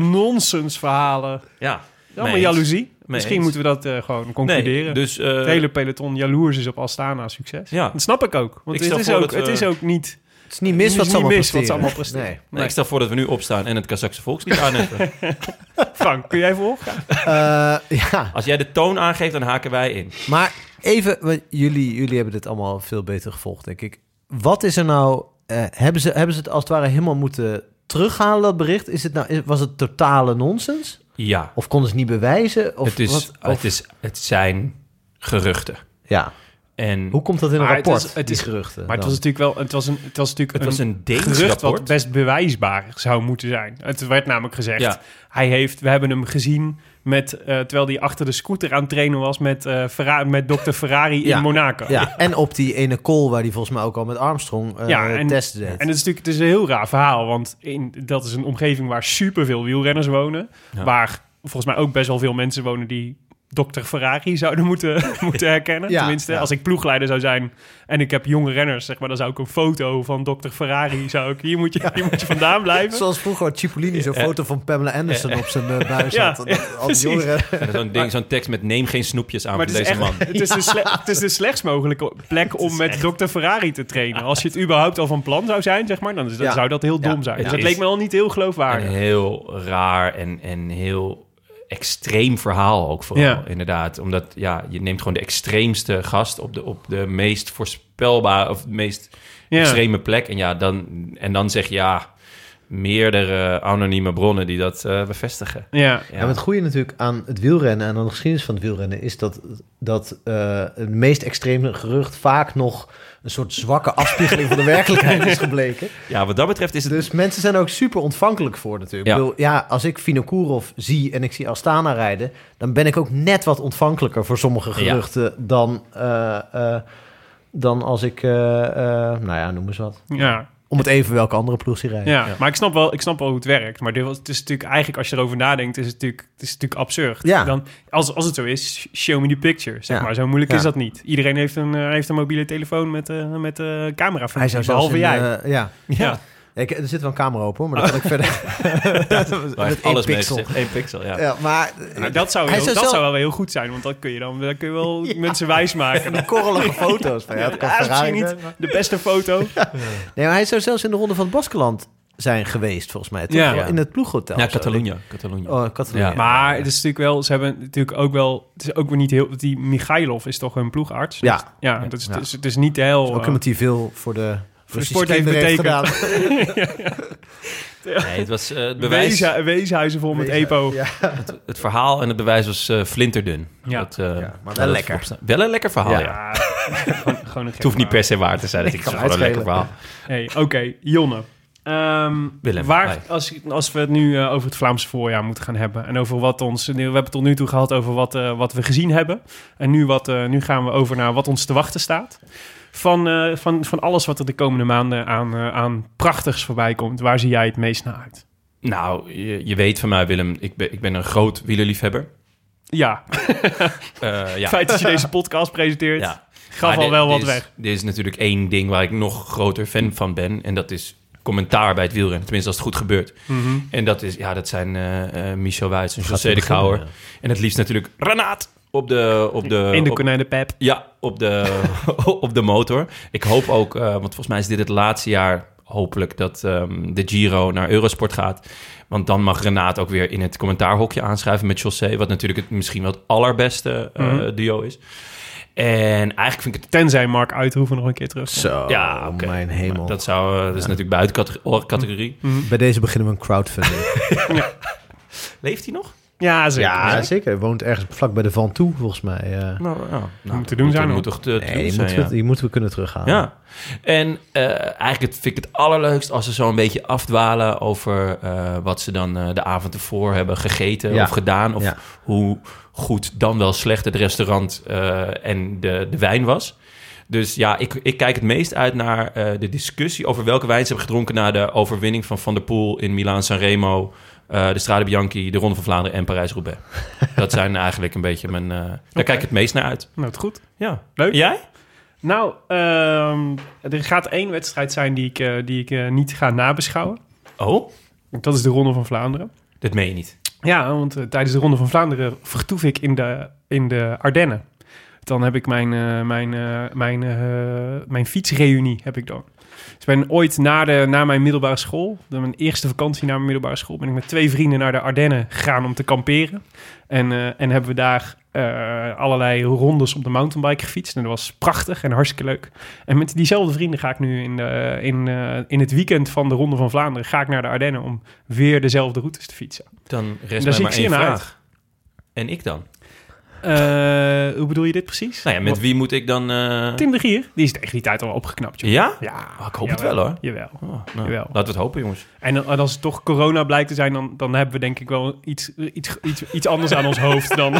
A: nonsens verhalen.
D: Ja.
A: Allemaal
D: Mee eens.
A: jaloezie.
D: Mee
A: Misschien
D: eens.
A: moeten we dat eh, gewoon
D: Nee,
A: concluderen.
D: dus... eh,
A: het hele peloton jaloers is op Astana succes.
D: Ja.
A: Dat snap ik ook. Want
D: Ik
A: het
D: stel
A: is
D: voor
A: ook,
D: dat we-
A: het is ook niet...
B: Het is niet mis
A: het
B: wat
A: is
B: ze allemaal
A: niet mis wat ze
B: presteren.
A: allemaal presteren.
B: Nee.
D: nee, Ik stel voor dat we nu opstaan en het Kazakse volkslied aanheffen.
A: Frank, kun jij volgen?
B: Eh, ja,
D: Als jij de toon aangeeft, dan haken wij in.
B: maar even, want jullie, jullie hebben dit allemaal veel beter gevolgd, denk ik. Wat is er nou, eh, hebben, ze, hebben ze het als het ware helemaal moeten terughalen, dat bericht? Is het nou, is- was het totale nonsens?
D: Ja,
B: Of konden ze het niet bewijzen? Of
D: het, is,
B: wat, of-
D: het, is, het zijn geruchten.
B: ja.
D: En
B: Hoe komt dat in een
A: Maar het
B: rapport,
A: is- het
B: die
A: is-
B: geruchten?
A: Maar het
B: dan?
A: was natuurlijk wel... Het was, een, het was natuurlijk
D: Nou. het was een Deens
A: gerucht
D: rapport.
A: wat best bewijsbaar zou moeten zijn. Het werd namelijk gezegd,
D: Ja.
A: hij heeft, we hebben hem gezien met, eh, terwijl hij achter de scooter aan het trainen was met, eh, Ferra- met dokter Ferrari
B: Ja,
A: in Monaco.
B: Ja, en op die ene call waar die volgens mij ook al met Armstrong eh
A: Ja, en-
B: testen deed.
A: En het is natuurlijk het is een heel raar verhaal, want in, dat is een omgeving waar superveel wielrenners wonen.
D: Ja.
A: Waar volgens mij ook best wel veel mensen wonen die dokter Ferrari zouden moeten, moeten herkennen.
B: Ja,
A: Tenminste,
B: ja.
A: als ik ploegleider zou zijn en ik heb jonge renners, zeg maar, dan zou ik een foto van dokter Ferrari, zou ik, hier moet je, hier moet je vandaan blijven.
B: Zoals vroeger Cipollini zo'n foto van Pamela Anderson op zijn eh, buis
A: Eh, Ja,
B: had. Dat al die
A: precies.
B: jongeren...
D: En Zo'n ding, zo'n tekst met neem geen snoepjes aan
A: Maar
D: voor
A: het is,
D: deze
A: echt,
D: man.
A: het, is de sle- het is de slechtst mogelijke plek om met Dr. Ferrari te trainen. Als je het überhaupt al van plan zou zijn, zeg maar, dan, is, dan
B: Ja.
A: zou dat heel dom zijn.
D: het
A: Dus dat
D: is-
A: leek me al niet heel
D: En
A: geloofwaardig.
D: heel raar en, en heel extreem verhaal ook vooral,
A: Ja.
D: inderdaad. Omdat ja, je neemt gewoon de extreemste gast op de, op de meest voorspelbare of de meest
A: Ja.
D: extreme plek. En, ja, dan, en dan zeg je ja, meerdere anonieme bronnen die dat eh, bevestigen.
A: Ja,
D: Ja.
B: Ja. maar Nou, het goede natuurlijk aan het wielrennen en aan de geschiedenis van het wielrennen is dat, dat eh, het meest extreme gerucht vaak nog een soort zwakke afspiegeling van de werkelijkheid is gebleken.
D: Ja, wat dat betreft is het...
B: Dus mensen zijn er ook super ontvankelijk voor natuurlijk.
D: Ja.
B: Ik bedoel, ja, als ik Vinokourov zie en ik zie Astana rijden, dan ben ik ook net wat ontvankelijker voor sommige geruchten dan, eh, eh, dan als ik, eh, eh, nou ja, noem eens wat.
A: ja,
B: Om het even welke andere ploeg ze rijden.
A: ja. Maar ik snap, wel, ik snap wel hoe het werkt. Maar dit was, het is natuurlijk eigenlijk, als je erover nadenkt, is het natuurlijk, het is natuurlijk absurd.
B: Ja.
A: Dan, als, als het zo is, sh- show me the picture, zeg
B: Ja.
A: maar. Zo moeilijk
B: Ja.
A: is dat niet. Iedereen heeft een, eh, heeft een mobiele telefoon met, eh met eh camera
B: Hij zou zelfs
A: behalve
B: in,
A: jij.
B: eh, ja.
A: ja.
B: Ik, er zit wel een camera open, hoor, maar dat had ik verder.
D: Waar
B: Met
D: heeft
B: één
D: alles mee
B: pixel.
D: gezegd. Eén pixel, ja.
B: Ja, maar
A: Nou, dat zou,
B: Hij
A: heel,
B: zou
A: dat
B: zelf-
A: zou wel weer heel goed zijn, want dan kun je dan dan kun je wel mensen wijs maken.
B: die korrelige foto's. Van, ja, het kan
A: Ja, misschien
B: Ferrari
A: niet.
B: zijn, maar-
A: De beste foto.
B: Nee, maar hij zou zelfs in de ronde van het Baskeland zijn geweest, volgens mij. Toch?
A: Ja.
B: Wel In het ploeghotel.
D: Ja,
B: of zo.
D: Catalonië. Catalonië.
B: Oh, Catalonia.
D: Ja.
A: Maar het is natuurlijk wel, ze hebben natuurlijk ook wel, het is ook weer niet heel, want die Michailov is toch hun ploegarts?
B: Ja.
A: Dus- ja, dat is,
B: Ja.
A: het is- het is niet heel...
B: Ook
A: eh,
B: iemand die veel voor de... Voor
A: sport heeft betekend.
D: Nee, het was eh, het bewijs.
A: Wezen, weeshuizen vol met EPO.
B: Ja,
D: Het verhaal en het bewijs was eh, flinterdun.
A: Ja.
D: Dat, eh,
B: maar wel
D: dat
B: lekker.
D: vooropstaan. Wel een lekker verhaal,
B: Ja.
D: Oh, ja.
A: Ja, gewoon, gewoon een
D: Het hoeft niet per se waar te zijn. Dat ik
B: kan
D: het is gewoon een lekker
B: uitschelen.
D: verhaal.
A: Hey, Oké, Jonne. Ehm,
D: Willem,
A: waar,
D: hi.
A: als, als we het nu eh, over het Vlaamse voorjaar moeten gaan hebben. En over wat ons. We hebben het tot nu toe gehad over wat, eh, wat we gezien hebben. En nu, wat, eh, nu gaan we over naar wat ons te wachten staat. Van, eh, van, van alles wat er de komende maanden aan, eh, aan prachtigs voorbij komt. Waar zie jij het meest naar uit?
D: Nou, je, je weet van mij, Willem. Ik ben, ik ben een groot wielerliefhebber.
A: Ja,
D: Eh ja.
A: het feit dat je deze podcast presenteert.
D: ja.
A: Gaf
D: Maar
A: al
D: er-
A: wel
D: er
A: wat
D: is-
A: weg.
D: Er is natuurlijk één ding waar ik nog groter fan van ben. En dat is commentaar bij het wielrennen. Tenminste, als het goed gebeurt.
A: Mhm.
D: En dat, is, ja, dat zijn eh, eh, Michel Wijts en José de
B: beginnen,
D: Kouwer.
B: ja.
D: En het liefst natuurlijk Renaat op de, op de,
A: In de
D: op-
A: konijnenpep.
D: Ja, op de, op de motor. Ik hoop ook, eh, want volgens mij is dit het laatste jaar hopelijk dat ehm, de Giro naar Eurosport gaat. Want dan mag Renaat ook weer in het commentaarhokje aanschuiven met José. Wat natuurlijk het, misschien wel het allerbeste eh,
A: Mhm.
D: duo is. En eigenlijk vind ik het...
A: Tenzij Mark Uithoeven nog een keer terug.
B: Zo,
D: Ja, oké.
B: mijn hemel.
D: Dat, zou, eh, dat is natuurlijk buiten categorie. categorie.
A: Mhm.
B: Bij deze beginnen we een crowdfunding.
D: Leeft hij nog?
A: Ja, zeker.
B: ja, zeker. Hij woont ergens vlak bij de Van Toe, volgens mij. eh.
D: Nou, nou, nou,
A: Moet te doen zijn,
D: Moet
A: hoor.
D: toch te, te
B: nee,
D: doen
B: die,
D: zijn,
B: moeten
D: ja.
B: we, die moeten we kunnen terughalen.
D: Ja. En eh, eigenlijk het- vind ik het allerleukst als ze zo een beetje afdwalen over eh, wat ze dan eh, de avond ervoor hebben gegeten
B: Ja.
D: of gedaan. Of
B: Ja.
D: hoe goed dan wel slecht het restaurant eh, en de, de wijn was. Dus ja, ik, ik kijk het meest uit naar eh, de discussie over welke wijn ze hebben gedronken na de overwinning van Van der Poel in Milaan Sanremo, eh, de Strade Bianchi, de Ronde van Vlaanderen en Parijs-Roubaix. Dat zijn eigenlijk een beetje mijn... eh, daar kijk ik het meest naar uit.
A: Nou, het goed.
D: Ja.
A: Leuk.
D: Jij?
A: Nou, ehm, er gaat één wedstrijd zijn die ik, eh, die ik eh, niet ga nabeschouwen.
D: Oh,
A: Dat is de Ronde van Vlaanderen.
D: dat meen je niet.
A: Ja, want eh, tijdens de Ronde van Vlaanderen vertoef ik in de, in de Ardennen. Dan heb ik mijn, eh, mijn, eh, mijn, eh, mijn fietsreunie heb ik dan. Dus ik ben ooit na, de, na mijn middelbare school, dan mijn eerste vakantie na mijn middelbare school, ben ik met twee vrienden naar de Ardennen gegaan om te kamperen. En, eh, en hebben we daar eh, allerlei rondes op de mountainbike gefietst. En dat was prachtig en hartstikke leuk. En met diezelfde vrienden ga ik nu in, de, in, eh, in het weekend van de Ronde van Vlaanderen ga ik naar de Ardennen om weer dezelfde routes te fietsen.
D: Dan rest
A: Daar
D: mij
A: zie
D: maar
A: ik zeer
D: één
A: naar
D: vraag. En ik dan?
A: Eh, hoe bedoel je dit precies?
D: Nou ja, met
A: Wat-
D: wie moet ik dan... eh,
A: Tim de Gier. Die is tegen die tijd al opgeknapt, joh.
D: Ja?
A: Ja.
D: Ah, ik hoop het wel, hoor.
A: Jawel.
D: Oh, nou,
A: Jawel.
D: laten we het hopen, jongens.
A: En, dan- en als het toch corona blijkt te zijn, dan, dan hebben we denk ik wel iets, iets, iets, iets anders aan ons hoofd dan,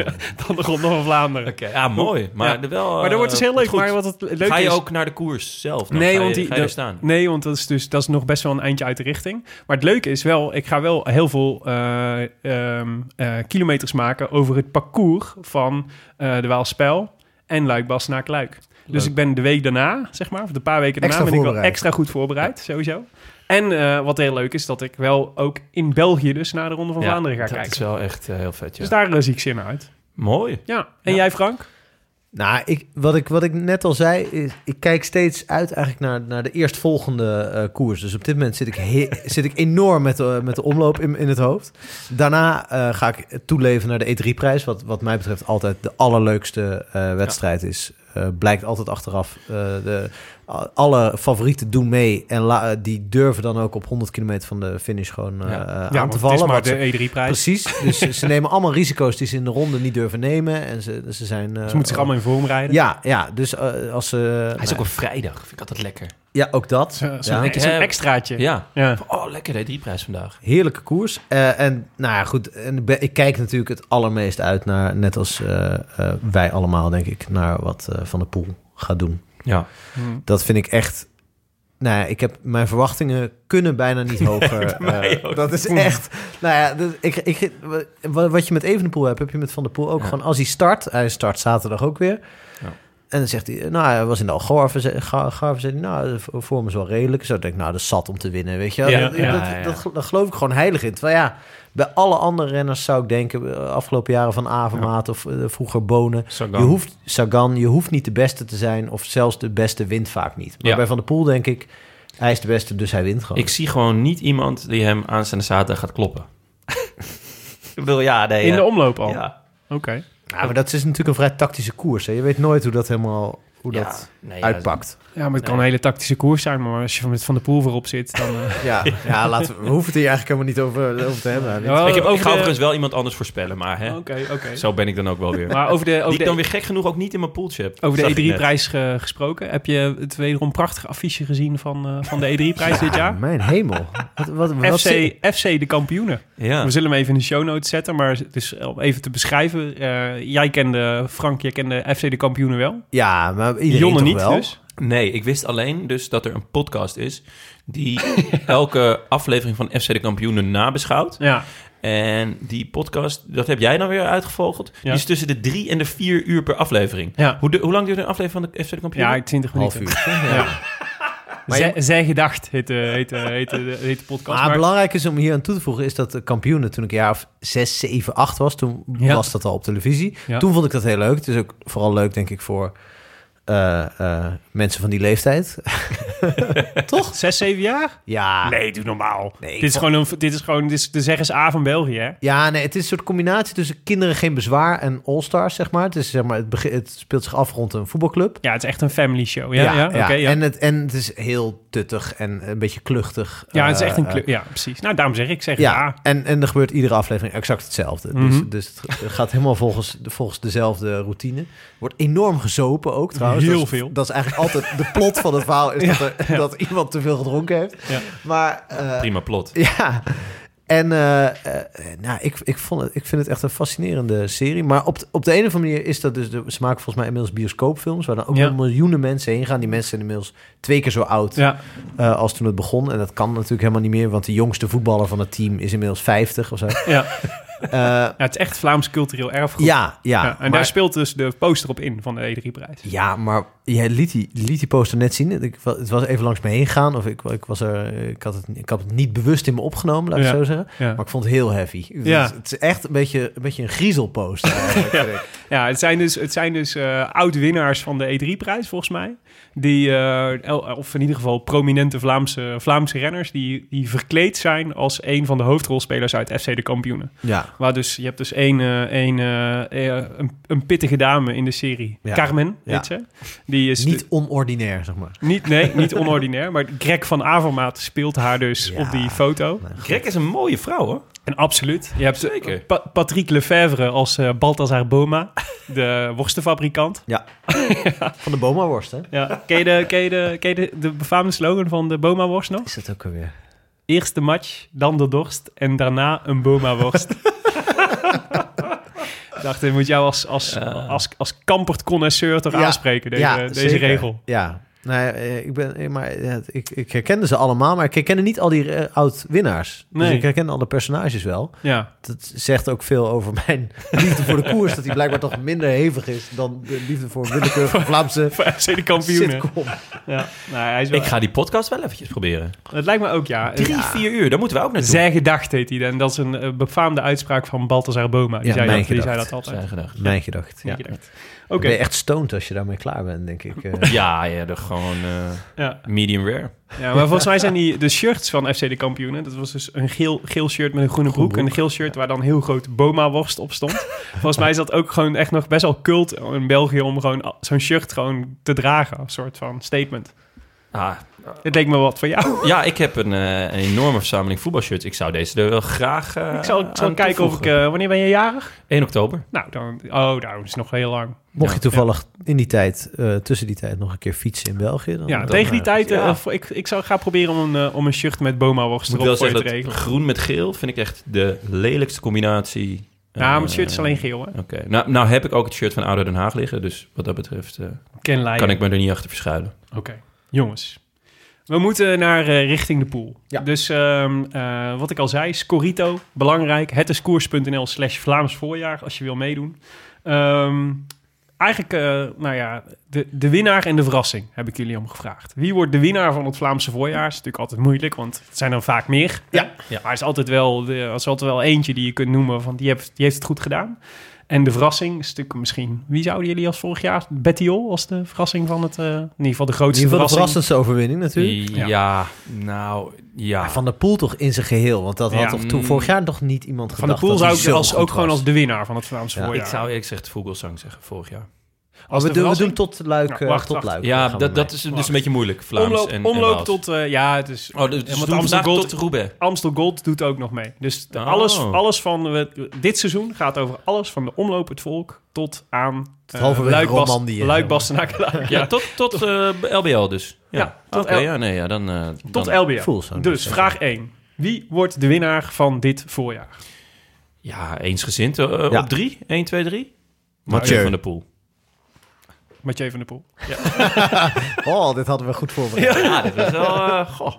A: dan de Ronde van Vlaanderen.
D: Ja, mooi. Maar
A: Ja.
D: er wel...
A: Maar dat wordt dus heel
D: eh,
A: leuk.
D: goed.
A: Maar wat het leuk
D: ga je
A: is...
D: ook naar de koers zelf? Dan
A: nee,
D: ga je,
A: want die,
D: ga je er
A: dat-
D: staan.
A: Nee, want dat is dus dat is nog best wel een eindje uit de richting. Maar het leuke is wel, ik ga wel heel veel eh, ehm, eh, kilometers maken over het parcours van eh, de Waalspel en Luikbas naar Kluik. Dus ik ben de week daarna, zeg maar, of de paar weken daarna,
B: Extra
A: ben ik wel
B: voorbereid.
A: extra goed voorbereid, sowieso. En eh, wat heel leuk is, dat ik wel ook in België dus naar de Ronde van
D: Ja,
A: Vlaanderen ga
D: Dat
A: kijken.
D: is wel echt eh, heel vet, ja.
A: Dus daar eh, zie ik zin uit.
D: Mooi.
A: Ja, en
D: Ja.
A: jij Frank?
B: Nou, ik, wat, ik, wat ik net al zei, is, ik kijk steeds uit eigenlijk naar, naar de eerstvolgende eh, koers. Dus op dit moment zit ik, he- zit ik enorm met de, met de omloop in, in het hoofd. Daarna eh, ga ik toeleven naar de E3-prijs, wat, wat mij betreft altijd de allerleukste eh, wedstrijd is. Eh, blijkt altijd achteraf. eh, de, a- alle favorieten doen mee en la- eh, die durven dan ook op 100 kilometer van de finish gewoon eh,
D: Ja.
B: eh,
A: ja,
B: aan
A: want
B: te
A: het
B: vallen.
A: is maar
B: wat ze-
A: de E E3-prijs. Ze
B: Precies, dus ze- ze nemen allemaal risico's die ze in de ronde niet durven nemen. En ze, ze zijn... eh,
A: Dus moeten zich allemaal in vorm rijden.
B: ja, ja, dus eh, als ze...
D: Hij is ook op vrijdag. Vind ik altijd lekker.
B: Ja, ook dat.
A: Zo- Zo'n
B: Ja.
A: ex- zo'n extraatje.
D: Ja.
A: Ja.
D: Oh, lekker de E3-prijs vandaag.
B: Heerlijke koers. Eh, en nou ja, goed, en ik ben- ik kijk natuurlijk het allermeest uit naar, net als eh, eh, wij allemaal, denk ik, naar wat eh, Van der Poel gaat doen.
D: Ja.
A: Hm.
B: Dat vind ik echt... Nou ja, ik heb mijn verwachtingen kunnen bijna niet hoger.
D: mij
B: eh,
D: ook.
B: dat is echt. Nou ja, dus ik, ik, wa- wat je met Evenepoel hebt, heb je met Van der Poel ook
D: Ja.
B: gewoon. Als hij start, hij start zaterdag ook weer.
D: Ja.
B: En dan zegt hij, nou, hij was in de Algarve, ze- Ga- Garve, zei hij, nou, de v- vorm is wel redelijk. Zo denk ik, nou, dat is zat om te winnen, weet je. wel.
D: Ja,
B: dat,
D: ja,
B: dat,
D: ja.
B: dat gel- daar geloof ik gewoon heilig in. Terwijl ja, bij alle andere renners zou ik denken, eh, afgelopen jaren van Avermaat of eh, vroeger Bonen,
D: Sagan.
B: je hoeft, Sagan, je hoeft niet de beste te zijn of zelfs de beste wint vaak niet. Maar
D: Ja.
B: bij Van der Poel denk ik, hij is de beste, dus hij wint gewoon.
D: Ik zie gewoon niet iemand die hem aanstaande zaterdag gaat kloppen.
A: Oh,
D: ik bedoel, ja, nee.
A: In
D: ja.
A: de omloop al.
D: Ja.
A: Oké.
B: Ja, maar dat is natuurlijk een vrij tactische koers. Hè. Je weet nooit hoe dat helemaal hoe
D: Ja.
B: dat
D: Nee, ja,
B: uitpakt.
A: Ja, maar het kan
D: Nee.
A: een hele tactische koers zijn, maar als je met Van der Poel voorop zit, dan... eh,
B: Ja, ja. laten we, we hoeven het hier eigenlijk helemaal niet over, over te hebben.
A: Ja,
D: ik, heb, ik
A: over
D: ga
A: de-
D: overigens wel iemand anders voorspellen, maar hè,
A: Oké, oké.
D: zo ben ik dan ook wel weer.
A: Maar over de,
D: die
A: over
D: ik dan
A: de,
D: weer gek genoeg ook niet in mijn poeltje heb.
A: over
D: Zag ik
A: de E
D: net.
A: E3-prijs ge- gesproken, heb je het wederom prachtig affiche gezien van, eh, van de E3-prijs dit jaar?
B: Mijn hemel. Wat, wat, wat
A: FC, FC de kampioenen.
D: Ja.
A: We zullen hem even in de show notes zetten, maar het is om even te beschrijven. eh, jij kende Frank, jij kende FC de kampioenen wel.
B: Ja, maar iedereen
A: Jonne
B: toch
A: niet
B: wel?
A: dus.
D: Nee, ik wist alleen dus dat er een podcast is die elke aflevering van FC de Kampioenen nabeschouwt.
A: Ja,
D: En die podcast, dat heb jij dan weer uitgevogeld, die
A: Ja.
D: is tussen de drie en de vier uur per aflevering.
A: ja.
D: Hoe, de- hoe lang duurt een aflevering van de FC de Kampioenen?
A: ja 20
B: Half
A: minuten.
B: uur.
A: Ja.
B: Maar
A: Zij,
B: je-
A: Zij gedacht heet, de- heet, de- heet, de- heet de podcast.
B: Maar, belangrijk is om hier aan toe te voegen... is dat de kampioenen toen ik een jaar of 6, 7, 8 was... toen
A: Ja.
B: was dat al op televisie.
A: Ja.
B: Toen vond ik dat heel leuk. Het is ook vooral leuk, denk ik, voor eh, eh, mensen van die leeftijd.
A: toch? 6, 7 jaar?
B: ja.
A: Nee, doe normaal.
B: Ah. Nee, ik
A: dit, is
B: vond-
A: gewoon een, dit is gewoon dit is de zeggen A van België, hè?
B: Ja, nee, het is een soort combinatie tussen kinderen geen bezwaar en all-stars, zeg maar. Het, is, zeg maar het, begin- het speelt zich af rond een voetbalclub.
A: Ja, het is echt een family show. Ja, ja, ja. oké, ja.
B: En, het, en het is heel tuttig en een beetje kluchtig.
A: ja het is
B: Eh,
A: echt een
B: eh,
A: club. Ja, precies. Nou, daarom zeg ik, zeg
B: Ja,
A: A.
B: en, en er gebeurt iedere aflevering exact hetzelfde.
A: Mhm.
B: Dus, dus het gaat helemaal volgens, volgens dezelfde routine. Wordt enorm gezopen ook trouwens.
A: Heel
B: dat is,
A: veel.
B: Dat is eigenlijk altijd de plot van het verhaal, is dat, er, dat iemand te veel gedronken heeft.
A: Ja.
B: Maar eh,
D: Prima plot.
B: ja, en eh, eh, nou, ik, ik, vond het, ik vind het echt een fascinerende serie. Maar op, de- op de een of andere manier is dat dus... De, ze maken volgens mij inmiddels bioscoopfilms... waar dan ook
A: Ja.
B: wel miljoenen mensen heen gaan. Die mensen zijn inmiddels twee keer zo oud
A: Ja,
B: eh, als toen het begon. En dat kan natuurlijk helemaal niet meer... want de jongste voetballer van het team is inmiddels 50 of zo.
A: ja.
B: Eh,
A: Ja, het is echt Vlaams cultureel erfgoed.
B: ja, ja.
A: Ja, en
B: maar,
A: daar speelt dus de poster op in van de E E3-prijs.
B: ja, maar jij liet die, liet die poster net zien. Ik, wa- het was even langs me heen gaan. Of ik, ik, was er, ik, had het, ik had het niet bewust in me opgenomen, laat ik
A: Ja.
B: het zo zeggen.
A: Ja.
B: Maar ik vond het heel heavy.
A: Ja.
B: Het, is- het is echt een beetje een, beetje een griezelposter. eigenlijk, vind ik.
A: ja, het zijn dus, het zijn dus eh, oud-winnaars van de E3-prijs, volgens mij. Die, eh, el- of in ieder geval prominente Vlaamse, Vlaamse renners... Die, die verkleed zijn als een van de hoofdrolspelers uit FC de Kampioenen.
B: Ja.
A: Waar dus, je hebt dus één, eh, één, eh, eh, een, een pittige dame in de serie.
B: Ja.
A: Carmen,
B: Ja.
A: heet ze. Die is
B: Niet onordinair, zeg maar.
A: niet, nee, niet onordinair. Maar Greg van Avermaat speelt haar dus
B: Ja.
A: op die foto.
D: Greg is een mooie vrouw, hoor.
A: En absoluut. Je hebt eh,
D: Zeker.
A: Pa- Patrick Lefevre als eh Balthazar Boma, de worstenfabrikant.
B: Van de Boma-worst, hè?
A: Ja. Ken je, de, ken je, de, ken je de, de befaamde slogan van de Boma-worst nog?
B: Is dat ook alweer?
A: Eerst de match, dan de dorst en daarna een Boma-worst. Ik dacht, dit moet jou als, als, als, als kampert-connoisseur toch
B: Ja.
A: aanspreken, deze, deze
B: zeker.
A: regel.
B: Ja. Nee, eh, ik, ben, eh, maar, eh, ik, ik herkende ze allemaal, maar ik herkende niet al die eh, oud-winnaars. Dus
A: Nee.
B: ik herkende alle personages wel.
A: Ja.
B: Dat zegt ook veel over mijn liefde voor de koers, dat die blijkbaar toch minder hevig is dan de liefde voor een willekeurige Vlaamse
A: Voor FC de kampioenen.
B: sitcom.
A: Ja. Nou, hij is wel-
D: Ik ga die podcast wel eventjes proberen.
A: Het lijkt me ook, ja.
D: Drie,
A: Ja.
D: vier uur, daar moeten we ook naartoe.
A: Zijn gedacht heet hij. En dat is een eh, befaamde uitspraak van Balthazar Boma. Die,
B: Ja,
A: zei,
B: mijn
A: dat, die zei
B: gedacht.
A: dat altijd.
D: Zijn gedacht.
B: Mijn gedacht. Ja.
A: Mijn gedacht. Oké,
B: Dan ben je echt stoned als je daarmee klaar bent, denk ik. eh.
D: Ja, ja, dat gewoon eh,
A: ja.
D: medium rare.
A: ja, maar volgens mij zijn die de shirts van FC de kampioenen. Dat was dus een geel, geel shirt met een groene broek. En een geel shirt waar dan heel groot Boma-worst op stond. volgens mij is dat ook gewoon echt nog best wel cult in België... om gewoon al- zo'n shirt gewoon te dragen. Een soort van statement.
D: Ah,
A: Het leek me wat van jou.
D: ja, ik heb een, eh, een enorme verzameling voetbalshirts. Ik zou deze er wel graag eh
A: ik zal, ik zal
D: aan
A: kijken of ik...
D: toevoegen.
A: eh, wanneer ben je jarig?
D: 1 oktober.
A: Nou, dan... Oh, daarom is het nog heel lang.
B: Mocht je toevallig in die tijd, eh, tussen die tijd, nog een keer fietsen in België. Dan,
A: Ja,
B: dan,
A: tegen die
B: eh,
A: tijd... eh,
D: ja.
A: voor- ik, ik zou gaan proberen om een, eh, om een shirt met Boma-worst
D: Ik moet
A: erop
D: wel
A: voor je te
D: zeggen dat
A: regelen.
D: groen met geel vind ik echt de lelijkste combinatie.
A: Ja, Nou, maar het
D: Eh,
A: shirt is alleen geel, hè?
D: Oké, nou, nou heb ik ook het shirt van Ouder Den Haag liggen, dus wat dat betreft eh,
A: Ken Leiden.
D: kan ik me er niet achter verschuilen.
A: Oké, jongens. We moeten naar eh, richting de pool.
B: Ja.
A: Dus ehm, eh, wat ik al zei, Scorito, belangrijk. Het is koers.nl slash Vlaams voorjaar als je wil meedoen. Ehm, eigenlijk, eh, nou ja, de, de winnaar en de verrassing heb ik jullie om gevraagd. Wie wordt de winnaar van het Vlaamse voorjaar? Is natuurlijk altijd moeilijk, want het zijn er vaak meer.
B: Ja.
A: hè? Maar er is altijd wel, de, er is altijd wel eentje die je kunt noemen van die heeft, die heeft het goed gedaan. En de verrassing is natuurlijk misschien... Wie zouden jullie als vorig jaar... Betty Ol was de verrassing van het... eh, in ieder geval de
B: In
A: grootste
B: ieder geval de
A: verrassing.
B: verrassendste overwinning natuurlijk.
D: Ja, nou, ja.
B: Ah, Van de pool toch in zijn geheel, want dat had
A: Ja,
B: toch toen,
D: mm.
B: vorig jaar nog niet iemand
A: Van de
B: gedacht
A: pool
B: dat
A: zou
B: hij
A: ik
B: zo
A: als,
B: goed
A: ook gewoon
B: was.
A: als de winnaar van het Vlaamse
B: Ja,
A: voorjaar.
D: Ik zou eerlijk gezegd Vogelsang zeggen, vorig jaar.
A: als
B: Oh, we,
A: de
B: doen, we
A: verrassing-
B: doen tot luik.
A: Ja,
B: eh,
A: wacht,
B: tot
A: wacht.
B: luik.
D: Ja,
B: Daar gaan we
D: dat, dat
B: mee.
D: is dus een beetje moeilijk, Vlaams
A: omloop,
D: en en
A: omloop
D: Waals.
A: tot... eh, ja, het is...
D: Oh, dus
A: Ja,
D: ja,
A: want
D: doen we vandaag
A: Amsterdam
D: tot Roubaix.
A: Amstel Gold doet ook nog mee. Dus de-
D: Oh.
A: alles, alles van... We, dit seizoen gaat over alles van de omloop het volk tot aan... eh,
B: halverwege
A: Luik Bas-
B: Romandie, hè.
A: Luik Bastenaken. Luik-
D: Ja, tot, tot eh, LBL dus. Ja,
A: Ja, tot
D: tot
A: L-
D: ja, nee, ja, dan... eh,
A: Tot
D: dan-
A: LBR.
B: Voel zo.
A: Dus vraag 1. Wie wordt de winnaar van dit voorjaar?
D: Ja, eensgezind eh,
B: Ja.
D: op drie. 1, 2, 3.
B: Mathieu.
D: Mathieu van der Poel.
A: Mathieu van der Poel.
B: Oh, dit hadden we goed voorbereid.
D: Ja, dat is wel... eh, goh.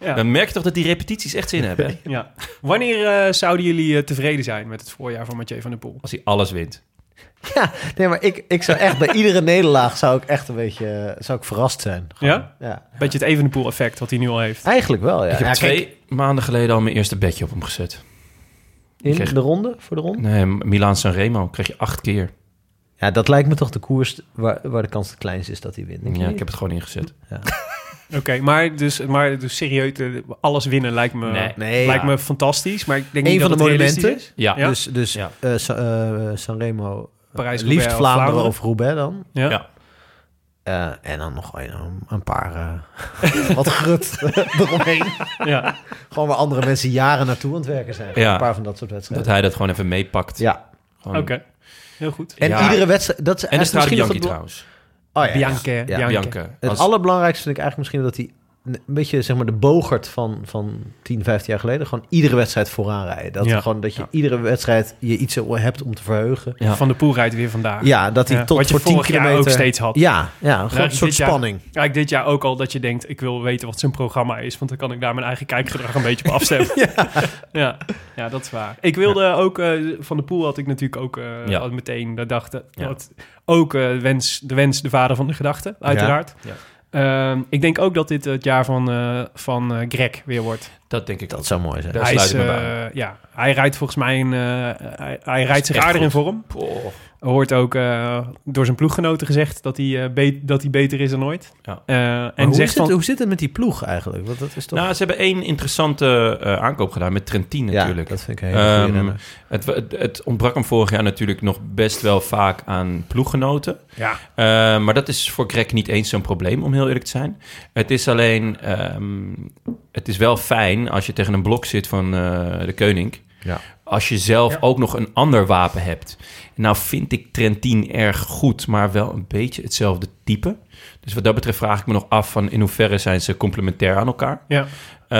A: Ja.
D: Dan merk je toch dat die repetities echt zin hebben, hè?
A: Ja. Wanneer eh, zouden jullie eh, tevreden zijn met het voorjaar van Mathieu van der Poel?
D: Als hij alles wint.
B: Ja, nee, maar ik, ik zou echt bij iedere nederlaag zou ik echt een beetje eh, zou ik verrast zijn. Gewoon.
A: Ja?
B: Ja,
A: Beetje het Evenepoel effect wat hij nu al heeft.
B: eigenlijk wel. Ja.
D: Ik heb
B: Ja,
D: twee
B: kijk,
D: maanden geleden al mijn eerste bedje op hem gezet.
B: in
D: kreeg-
B: de ronde voor de ronde.
D: Nee, Milaan Sanremo kreeg je acht keer.
B: Ja, dat lijkt me toch de koers waar, waar de kans het kleinst is dat hij wint. denk je
D: Ja,
B: niet?
D: ik heb het gewoon ingezet.
A: Oké, maar, dus, maar dus serieus, eh, alles winnen lijkt me,
D: Nee.
B: Nee,
A: lijkt
B: ja.
A: me fantastisch. Maar ik denk
B: Eén
A: niet
B: van
A: dat
B: de
A: het realistisch
B: monumenten.
D: Ja,
A: Ja.
B: Dus, dus
D: Ja.
B: eh, Sa- eh, Sanremo,
A: Parijs,
B: liefst
A: Roubaix of
B: Vlaanderen,
A: Vlaanderen.
B: of Roubaix dan.
A: is. Ja.
D: Ja.
B: Eh, en dan nog een, een paar eh, wat grut eromheen.
A: Ja.
B: Gewoon waar andere mensen jaren naartoe aan het werken zijn.
D: Ja.
B: Een paar van dat soort wedstrijden.
D: dat hij dat gewoon even meepakt.
B: Ja.
D: Gewoon-
A: Oké, heel goed.
B: En
D: Ja.
B: iedere wedstrijd... Dat is
D: En de
B: eigenlijk
D: Strade
B: misschien nog
D: Bianchi
B: het bel-
D: trouwens.
B: Oh, ja, ja.
A: Bianca,
B: Ja.
A: Bianca.
D: Bianca.
B: Het
D: Als-
B: allerbelangrijkste vind ik eigenlijk misschien dat hij... Een een beetje zeg maar de bogert van, van 10, 15 jaar geleden. Gewoon iedere wedstrijd vooraan rijden. Dat,
A: Ja.
B: gewoon, dat je
D: Ja.
B: iedere wedstrijd je iets hebt om te verheugen.
D: Ja.
A: Van der Poel rijdt weer vandaag.
B: Ja, dat hij
A: Ja,
B: tot
A: wat je
B: voor 10
A: vorig jaar
B: kilometer...
A: ook steeds had. Nou,
B: Ja, ja een groot
A: dit
B: soort
A: jaar-
B: spanning.
A: Kijk, dit jaar ook al dat je denkt, ik wil weten wat zijn programma is, want dan kan ik daar mijn eigen kijkgedrag een beetje op afstemmen. ja. Ja. dat is waar. Ik wilde ook, eh, van de pool had ik natuurlijk ook eh,
D: Ja.
A: al meteen, dat dacht eh,
D: Ja.
A: wat, ook eh, wens, de wens, de vader van de gedachte, uiteraard.
D: Ja.
A: Ehm, ik denk ook dat dit het jaar van, eh, van eh, Greg weer wordt.
D: Dat denk ik ook.
B: Dat zou mooi zijn.
D: Daar
A: hij,
D: sluit
A: is,
D: ik me bij
A: eh, ja, hij rijdt volgens mij een, eh, hij, hij rijdt zich
D: echt
A: aardig in
D: goed.
A: vorm.
D: Poh.
A: Hoort ook eh, door zijn ploeggenoten gezegd dat hij, eh, be- dat hij beter is dan ooit.
D: Ja.
A: Eh,
B: Maar
A: en
B: hoe,
A: zegt
B: zit het,
A: van,
B: hoe zit het met die ploeg eigenlijk? Want dat is toch...
D: Nou, ze hebben één interessante eh, aankoop gedaan met Trentin natuurlijk.
B: Ja, dat vind ik een hele goede
D: Ehm,
B: renner.
D: het, het, het ontbrak hem vorig jaar natuurlijk nog best wel vaak aan ploeggenoten.
A: ja,
D: Eh, maar dat is voor Greg niet eens zo'n probleem, om heel eerlijk te zijn. Het is alleen, ehm, het is wel fijn als je tegen een blok zit van eh, de koning.
B: Ja.
D: Als je zelf ook nog een ander wapen hebt. Nou vind ik Trentin erg goed, maar wel een beetje hetzelfde type. Dus wat dat betreft vraag ik me nog af van in hoeverre zijn ze complementair aan elkaar.
A: ja.
D: Eh,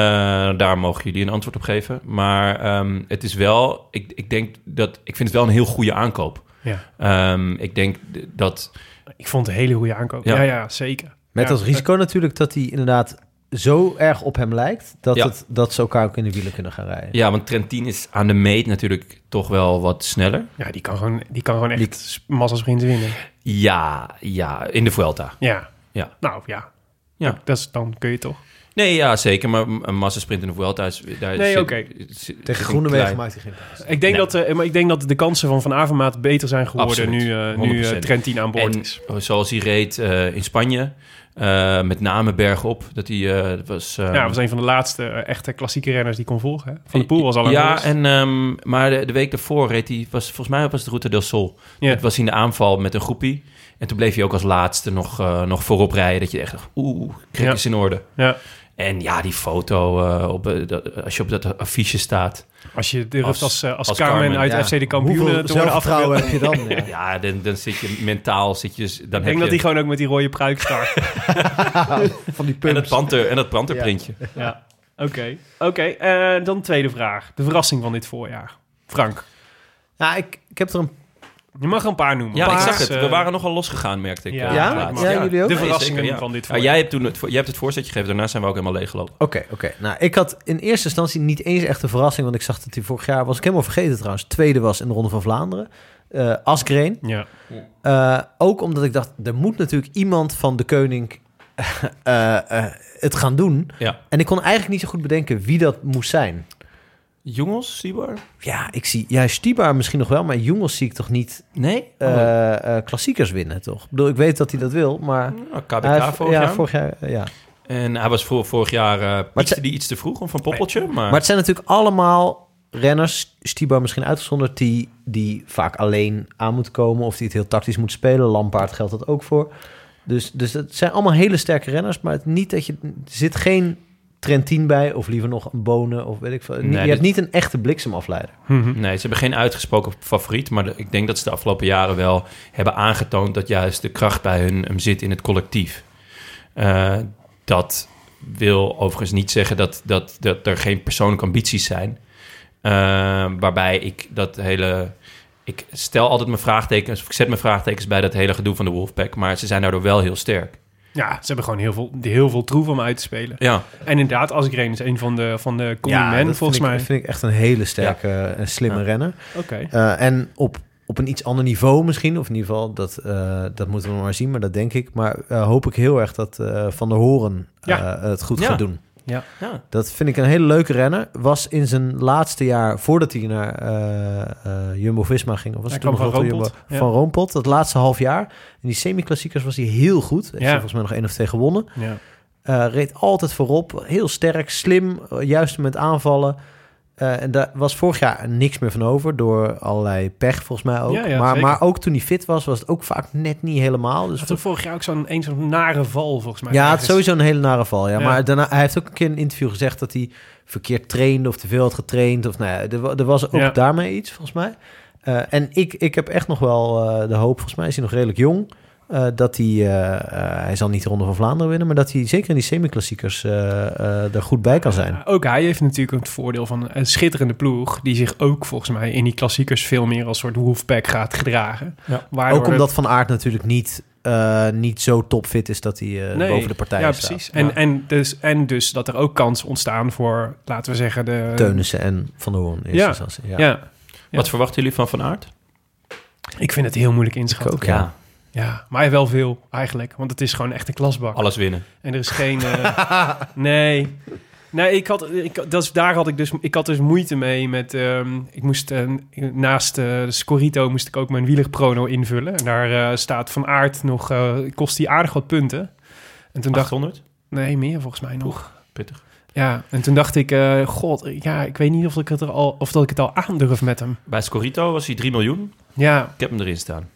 D: daar mogen jullie een antwoord op geven. Maar ehm, het is wel, ik, ik denk dat, ik vind het wel een heel goede aankoop.
A: Ja,
D: Ehm, ik denk d- dat
A: ik vond het een hele goede aankoop. Ja,
D: Ja.
A: ja, zeker.
B: Met
A: Ja.
B: als risico natuurlijk dat hij inderdaad zo erg op hem lijkt... dat,
D: Ja.
B: het, dat ze elkaar ook in de wielen kunnen gaan rijden.
D: Ja, want Trentin is aan de meet natuurlijk toch wel wat sneller.
A: Ja, die kan gewoon, die kan gewoon echt s- massasprints winnen.
D: Ja, ja, in de Vuelta.
A: Ja.
D: Ja.
A: Nou ja.
D: Ja.
A: Dat is, dan kun je toch.
D: Nee, ja, zeker. Maar een massasprint in de Vuelta is... Daar
A: Nee,
D: zit-
A: oké.
D: zit- zit
B: Tegen
D: een
B: Groenewegen
D: klein-
B: maakt hij geen pas.
A: Ik denk,
D: Nee.
A: dat, eh, maar ik denk dat de kansen van Van Avermaat beter zijn geworden
D: Absoluut.
A: nu, eh nu eh,
D: 100%.
A: Trentin aan boord
D: En oh,
A: is.
D: zoals hij reed eh, in Spanje, eh, met name bergop, dat hij eh, dat was... eh,
A: ja, was een van de laatste eh, echte klassieke renners die kon volgen. hè. Van de Poel was al aan de
D: Ja,
A: rust.
D: en, ehm, maar de, de week daarvoor reed hij, was, volgens mij was het Route del Sol.
A: Ja.
D: Het was in de aanval met een groepie. En toen bleef hij ook als laatste nog, eh, nog voorop rijden. Dat je echt dacht, oeh, krek
A: Ja.
D: is in orde.
A: Ja.
D: En ja, die foto, eh, op, eh, dat, als je op dat affiche staat.
A: Als je durft als,
D: Als-
A: als, eh, als,
D: als
A: Carmen,
D: Carmen,
A: uit
B: Ja.
A: FC de kampioenen te
B: Hoeveel
A: worden
B: zelfvertrouwen
A: afgebeeld.
B: heb je dan? Ja.
D: Ja, dan, dan zit je mentaal, zit je... dus- Dan
A: Ik denk dat
D: je,
A: die gewoon ook met die rode pruik staat.
B: Van die
D: en dat,
B: pumps.
D: panter, en dat panterprintje.
A: ja. Oké, oké. eh, dan tweede vraag. De verrassing van dit voorjaar. Frank,
B: Nou, ik, ik heb er een...
A: je mag er een paar noemen.
D: Ja,
A: Paars,
D: ik zag het.
A: eh,
D: We waren nogal losgegaan, merkte ik.
A: Ja,
D: eh,
B: Ja?
D: laatst.
B: Ja, jullie ook?
A: De
D: Nee,
A: verrassingen
D: zeker, ja.
A: van dit
D: Ja,
A: voorjaar.
D: jij hebt, toen het, vo- jij hebt het voorzetje gegeven. Daarna zijn we ook helemaal leeggelopen.
B: Oké, oké. Nou, ik had in eerste instantie niet eens echt een verrassing... want ik zag dat hij vorig jaar, was ik helemaal vergeten trouwens... tweede was in de Ronde van Vlaanderen. eh Asgreen.
A: Ja.
B: Eh, ook omdat ik dacht, er moet natuurlijk iemand van de koning eh, eh, het gaan doen.
D: Ja.
B: En ik kon eigenlijk niet zo goed bedenken wie dat moest zijn.
D: Jongens, Sibar?
B: Ja, ik zie, ja, Stibar misschien nog wel, maar jongens zie ik toch niet
D: Nee?
B: eh,
D: Oh,
B: eh, klassiekers winnen, toch? Ik bedoel, ik weet dat hij dat wil, maar...
D: nou, KBK
B: hij heeft-
D: vorig
B: ja,
D: jaar.
B: vorig jaar, eh, ja.
D: En hij was voor, vorig jaar eh
B: het
D: piekste
B: zijn-
D: die iets te vroeg om van Poppeltje. Maar,
B: Maar het zijn natuurlijk allemaal renners, Stibar misschien uitgezonderd, die, die vaak alleen aan moeten komen of die het heel tactisch moet spelen. Lampaard geldt dat ook voor. Dus, dus dat zijn allemaal hele sterke renners, maar het niet dat je er zit geen Trentin bij of liever nog een Bonen of weet ik veel.
D: Nee,
B: je
D: dit-
B: hebt niet een echte bliksemafleider.
D: nee, ze hebben geen uitgesproken favoriet. Maar de- ik denk dat ze de afgelopen jaren wel hebben aangetoond... dat juist de kracht bij hun hem zit in het collectief. Eh, dat wil overigens niet zeggen dat, dat, dat er geen persoonlijke ambities zijn. Eh, waarbij ik dat hele... Ik stel altijd mijn vraagtekens... of ik zet mijn vraagtekens bij dat hele gedoe van de Wolfpack... maar ze zijn daardoor wel heel sterk.
A: ja, ze hebben gewoon heel veel, heel veel troeven om uit te spelen.
D: Ja,
A: En inderdaad, Asgreen is een van de, van de comedy men,
B: dat
A: volgens
B: vind
A: mij.
B: Ik, vind ik echt een hele sterke en slimme
D: Ja.
B: renner.
A: Oké.
B: Eh, en op, op een iets ander niveau misschien. Of in ieder geval, dat, eh, dat moeten we nog maar zien. Maar dat denk ik. Maar eh, hoop ik heel erg dat eh, Van der Horen eh,
A: Ja.
B: het goed
D: Ja.
B: gaat doen.
D: ja.
B: Dat vind ik een hele leuke renner. Was in zijn laatste jaar, voordat hij naar eh, eh, Jumbo-Visma ging... Of was
A: Hij
B: het toen
A: kwam
B: nog
A: van
B: wel
A: Roompot,
B: Jumbo-
A: ja.
B: Van Roompot, dat laatste half jaar. In die semi-klassiekers was hij heel goed. Heeft hij volgens mij nog één of twee gewonnen.
A: Ja.
B: Eh, reed altijd voorop. Heel sterk, slim, eh, juist met aanvallen. Eh, en daar was vorig jaar niks meer van over. Door allerlei pech, volgens mij ook.
A: Ja, ja,
B: maar,
A: zeker.
B: maar ook toen hij fit was, was het ook vaak net niet helemaal. Dus
A: Hij had ook vorig jaar ook zo'n een zo'n nare val, volgens mij.
B: ja, het is
A: ergens.
B: sowieso een hele nare val. Ja.
A: Ja.
B: Maar daarna, hij heeft ook een keer in een interview gezegd dat hij verkeerd trainde of te veel had getraind. Of nou ja, er, wa- er was ook
A: Ja.
B: daarmee iets, volgens mij. Eh, en ik, ik heb echt nog wel eh, de hoop, volgens mij is hij nog redelijk jong, eh, dat hij, eh, eh, hij zal niet de Ronde van Vlaanderen winnen, maar dat hij zeker in die semi-klassiekers eh, eh, er goed bij kan zijn.
A: Ja, Ook hij heeft natuurlijk het voordeel van een schitterende ploeg... die zich ook volgens mij in die klassiekers veel meer als soort wolfpack gaat gedragen.
D: Ja.
A: Waardoor
B: ook
A: het-
B: omdat Van Aert natuurlijk niet, eh, niet zo topfit is dat hij eh,
A: Nee,
B: boven de partijen
A: Ja,
B: staat.
A: precies. En,
D: Ja.
A: En, dus, en dus dat er ook kansen ontstaan voor, laten we zeggen, de...
B: Teunissen en Van der Hoorn. in eerste
A: Ja.
B: instantie.
A: Ja.
D: Wat verwachten jullie van Van Aert?
A: ik vind het heel moeilijk inschatten.
B: ook, ja.
A: Ja, maar wel veel eigenlijk, want het is gewoon echt een klasbak.
D: Alles winnen.
A: En er is geen. eh, nee. Nee, ik had, ik, dat is, daar had ik dus, ik had dus moeite mee met, ehm, ik moest eh, naast eh, de Scorito moest ik ook mijn wielerprono invullen. En daar eh, staat van aard nog, eh, kost die aardig wat punten. En toen dacht ik,
D: 800?
A: nee, meer volgens mij nog.
D: Pittig.
A: Ja, en toen dacht ik, eh, god, ja, ik weet niet of ik het er al, of dat ik het al aandurf met hem.
D: Bij Scorito was hij 3 miljoen.
A: Ja,
D: Ik heb hem erin staan.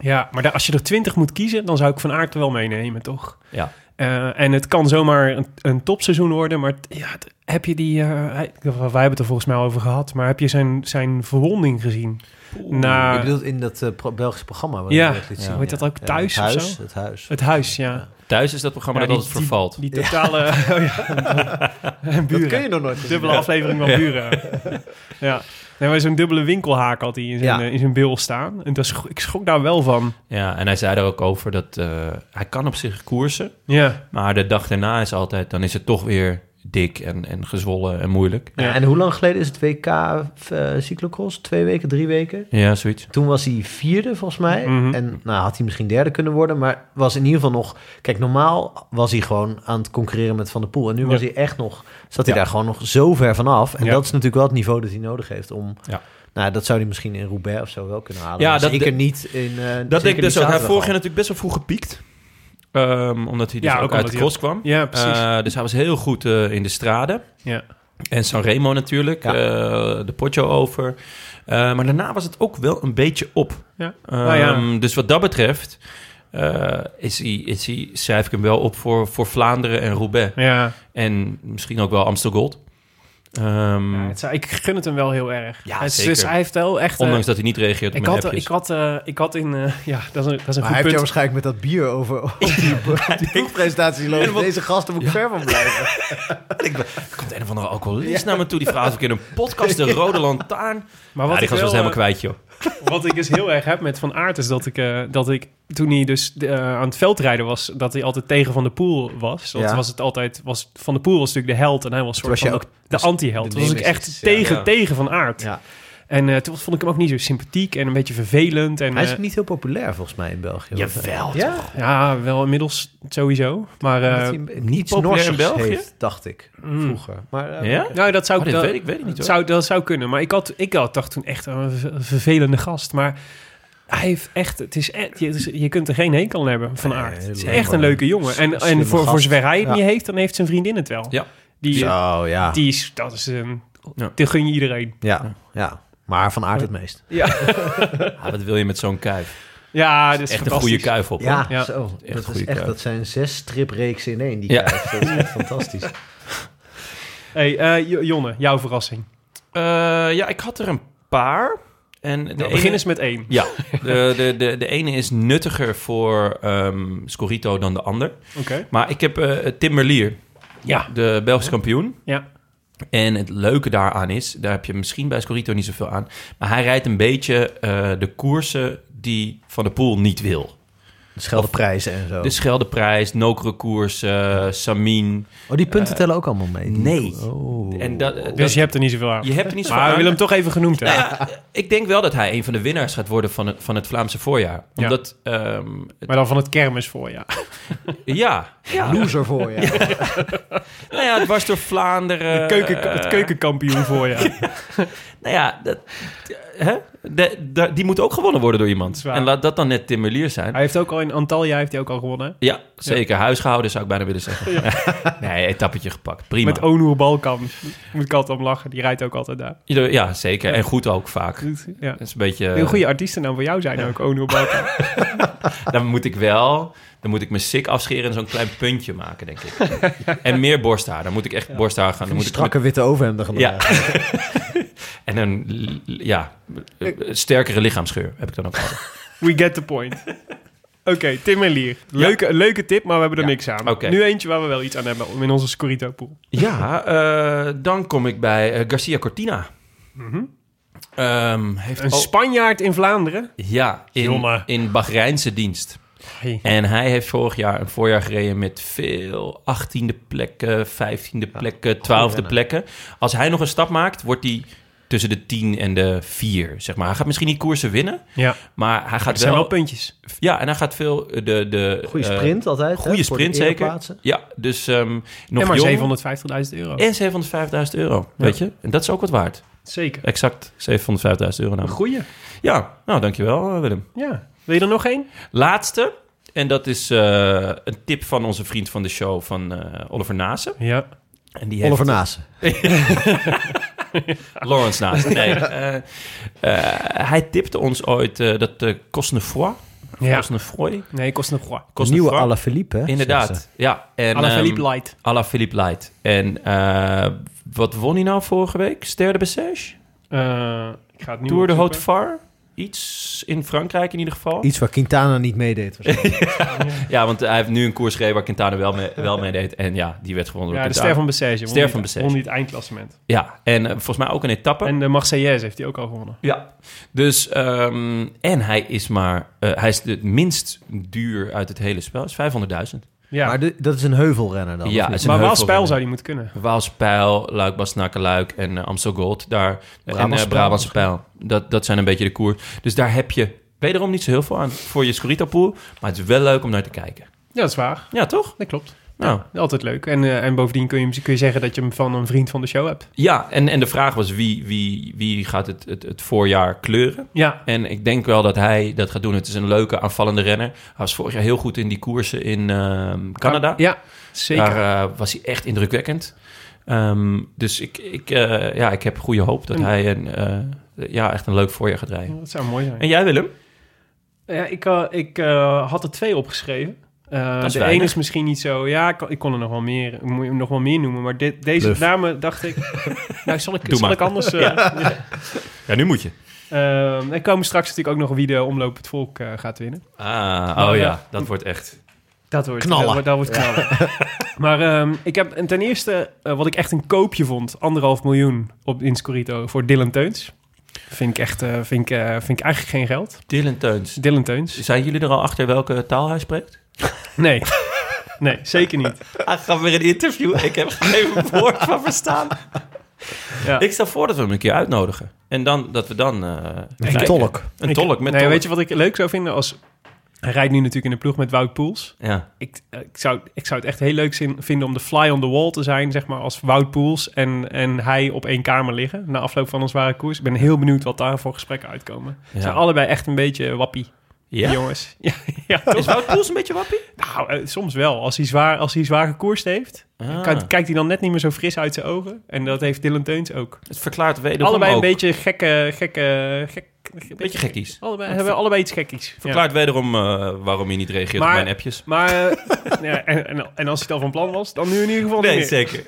A: ja, maar daar, als je er 20 moet kiezen, dan zou ik van aard wel meenemen, toch?
D: Ja.
A: Eh, en het kan zomaar een, een topseizoen worden, maar t- ja, t- heb je die... eh, hij- wij hebben het er volgens mij al over gehad, maar heb je zijn, zijn verwonding gezien?
D: Nou,
A: Na,
B: Ik bedoel in dat eh, pro- Belgische programma. waarin
A: ja,
B: je dat liet zien.
A: hoe heet dat ook?
B: Ja,
A: thuis
B: het
A: of
B: huis,
A: zo?
B: Het huis.
A: Het huis, ja.
D: Thuis is dat programma
A: Ja,
D: Oh, dat
A: die-
D: altijd vervalt.
A: Die totale... Oh ja, en buren.
B: Dat kun je nog nooit.
A: Dubbele aflevering van Buren. ja. Nee, maar zo'n dubbele winkelhaak had hij in zijn,
B: Ja.
A: eh, in zijn bil staan. En dat schro- ik schrok daar wel van.
D: Ja, en hij zei er ook over dat eh, hij kan op zich koersen.
A: Ja.
D: Maar de dag daarna is altijd, dan is het toch weer dik en, en gezwollen en moeilijk.
A: Ja.
B: En hoe lang geleden is het WK eh, cyclocross? Twee weken, drie weken?
D: Ja, zoiets.
B: Toen was hij vierde, volgens mij.
A: Mhm.
B: En nou, had hij misschien derde kunnen worden. Maar was in ieder geval nog... Kijk, normaal was hij gewoon aan het concurreren met Van der Poel. En nu
A: Ja.
B: was hij echt nog... Zat hij
A: Ja.
B: daar gewoon nog zo ver vanaf. En
A: Ja.
B: dat is natuurlijk wel het niveau dat hij nodig heeft om...
D: Ja.
B: Nou, dat zou hij misschien in Roubaix of zo wel kunnen halen.
D: Ja,
B: Maar
D: dat
B: zeker
D: de-
B: niet in... eh,
D: Dat
B: zeker
D: denk ik dus
B: niet
D: ook. Hij
B: zaterdag
D: vorig jaar
B: al.
D: natuurlijk best wel vroeg gepiekt. Ehm, omdat hij dus
A: Ja,
D: ook,
A: ook
D: uit
A: omdat
D: de
A: hij-
D: cross kwam.
A: Ja, precies.
D: Eh, dus hij was heel goed eh, in de straden.
A: ja.
D: En Sanremo natuurlijk,
B: Ja.
D: eh, de Poggio over. Eh, maar daarna was het ook wel een beetje op.
A: Ja.
D: Ehm,
A: Nou ja.
D: Dus wat dat betreft eh, is hij, is hij, schrijf ik hem wel op voor, voor Vlaanderen en Roubaix.
A: Ja.
D: En misschien ook wel Amstel Gold. Ehm,
A: Ja, het zou- ik gun het hem wel heel erg.
D: Ja,
A: het, is-
D: zeker.
A: Dus hij heeft wel echt... eh,
D: ondanks dat hij niet reageert op
A: ik
D: mijn
A: had,
D: appjes.
A: ik, had, eh, ik had in... eh, ja, dat is een, dat is een
B: Maar hij
A: goed
B: heeft jou
A: punt.
B: waarschijnlijk met dat bier over op die, op die proefpresentatie lopen.
D: En wat-
B: Deze gasten moet ik ver van blijven.
D: Er komt een of andere alcoholist naar me toe. Die vraagt of ik in een podcast de Rode Lantaarn...
A: Maar
D: Ja,
A: wat
D: die
A: ik
D: gast
A: wel, eh,
D: was helemaal kwijt, joh.
A: Wat ik dus heel erg heb met Van Aert is dat ik, eh, dat ik toen hij dus eh, aan het veldrijden was, dat hij altijd tegen Van der Poel was. Dat
B: Ja.
A: was het altijd, was, Van der Poel was natuurlijk de held en hij was soort
B: was
A: van
B: je
A: ook de anti-held.
B: de
A: Toen was ik
B: nemesis,
A: echt
B: ja.
A: tegen,
D: Ja.
A: tegen Van Aert.
B: Ja.
A: En eh, toen vond ik hem ook niet zo sympathiek en een beetje vervelend. En,
B: Hij is
A: eh,
B: niet heel populair volgens mij in België.
D: Jawel,
B: Ja?
A: ja, wel inmiddels sowieso. Maar eh,
B: Dat hij
D: niet
B: iets
D: populair in
B: Norsigs
D: België?
B: heeft, dacht ik
A: Mm.
B: vroeger. Maar, eh,
D: Ja?
A: nou, dat zou
D: Oh, dit
A: dat-
D: weet ik, weet ik niet, hoor.
A: zou, dat zou kunnen. Maar ik had, ik had dacht toen echt aan een ver- vervelende gast. Maar hij heeft echt, het is echt je, je kunt er geen hekel aan hebben van
B: Nee,
A: aard. Het is
B: helemaal
A: echt een
B: niet.
A: leuke jongen. En,
B: Slimme
A: en voor, voor
B: gast.
A: zover hij het
B: Ja.
A: niet heeft, dan heeft zijn vriendin het wel.
D: Ja.
A: Die,
B: Zo, ja.
A: die is, dat is een,
D: Ja.
A: die gun je iedereen.
B: ja. Ja. Maar van aard het meest.
D: Ah, wat wil je met zo'n kuif?
A: Ja, dat is
D: Echt een goede
A: fantastisch.
D: kuif op. hoor.
B: Ja,
A: Ja.
B: zo.
D: Echt
B: dat, is
D: goede
B: echt,
D: kaart.
B: dat zijn zes stripreeksen in één. Die
D: Ja.
B: ja. Dat is echt fantastisch.
A: Hey, eh, Jo- Jonne, jouw verrassing.
D: Eh, ja, ik had er een paar. En de
A: Nou,
D: ene-
A: begin eens met één.
D: Ja, de, de, de, de ene is nuttiger voor ehm, Scorito dan de ander.
A: Oké.
D: Maar ik heb eh Tim Merlier,
A: Ja.
D: de Belgisch kampioen.
A: Ja.
D: En het leuke daaraan is, daar heb je misschien bij Scorito niet zoveel aan... maar hij rijdt een beetje eh, de koersen die Van der Poel niet
A: Oh.
D: wil.
B: Scheldeprijzen en zo.
D: De Scheldeprijs, Nokere koers, eh, Samin.
B: oh, die punten tellen ook allemaal mee? Die-
D: nee.
B: Oh.
D: En dat, dat-
A: Dus je hebt er niet zoveel aan.
D: je hebt er niet zoveel
A: maar we
D: aan. Nou
A: willen hem toch even genoemd hebben.
D: Ja, ik denk wel dat hij een van de winnaars gaat worden van het, van het Vlaamse voorjaar.
A: Ja.
D: Omdat, ehm, het-
A: Maar dan van het kermis voor, ja.
D: Eh. ja,
B: Loser voor je.
D: nou ja, het was door Vlaanderen.
A: De keuken, het
D: eh,
A: keukenkampioen voor, ja.
D: Nou ja, dat, hè? De- de- die moet ook gewonnen worden door iemand.
A: is waar.
D: En laat dat dan net Tim Merlier zijn.
A: Hij heeft ook al in Antalya heeft hij ook al gewonnen. hè?
D: Ja, zeker. Huisgehouden zou ik bijna willen zeggen. nee, etappetje gepakt. Prima.
A: Met Onur Balkan. Moet ik altijd om lachen. Die rijdt ook altijd daar.
D: Ieder- ja, zeker. En goed ook vaak. Dat
A: Ja.
D: is een beetje...
A: Een goede artiestennaam voor jou zijn ook, Onur Balkan.
D: Dan moet ik wel... Dan moet ik me sik afscheren en zo'n klein puntje maken, denk ik. en meer borsthaar. Dan moet ik echt borsthaar gaan. Dan
B: Die
D: moet ik met-
B: strakke witte overhemden gaan
D: Ja.
B: dragen.
D: En een l- l- ja, eh, sterkere lichaamsgeur heb ik dan ook altijd.
A: We get the point. Oké, Tim en Lier. Leuke, leuke tip, maar we hebben er
D: Ja.
A: niks aan.
D: Oké.
A: Nu eentje waar we wel iets aan hebben om in onze Scorito pool.
D: Ja, eh, dan kom ik bij eh, Garcia Cortina. Ehm, heeft
A: Een
D: al-
A: Spanjaard in Vlaanderen.
D: ja, in,
A: Jongen.
D: in Bahreinse dienst.
A: Hey.
D: En hij heeft vorig jaar een voorjaar gereden met veel 18e plekken, 15e plekken, 12e
B: renner.
D: plekken. Als hij nog een stap maakt, wordt hij tussen de 10 en de 4. Zeg maar. Hij gaat misschien niet koersen winnen,
A: Ja,
D: maar hij
A: dat
D: gaat
A: zijn wel
D: wel.
A: puntjes.
D: Ja, en hij gaat veel eh, de. de
B: Goede
D: eh,
B: sprint altijd. hè,
D: Goede
B: voor de
D: sprint zeker.
B: ereplaatsen.
D: Ja, dus ehm, nog
A: en maar
D: jong Eh.
A: 750.000 euro.
D: en 705.000 euro, weet je? En dat is ook wat waard.
A: Zeker.
D: Exact 705.000 euro
A: Een
D: namelijk.
A: goeie.
D: Ja, nou dankjewel eh, Willem.
A: Ja. Wil je er nog één?
D: Laatste, en dat is eh, een tip van onze vriend van de show van eh, Oliver Naassen.
A: Ja.
D: En die
B: Oliver Naassen.
D: heeft Lawrence Naassen. Nee, eh, eh, hij tipte ons ooit eh, dat de Cosnefroy,
A: ja.
D: Cosnefroy,
A: Nee, kost nog wat.
B: De nieuwe
D: Cosnefroy-
B: Alaphilippe, hè? zeggen
D: Inderdaad, ja. En,
A: Alle Philippe
D: ehm,
A: Light.
D: à la Philippe Light. En eh, wat won hij nou vorige week? Ster de Bessège?
A: Eh, ik ga het nu
D: Tour de
A: opzoeken.
D: Haute Var? iets in Frankrijk in ieder geval.
B: Iets waar Quintana niet meedeed. waarschijnlijk.
D: Ja, want hij heeft nu een koers gereden waar Quintana wel mee, wel mee deed. En ja, die werd gewonnen
A: Ja,
D: door
A: de Ster
D: Quintana.
A: van Bessèges. won
D: Ster
A: die-
D: van Bessèges.
A: Won niet eindklassement.
D: Ja, en eh, volgens mij ook een etappe.
A: En de Marseillaise heeft hij ook al gewonnen.
D: Ja. Dus, ehm, en hij is maar, eh, hij is het minst duur uit het hele spel. Is 500.000.
A: Ja,
B: Maar
A: maar,
B: de- dat is een heuvelrenner dan.
D: Ja,
B: of niet?
D: is een
A: maar
D: heuvel-
A: Waalspijl zou die moeten kunnen.
D: Waalspijl, Luik, Basnakkenluik en eh, Amstel Gold. Daar, en eh
B: Brabantspijl
D: Brabantse Pijl. Dat, dat zijn een beetje de koers. Dus daar heb je wederom niet zo heel veel aan voor je Scorita-pool. Maar het is wel leuk om naar te kijken.
A: Ja, dat is waar.
D: Ja, toch?
A: Dat klopt.
D: Nou,
A: Altijd leuk. En, eh, en bovendien kun je, hem- kun je zeggen dat je hem van een vriend van de show hebt.
D: ja en, en de vraag was wie, wie, wie gaat het, het, het voorjaar kleuren?
A: Ja,
D: En ik denk wel dat hij dat gaat doen. Het is een leuke aanvallende renner. Hij was vorig jaar heel goed in die koersen in ehm, Canada.
A: Ja, zeker.
D: Daar eh, was hij echt indrukwekkend. Ehm, dus ik, ik, eh, ja, ik heb goede hoop dat
A: En-
D: hij een, eh, ja, echt een leuk voorjaar gaat rijden.
A: dat zou mooi zijn.
D: eh, En jij Willem?
A: Ja, ik, eh, ik eh, had er twee opgeschreven. Eh,
D: is
A: de
D: weinig.
A: ene is misschien niet zo... Ja, ik, kon- ik kon er nog wel meer, ik moet- nog wel meer noemen. Maar dit, deze
B: Bluff.
A: namen dacht ik... nou, zal ik,
D: Doe
A: zal
D: maar.
A: ik anders... eh,
D: Ja, nu moet je.
A: Ehm, er komen straks natuurlijk ook nog wie de omloop het volk eh, gaat winnen.
D: Ah, oh ja, dat wordt echt.
A: Dat wordt
B: Knallen.
A: Dat, wordt- dat wordt knallen. maar ehm, ik heb en ten eerste eh, wat ik echt een koopje vond, anderhalf miljoen op in Scorito voor Dylan Teuns. Vind ik echt, eh, vind ik, eh, vind ik eigenlijk geen geld.
D: Dylan Teuns.
A: Dylan Teuns?
D: Zijn jullie er al achter welke taal hij spreekt?
A: Nee. Nee, zeker niet.
D: Hij gaat weer een interview. Ik heb geen woord van verstaan.
A: Ja.
D: Ik stel voor dat we hem een keer uitnodigen. En dan dat we dan... eh,
B: Een
D: kijken.
B: tolk.
D: Een
A: Ik-
D: tolk met
A: nee,
D: tolk.
A: weet je wat ik leuk zou vinden als... Hij rijdt nu natuurlijk in de ploeg met Wout Poels.
D: Ja.
A: ik, eh, ik, zou, ik zou het echt heel leuk zin- vinden om de fly on the wall te zijn, zeg maar, als Wout Poels en, en hij op één kamer liggen na afloop van een zware koers. Ik ben heel benieuwd wat daar voor gesprekken uitkomen. Ze
D: Ja.
A: zijn allebei echt een beetje wappie, die
D: ja. Oh,
A: jongens. Ja, ja, toch?
D: Is Wout Poels een beetje wappie?
A: Nou, eh, soms wel. Als hij zwaar, als hij zwaar gekoerst heeft,
D: Ah.
A: kan- kijkt hij dan net niet meer zo fris uit zijn ogen. En dat heeft Dylan Teuns ook.
D: Het verklaart wederom
A: allebei
D: ook-
A: een beetje gekke, gekke, gek,
D: beetje gekkies.
A: Allebei, hebben allebei iets gekkies. Ja.
D: Verklaart wederom eh, waarom je niet reageert
A: Maar-
D: op mijn appjes.
A: Maar eh, ja, en, en, en als hij het al van plan was, dan nu in ieder geval niet meer.
D: zeker.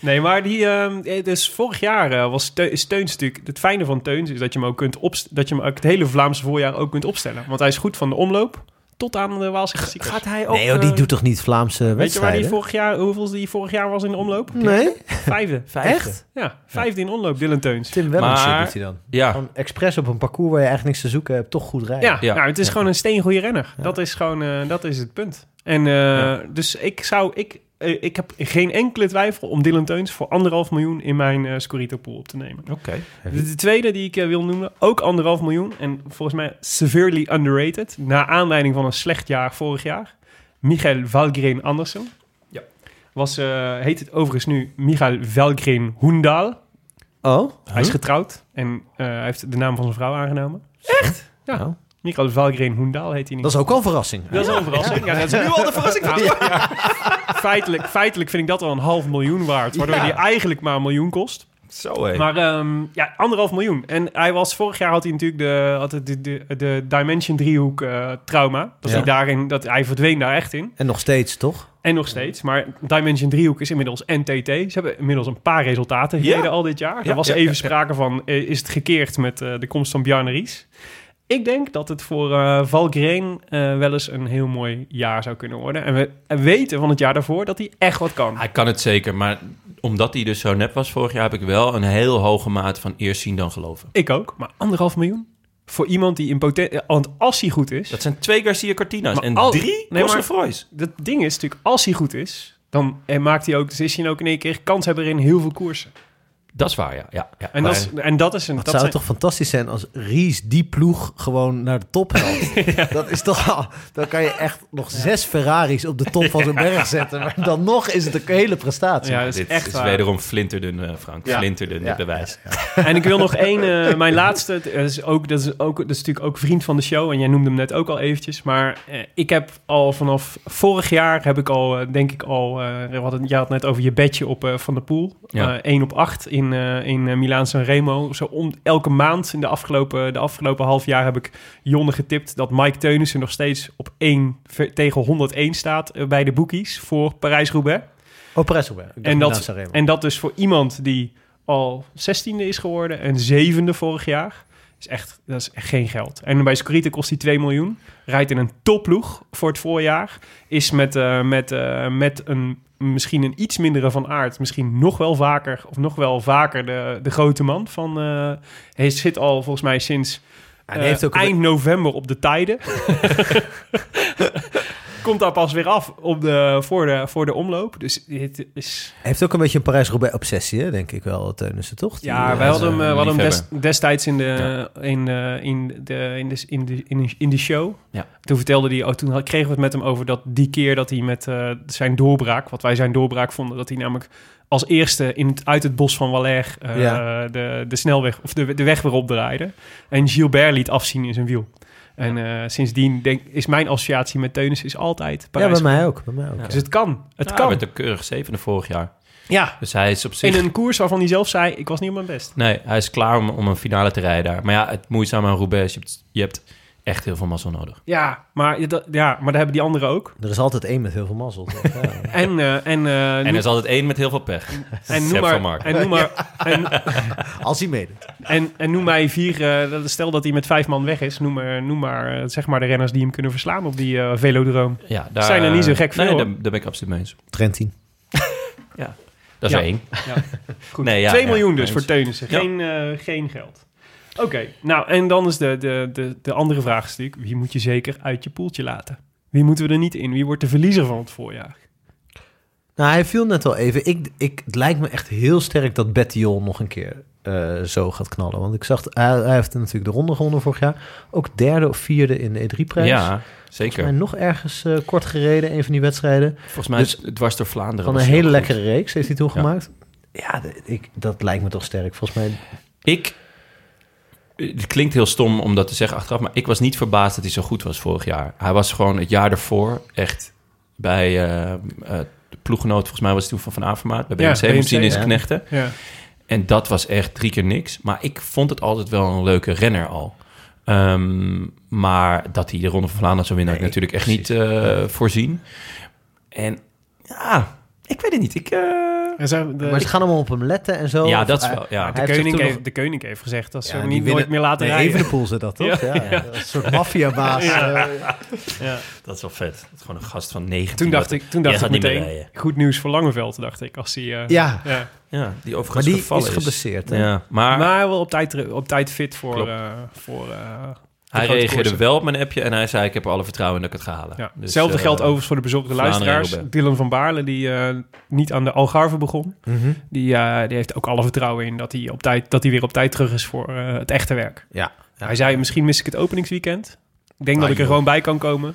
A: Nee, maar die, ehm, eh, dus vorig jaar eh, was Teu- is Teuns natuurlijk... Het fijne van Teuns is dat je hem ook kunt opst- dat je hem ook het hele Vlaamse voorjaar ook kunt opstellen. Want hij is goed van de omloop tot aan de Waalse klassiekers.
D: Gaat hij ook...
B: Nee, joh, die
D: eh,
B: doet toch niet Vlaamse
A: Weet je waar die
B: wedstrijden?
A: vorig jaar, hoeveel die vorig jaar was in de omloop?
B: Nee,
A: Vijfde.
D: vijfde?
B: echt?
A: Ja, vijfde in omloop, Dylan Teuns.
B: Tim Wellens
D: Maar-
B: doet hij dan.
D: Ja.
B: Van expres op een parcours waar je eigenlijk niks te zoeken hebt, toch goed rijden.
A: Ja,
D: Ja.
A: Nou, het is gewoon een steengoeie renner. Dat is gewoon, eh, dat is het punt. En eh, dus ik zou, ik, eh, ik heb geen enkele twijfel om Dylan Teuns voor anderhalf miljoen in mijn eh Scorito pool op te nemen.
D: Oké.
A: De, de tweede die ik eh, wil noemen, ook anderhalf miljoen. En volgens mij severely underrated. Naar aanleiding van een slecht jaar vorig jaar. Michael Valgren Andersen.
D: Ja.
A: Was, eh, heet het overigens nu Michael Valgren Hoendaal.
B: Oh?
A: Hij is getrouwd en eh, hij heeft de naam van zijn vrouw aangenomen. Echt? Ja.
B: Nou.
A: Michael Valgren Hoendaal heet hij niet.
B: Dat is ook al een verrassing.
A: Dat is al een verrassing. Ja, dat is nu al de verrassing van feitelijk, feitelijk vind ik dat al een half miljoen waard. Waardoor
D: Ja.
A: die eigenlijk maar een miljoen kost.
D: Zo hé.
A: Maar ehm, ja, anderhalf miljoen. En hij was vorig jaar had hij natuurlijk de, had het de, de, de Dimension driehoek eh, trauma. Dat
B: Ja.
A: hij daarin, dat hij verdween daar echt in.
B: En nog steeds, toch?
A: En nog steeds. Maar Dimension driehoek is inmiddels NTT. Ze hebben inmiddels een paar resultaten gereden al dit jaar.
D: Ja,
A: er was
D: ja,
A: even
D: ja, ja.
A: sprake van, eh, is het gekeerd met eh, de komst van Bjarne Ries? Ik denk dat het voor eh Valgren eh, wel eens een heel mooi jaar zou kunnen worden. En we en weten van het jaar daarvoor dat hij echt wat kan.
D: Hij kan het zeker, maar omdat hij dus zo nep was vorig jaar... heb ik wel een heel hoge maat van eerst zien dan geloven.
A: Ik ook, maar anderhalf miljoen? Voor iemand die in potentie... Want als hij goed is...
D: Dat zijn twee Garcia Cortina's
A: Maar
D: en
A: al-
D: drie
A: Nee,
D: nee,
A: maar- dat ding is natuurlijk, als hij goed is, dan eh, maakt hij ook, dus is hij ook in één keer kanshebber in heel veel koersen.
D: Dat is waar, ja. ja, ja.
A: En,
D: Maar-
A: dat, is, en dat is een.
B: Het
A: Dat
B: zou
A: zijn-
B: toch fantastisch zijn als Ries die ploeg gewoon naar de top helpt. Dat is toch al- Dan kan je echt nog zes Ferraris op de top van zo'n berg zetten. Maar dan nog is het een hele prestatie.
A: ja, dat is
D: Dit
A: echt
D: is
A: waar.
D: wederom flinterdun, eh, Frank.
B: Ja.
D: Flinterdun, dit
B: Ja.
D: bewijs.
A: En ik wil nog één, eh, mijn laatste. Dat is, ook, dat, is ook, dat is natuurlijk ook vriend van de show. En jij noemde hem net ook al eventjes. Maar eh, ik heb al vanaf vorig jaar, heb ik al, eh, denk ik al. eh, we hadden- jij had net over je bedje op eh, Van der Poel.
D: Ja.
A: Eh, 1 op 8 in, eh in eh, Milaan San Remo. Zo om, elke maand in de afgelopen, de afgelopen half jaar heb ik Jonne getipt dat Mike Teunissen nog steeds op 1 ver- tegen 101 staat eh, bij de bookies voor Parijs-Roubaix.
B: Oh, Presselberg.
A: En dat, en dat dus voor iemand die al zestiende is geworden en zevende vorig jaar. is echt, dat is echt geen geld. En bij Scorita kost hij 2 miljoen. Rijdt in een topploeg voor het voorjaar. Is met, eh, met, eh, met een, misschien een iets mindere van aard. Misschien nog wel vaker, of nog wel vaker de, de grote man. Van, eh, hij zit al volgens mij sinds
B: En hij
A: eh,
B: heeft ook
A: eind november op de tijden. Komt daar pas weer af op de, voor, de, voor de omloop. Dus dit is...
B: Hij heeft ook een beetje een Parijs-Roubaix-obsessie, hè, denk ik wel, Teunissen, toch? Die,
A: Ja,
B: eh,
A: wij hadden hem, eh, we hadden hem des-
D: liefhebber.
A: destijds in de, in, eh, in, de, in, de, in, de, in, de, in de show.
D: Ja.
A: Toen vertelde hij, oh, toen had- kregen we het met hem over dat die keer dat hij met eh, zijn doorbraak, wat wij zijn doorbraak vonden, dat hij namelijk als eerste in het, uit het bos van Waller eh,
B: Ja.
A: de, de snelweg of de, de weg weer opdraaide. En Gilbert liet afzien in zijn wiel. En eh, sindsdien denk, is mijn associatie met Teunis is altijd
B: Ja,
A: Parijs.
B: bij mij ook. Bij mij ook.
D: Ja.
A: Dus het kan. Het
D: Ja,
A: kan.
D: Nou, Hij werd een keurig zevende vorig jaar.
A: Ja.
D: Dus hij is op zich...
A: In een koers waarvan hij zelf zei, ik was niet op mijn best.
D: Nee, hij is klaar om, om een finale te rijden daar. Maar ja, het moeizame aan Roubaix is, je hebt, je hebt echt heel veel mazzel nodig.
A: Ja, maar, je- dat- ja, maar daar hebben die anderen ook.
B: Er is altijd één met heel veel mazzel. toch? Ja.
A: En, eh, en, eh,
D: En er
A: noem,
D: is altijd één met heel veel pech.
A: en, noem
D: Sepp van
A: maar,
D: Marken.
A: en, noem maar, en,
B: Als hij meedoet.
A: en, en noem mij vier, eh, dat- stel dat hij met vijf man weg is, noem maar, noem maar eh, zeg maar de renners die hem kunnen verslaan op die eh, velodroom.
D: Ja, daar,
A: Zijn er niet zo gek veel,
D: Nee,
A: hoor.
D: daar, daar ben ik absoluut mee eens.
B: Trentin.
D: Dat is
A: Ja.
D: één.
A: Goed,
D: Nee, ja,
A: 2
D: ja,
A: miljoen dus
D: eens.
A: voor Teunissen,
D: Ja.
A: geen, eh, geen geld. Oké, nou en dan is de, de, de, de andere vraag is natuurlijk, wie moet je zeker uit je poeltje laten? Wie moeten we er niet in? Wie wordt de verliezer van het voorjaar?
B: Nou, hij viel net al even. Ik, ik, het lijkt me echt heel sterk dat Bettiol nog een keer eh, zo gaat knallen. Want ik zag, hij, hij heeft natuurlijk de ronde gewonnen vorig jaar. Ook derde of vierde in de E E3-prijs.
D: Ja,
B: Volgens
D: zeker.
B: mij nog ergens eh, kort gereden, een van die wedstrijden.
D: Volgens mij
B: Dus-
D: is het dwars door Vlaanderen.
B: Van een
D: was hij
B: hele
D: ook goed.
B: lekkere reeks heeft hij toen
D: Ja.
B: gemaakt. Ja, d- ik, dat lijkt me toch sterk. Volgens mij
D: Ik... Het klinkt heel stom om dat te zeggen achteraf, maar ik was niet verbaasd dat hij zo goed was vorig jaar. Hij was gewoon het jaar daarvoor echt bij eh, eh, de ploeggenoot, volgens mij was hij toen van Van Avermaat, bij
A: Ja,
D: BMC,
A: BMC,
D: misschien in zijn
B: ja.
D: knechten.
A: Ja.
D: En dat was echt drie keer niks. Maar ik vond het altijd wel een leuke renner al. Ehm, maar dat hij de Ronde van Vlaanderen zou winnen, had ik
B: Nee,
D: natuurlijk echt niet eh, voorzien. En ja, ik weet het niet. Ik, eh,
A: Er zijn de-
B: Maar ze gaan allemaal op hem letten en zo.
D: ja,
B: Of
D: dat is
B: hij-
D: wel... Ja.
B: hij
A: de,
B: heeft
A: koning
B: zich toen
A: heeft,
B: nog-
A: de koning heeft gezegd dat ze
B: Ja,
A: hem
B: die
A: niet nooit
B: winnen-
A: meer laten
B: Nee,
A: rijden.
B: Evenepoel zit dat, toch? Ja, ja. Een soort maffiabaas. eh,
D: Dat is wel vet. Dat is gewoon een gast van 19.
A: Toen dacht ik, toen dacht
D: Jij
A: ik
D: gaat niet meer
A: meteen, goed nieuws voor Langeveld, dacht ik. Als hij, eh,
B: ja.
A: ja.
D: Ja, die
B: maar
D: overigens
B: die
D: gevallen
B: is geblesseerd. hè?
D: Ja, maar,
A: Maar wel op tijd, ter- op tijd fit voor...
D: Ah. Klopt.
A: eh voor eh, de
D: hij
A: grote
D: reageerde
A: koersen.
D: wel op mijn appje en hij zei... ik heb er alle vertrouwen in dat ik het ga halen.
A: Ja.
D: Dus,
A: Hetzelfde
D: eh,
A: geldt overigens voor de bezorgde
D: Vlaanderen en
A: luisteraars.
D: Roubaix.
A: Dylan van Baarle, die eh, niet aan de Algarve begon.
B: Mhm.
A: Die, eh, die heeft ook alle vertrouwen in dat hij, op tijd, dat hij weer op tijd terug is voor eh, het echte werk.
B: Ja.
A: Hij zei, misschien mis ik het openingsweekend. Ik denk dat ik er
B: joh.
A: gewoon bij kan komen.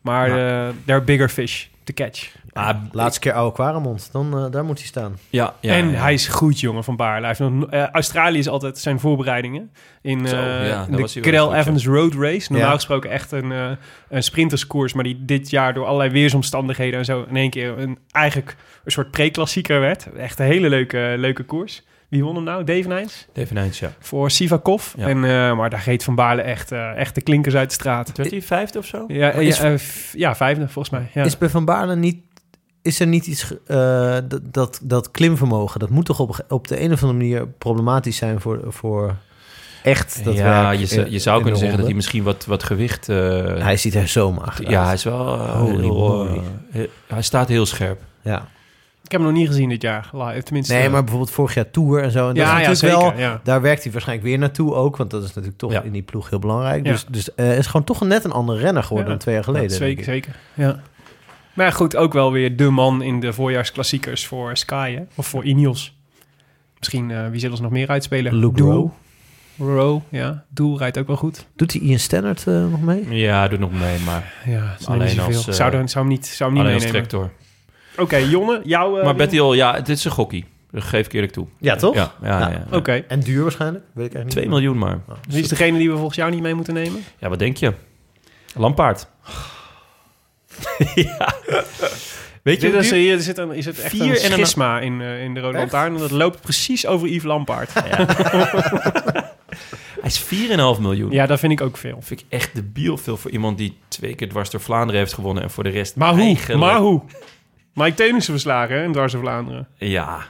A: Maar eh there are bigger fish to catch.
D: Ah,
B: Laatste keer oude Quaremond. Dan, eh, daar moet hij staan.
D: ja, ja,
A: en
D: ja.
A: hij is goed, jongen, van Baarle. Hij heeft nog- eh, Australië is altijd zijn voorbereidingen. In
D: Zo,
A: eh,
D: ja, daar
A: de
D: was hij wel
A: Cadel
D: goed, ja.
A: Evans Road Race. Normaal
B: Ja.
A: gesproken echt een, eh, een sprinterskoers. Maar die dit jaar door allerlei weersomstandigheden en zo... in één keer een, eigenlijk een soort pre-klassieker werd. Echt een hele leuke, leuke koers. Wie won hem nou? Devenijns?
D: Dave Nijns, ja.
A: Voor Sivakov.
D: Ja.
A: En, eh, maar daar reed Van Baarle echt, eh, echt de klinkers uit de straat.
D: Werd hij vijfde of zo?
A: Ja, eh,
B: Is-
A: ja, eh, f- ja, vijfde volgens mij. Ja.
B: Is bij Van Baarle niet... Is er niet iets... ge- eh, dat, dat, dat klimvermogen, dat moet toch op, ge- op de een of andere manier problematisch zijn voor... voor echt dat
D: ja,
B: werk
D: je, zou-
B: in-
D: je zou
B: in de
D: kunnen zeggen dat hij
B: ronde.
D: misschien wat, wat gewicht... eh,
B: Hij ziet er zo mager uit.
D: ja, hij is wel... eh,
B: Holy
D: heel, eh,
B: moly.
D: he- hij staat heel scherp.
B: Ja.
A: Ik heb hem nog niet gezien dit jaar. live, Tenminste, eh,
B: Nee, maar bijvoorbeeld vorig jaar Tour en zo. En dat
A: ja,
B: is
A: ja,
B: natuurlijk
A: zeker.
B: wel...
A: ja.
B: Daar werkt hij waarschijnlijk weer naartoe ook, want dat is natuurlijk toch
D: Ja.
B: in die ploeg heel belangrijk.
A: Ja.
B: Dus, dus eh, is gewoon toch net een andere renner geworden
A: Ja.
B: dan twee jaar geleden.
A: Ja,
B: denk
A: zeker,
B: ik.
A: zeker. Ja. Maar ja, goed, ook wel weer de man in de voorjaarsklassiekers voor Sky, hè? Of voor Ineos. Misschien, eh, wie zullen ze nog meer uitspelen?
B: Luke
A: Doel.
B: Rowe.
A: Rowe, ja. Doel rijdt ook wel goed.
B: Doet hij Ian Stannard eh, nog mee?
D: Ja, doet nog mee, maar
A: Ja, het is
D: Alleen
A: alleen niet
D: als,
A: zoveel.
D: eh,
A: zou, er, zou hem niet, zou hem niet
D: alleen als
A: meenemen.
D: tractor.
A: Oké, Jonne, jouw... eh,
D: maar
A: ding?
D: Betty Hol, ja, dit is een gokkie. Dat geef ik eerlijk toe.
B: Ja, toch?
D: Ja, ja, ja.
B: Ja.
D: ja.
A: Oké,
B: En duur waarschijnlijk? Weet ik eigenlijk
D: 2
B: niet.
D: miljoen maar.
A: wie is degene die we volgens jou niet mee moeten nemen?
D: Ja, wat denk je? Lampaard. ja. Weet je,
A: Dit
D: hoe
A: is,
D: duur-
A: dus, eh, hier zit een, is het echt
D: Vier
A: een
D: en een-
A: schisma in, eh, in de Rode Lantaarn. Dat loopt precies over Yves Lampaard.
D: hij is 4,5 miljoen.
A: ja, dat vind ik ook veel.
D: Vind ik echt debiel veel voor iemand die twee keer dwars door Vlaanderen heeft gewonnen en voor de rest
A: Maar hoe?
D: eigenlijk-
A: Maar hoe? Mike Teunissen verslagen hè, in Dwars door Vlaanderen.
D: Ja,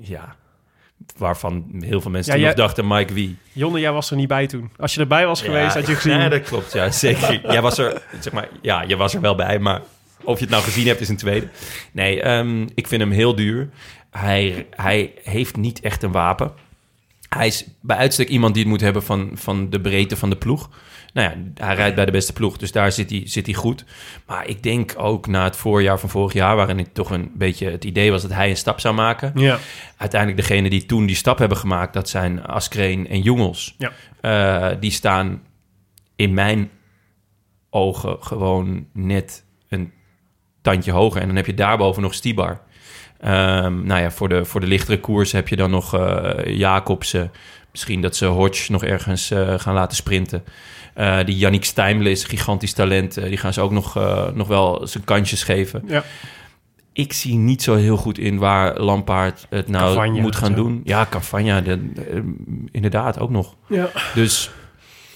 D: ja. Waarvan heel veel mensen
A: Ja,
D: toen
A: jij-
D: nog dachten, Mike wie?
A: Jonne, jij was er niet bij toen. Als je erbij was geweest, had je gezien.
D: Ja, dat klopt. Ja, zeker. jij was er, zeg maar, ja, je was er wel bij, maar of je het nou gezien hebt is een tweede. Nee, ehm, ik vind hem heel duur. Hij, hij heeft niet echt een wapen. Hij is bij uitstek iemand die het moet hebben van, van de breedte van de ploeg. Nou ja, hij rijdt bij de beste ploeg, dus daar zit hij, zit hij goed. Maar ik denk ook na het voorjaar van vorig jaar, waarin het toch een beetje het idee was dat hij een stap zou maken.
A: Ja.
D: Uiteindelijk degene die toen die stap hebben gemaakt, dat zijn Askreen en Jongels.
A: Ja.
D: Eh, die staan in mijn ogen gewoon net een tandje hoger. En dan heb je daarboven nog Stibar. Ehm, nou ja, voor de, voor de lichtere koers heb je dan nog eh, Jacobsen. Misschien dat ze Hodge nog ergens eh, gaan laten sprinten. Eh, die Yannick Steimle is een gigantisch talent. Eh, die gaan ze ook nog, eh, nog wel zijn kantjes geven.
A: Ja.
D: Ik zie niet zo heel goed in waar Lampaard het nou
A: Cavagna,
D: moet gaan
A: zo.
D: doen. Ja, Cavagna, de- eh, inderdaad ook nog.
A: Ja.
D: Dus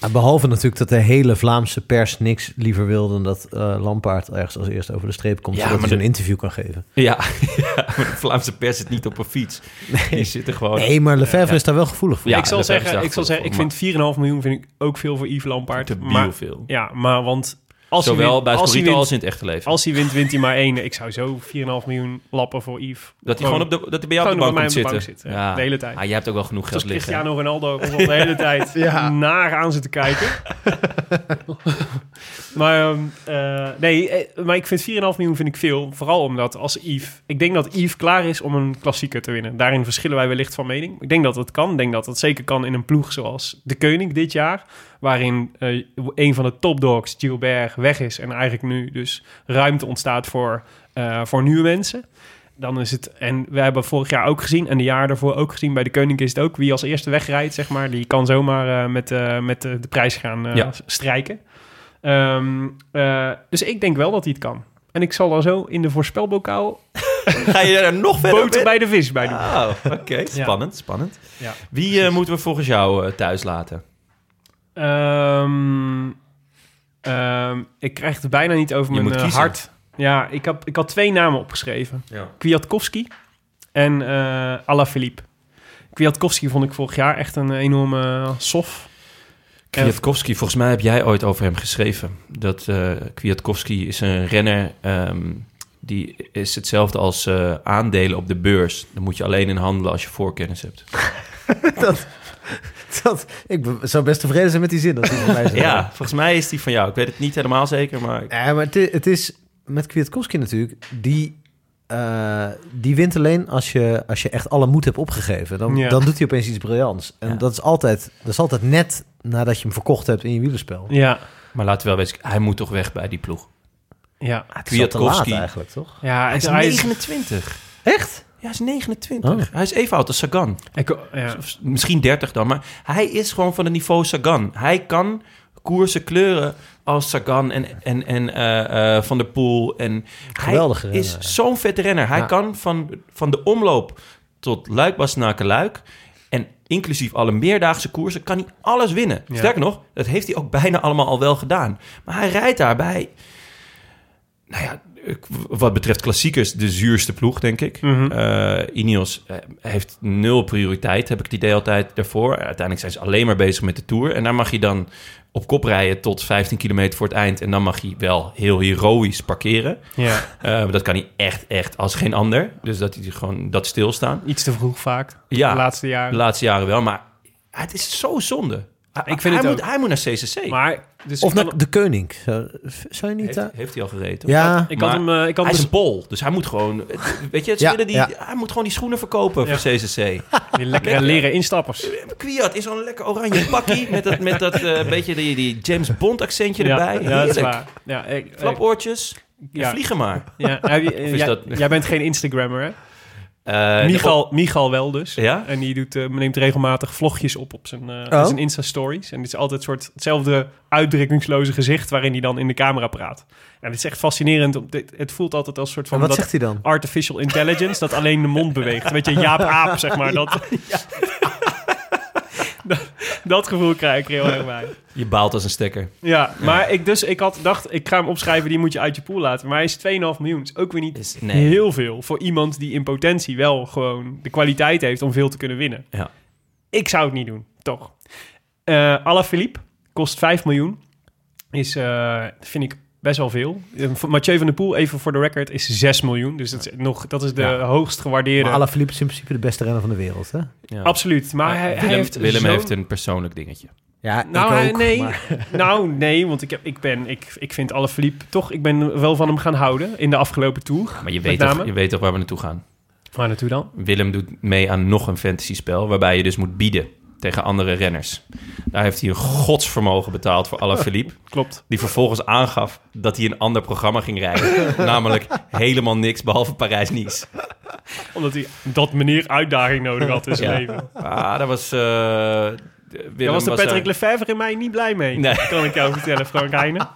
B: En behalve natuurlijk dat de hele Vlaamse pers niks liever wil dan dat eh, Lampaard ergens als eerste over de streep komt,
D: Ja,
B: zodat
D: maar
B: hij een
D: de-
B: interview kan geven.
D: Ja, ja, maar de Vlaamse pers zit niet op een fiets. Die zitten gewoon...
B: Nee, maar Lefebvre
D: Oh, Ja.
B: is daar wel gevoelig voor.
D: Ja,
A: ik zal
D: dat
A: zeggen,
D: hebben ze
A: ik, zal zeggen ik
D: achtergevonden,
A: vind 4,5 miljoen vind ik ook veel voor Yves Lampaard.
D: te
A: maar-
D: biel veel.
A: Ja, maar want als hij
D: Zowel
A: wint,
D: bij
A: als hij
D: Scorito
A: wint,
D: als in het echte leven.
A: als hij wint, wint hij maar één. Ik zou zo 4,5 miljoen lappen voor Yves.
D: dat hij gewoon op de, dat hij bij jou op de
A: gewoon
D: bank
A: bij
D: komt
A: mij op de
D: zitten.
A: bank zitten, de hele tijd.
D: Ah, jij hebt ook wel genoeg
A: Zoals
D: geld liggen.
A: Cristiano Ronaldo ons al de hele tijd naar aan zitten kijken. maar, ehm, eh, nee, eh, maar ik vind 4,5 miljoen vind ik veel. Vooral omdat als Yves... Ik denk dat Yves klaar is om een klassieker te winnen. Daarin verschillen wij wellicht van mening. Ik denk dat dat kan. Ik denk dat dat zeker kan in een ploeg zoals De Keuning dit jaar. Waarin eh, een van de topdogs, Gilbert, weg is. En eigenlijk nu dus ruimte ontstaat voor, eh, voor nieuwe mensen. Dan is het, en we hebben vorig jaar ook gezien, en de jaar daarvoor ook gezien, bij de Koning is het ook. Wie als eerste wegrijdt, zeg maar, die kan zomaar eh, met, eh, met eh, de prijs gaan eh,
D: Ja.
A: s- strijken. Ehm, eh, dus ik denk wel dat hij het kan. En ik zal dan zo in de voorspelbokaal
D: Ga je er nog verder op
A: boter
D: in?
A: bij de vis bij doen.
D: Oh, oké. Spannend, spannend.
A: Ja.
D: Wie eh, moeten we volgens jou eh, thuis laten?
A: Ehm, ehm, ik krijg het bijna niet over
D: Je
A: mijn
D: moet
A: eh,
D: kiezen.
A: hart. Ja, ik, heb, ik had twee namen opgeschreven.
D: Ja.
A: Kwiatkowski en eh Alaphilippe. Kwiatkowski vond ik vorig jaar echt een enorme eh, sof.
D: Kwiatkowski, volgens mij heb jij ooit over hem geschreven. Dat eh Kwiatkowski is een renner. ehm, die is hetzelfde als eh, aandelen op de beurs. Daar moet je alleen in handelen als je voorkennis hebt.
B: Dat, ik be- zou best tevreden zijn met die zin. Dat hij van mij zou
D: Ja, volgens mij is die van jou. Ik weet het niet helemaal zeker, maar...
B: Ja, maar het, i- het is met Kwiatkowski natuurlijk, die, eh, die wint alleen als je, als je echt alle moed hebt opgegeven. Dan,
A: Ja.
B: dan doet hij opeens iets briljants. En
D: Ja.
B: dat, is altijd, dat is altijd net nadat je hem verkocht hebt in je wielerspel.
A: Ja,
D: Maar laten we wel wezen, hij moet toch weg bij die ploeg.
A: ja.
B: Het is al te laat
D: Kwiatkowski.
B: eigenlijk, toch?
A: Ja,
D: Ah, Hij
A: het
D: is 29.
B: Echt?
D: Ja, hij is 29. Hij is even oud als Sagan.
A: Ik, ja.
D: Of misschien 30 dan, maar hij is gewoon van het niveau Sagan. Hij kan koersen kleuren als Sagan en, en, en eh, eh, Van der Poel. En
B: Geweldige
D: hij
B: renner,
D: is
B: ja.
D: zo'n vet renner. Hij
B: Ja.
D: kan van, van de omloop tot luik luik en inclusief alle meerdaagse koersen, kan hij alles winnen.
A: Ja.
D: Sterker nog, dat heeft hij ook bijna allemaal al wel gedaan. Maar hij rijdt daarbij... Nou ja, ik- wat betreft klassiekers, de zuurste ploeg, denk ik.
A: Mhm.
D: Eh, Ineos eh, heeft nul prioriteit, heb ik het idee altijd daarvoor. Uiteindelijk zijn ze alleen maar bezig met de Tour. En daar mag je dan op kop rijden tot 15 kilometer voor het eind. En dan mag je wel heel heroïs parkeren.
A: ja,
D: Eh, maar dat kan hij echt, echt als geen ander. Dus dat hij gewoon dat stilstaan.
A: iets te vroeg vaak.
D: Ja,
A: De laatste
D: de
A: jaren. Ah,
D: laatste jaren wel. Maar het is zo zonde. Hij-
A: Ik vind
D: hij,
A: het
D: moet, hij moet naar CCC.
A: Maar, dus
B: Of
A: ik
B: naar
A: had,
B: de koning. Zou, zou je niet... eh,
D: heeft,
B: daar-
D: heeft hij al gereden? toch?
B: ja,
A: ik had
D: maar
A: hem... eh, ik had hem
D: hij is een bol, dus hij moet gewoon... het- Weet je, het
B: Ja,
D: spullen die,
B: ja.
D: hij moet gewoon die schoenen verkopen
A: Ja.
D: voor CCC.
A: die lekkere leren instappers.
D: Kwiat is zo'n lekker oranje pakkie met dat, met dat eh, beetje die, die James Bond accentje
A: Ja, ja,
D: erbij.
A: dat is
D: Heerlijk.
A: waar. Ja, ik, ik-
D: Flapoortjes,
A: ja,
D: vliegen maar.
A: ja, heb je- eh,
D: is
A: jij-
D: dat-
A: jij bent geen Instagrammer, hè?
D: Eh,
A: Michal, Michal wel dus.
D: Ja?
A: En die doet, eh, neemt regelmatig vlogjes op op zijn, eh,
B: Oh.
A: zijn Insta-stories. En dit is altijd soort hetzelfde uitdrukkingsloze gezicht... waarin hij dan in de camera praat. En dit is echt fascinerend. om- dit- Het voelt altijd als een soort
B: en
A: van...
B: wat
A: dat
B: zegt hij dan?
A: artificial intelligence... dat alleen de mond beweegt. Weet je, Jaap Aap, zeg maar. Dat, dat, dat gevoel krijg ik er heel erg bij.
D: Je baalt als een stekker.
A: Ja, maar ik, dus, ik had dacht, ik ga hem opschrijven, die moet je uit je pool laten. Maar hij is 2,5 miljoen. Is ook weer niet
D: Is- nee.
A: heel veel voor iemand die in potentie wel gewoon de kwaliteit heeft om veel te kunnen winnen.
D: Ja.
A: Ik zou het niet doen, toch? Eh Alaphilippe kost 5 miljoen. Is, eh, vind ik best wel veel. Eh, voor Mathieu van der Poel, even voor de record, is 6 miljoen. Dus dat is, nog, dat is de
B: Ja.
A: hoogst gewaardeerde.
B: Maar Alaphilippe is in principe de beste renner van de wereld, hè?
D: Ja.
A: Absoluut. Maar hij, hij
D: Willem,
A: heeft
D: Willem
A: zo'n-
D: heeft een persoonlijk dingetje.
B: Ja,
A: Nou, hij-
B: ik ook.
A: nee.
B: maar-
A: Nou, nee, want ik, heb, ik, ben, ik, ik vind Alaphilippe toch... Ik ben wel van hem gaan houden in de afgelopen tour.
D: Maar je
A: Met
D: weet, toch,
A: name?
D: je weet toch waar we naartoe gaan.
A: Waar naartoe dan?
D: Willem doet mee aan nog een fantasy spel... waarbij je dus moet bieden tegen andere renners. Daar heeft hij een godsvermogen betaald voor Alaphilippe...
A: Klopt.
D: die vervolgens aangaf dat hij een ander programma ging rijden. namelijk helemaal niks behalve Parijs-Nice.
A: Omdat hij dat meneer uitdaging nodig had in zijn
D: Ja.
A: leven.
D: Ah, dat was... eh, Willem
A: Daar was de Patrick
D: daar-
A: Lefevre in mij niet blij mee.
D: Nee.
A: Kan ik jou vertellen, Frank Heijnen.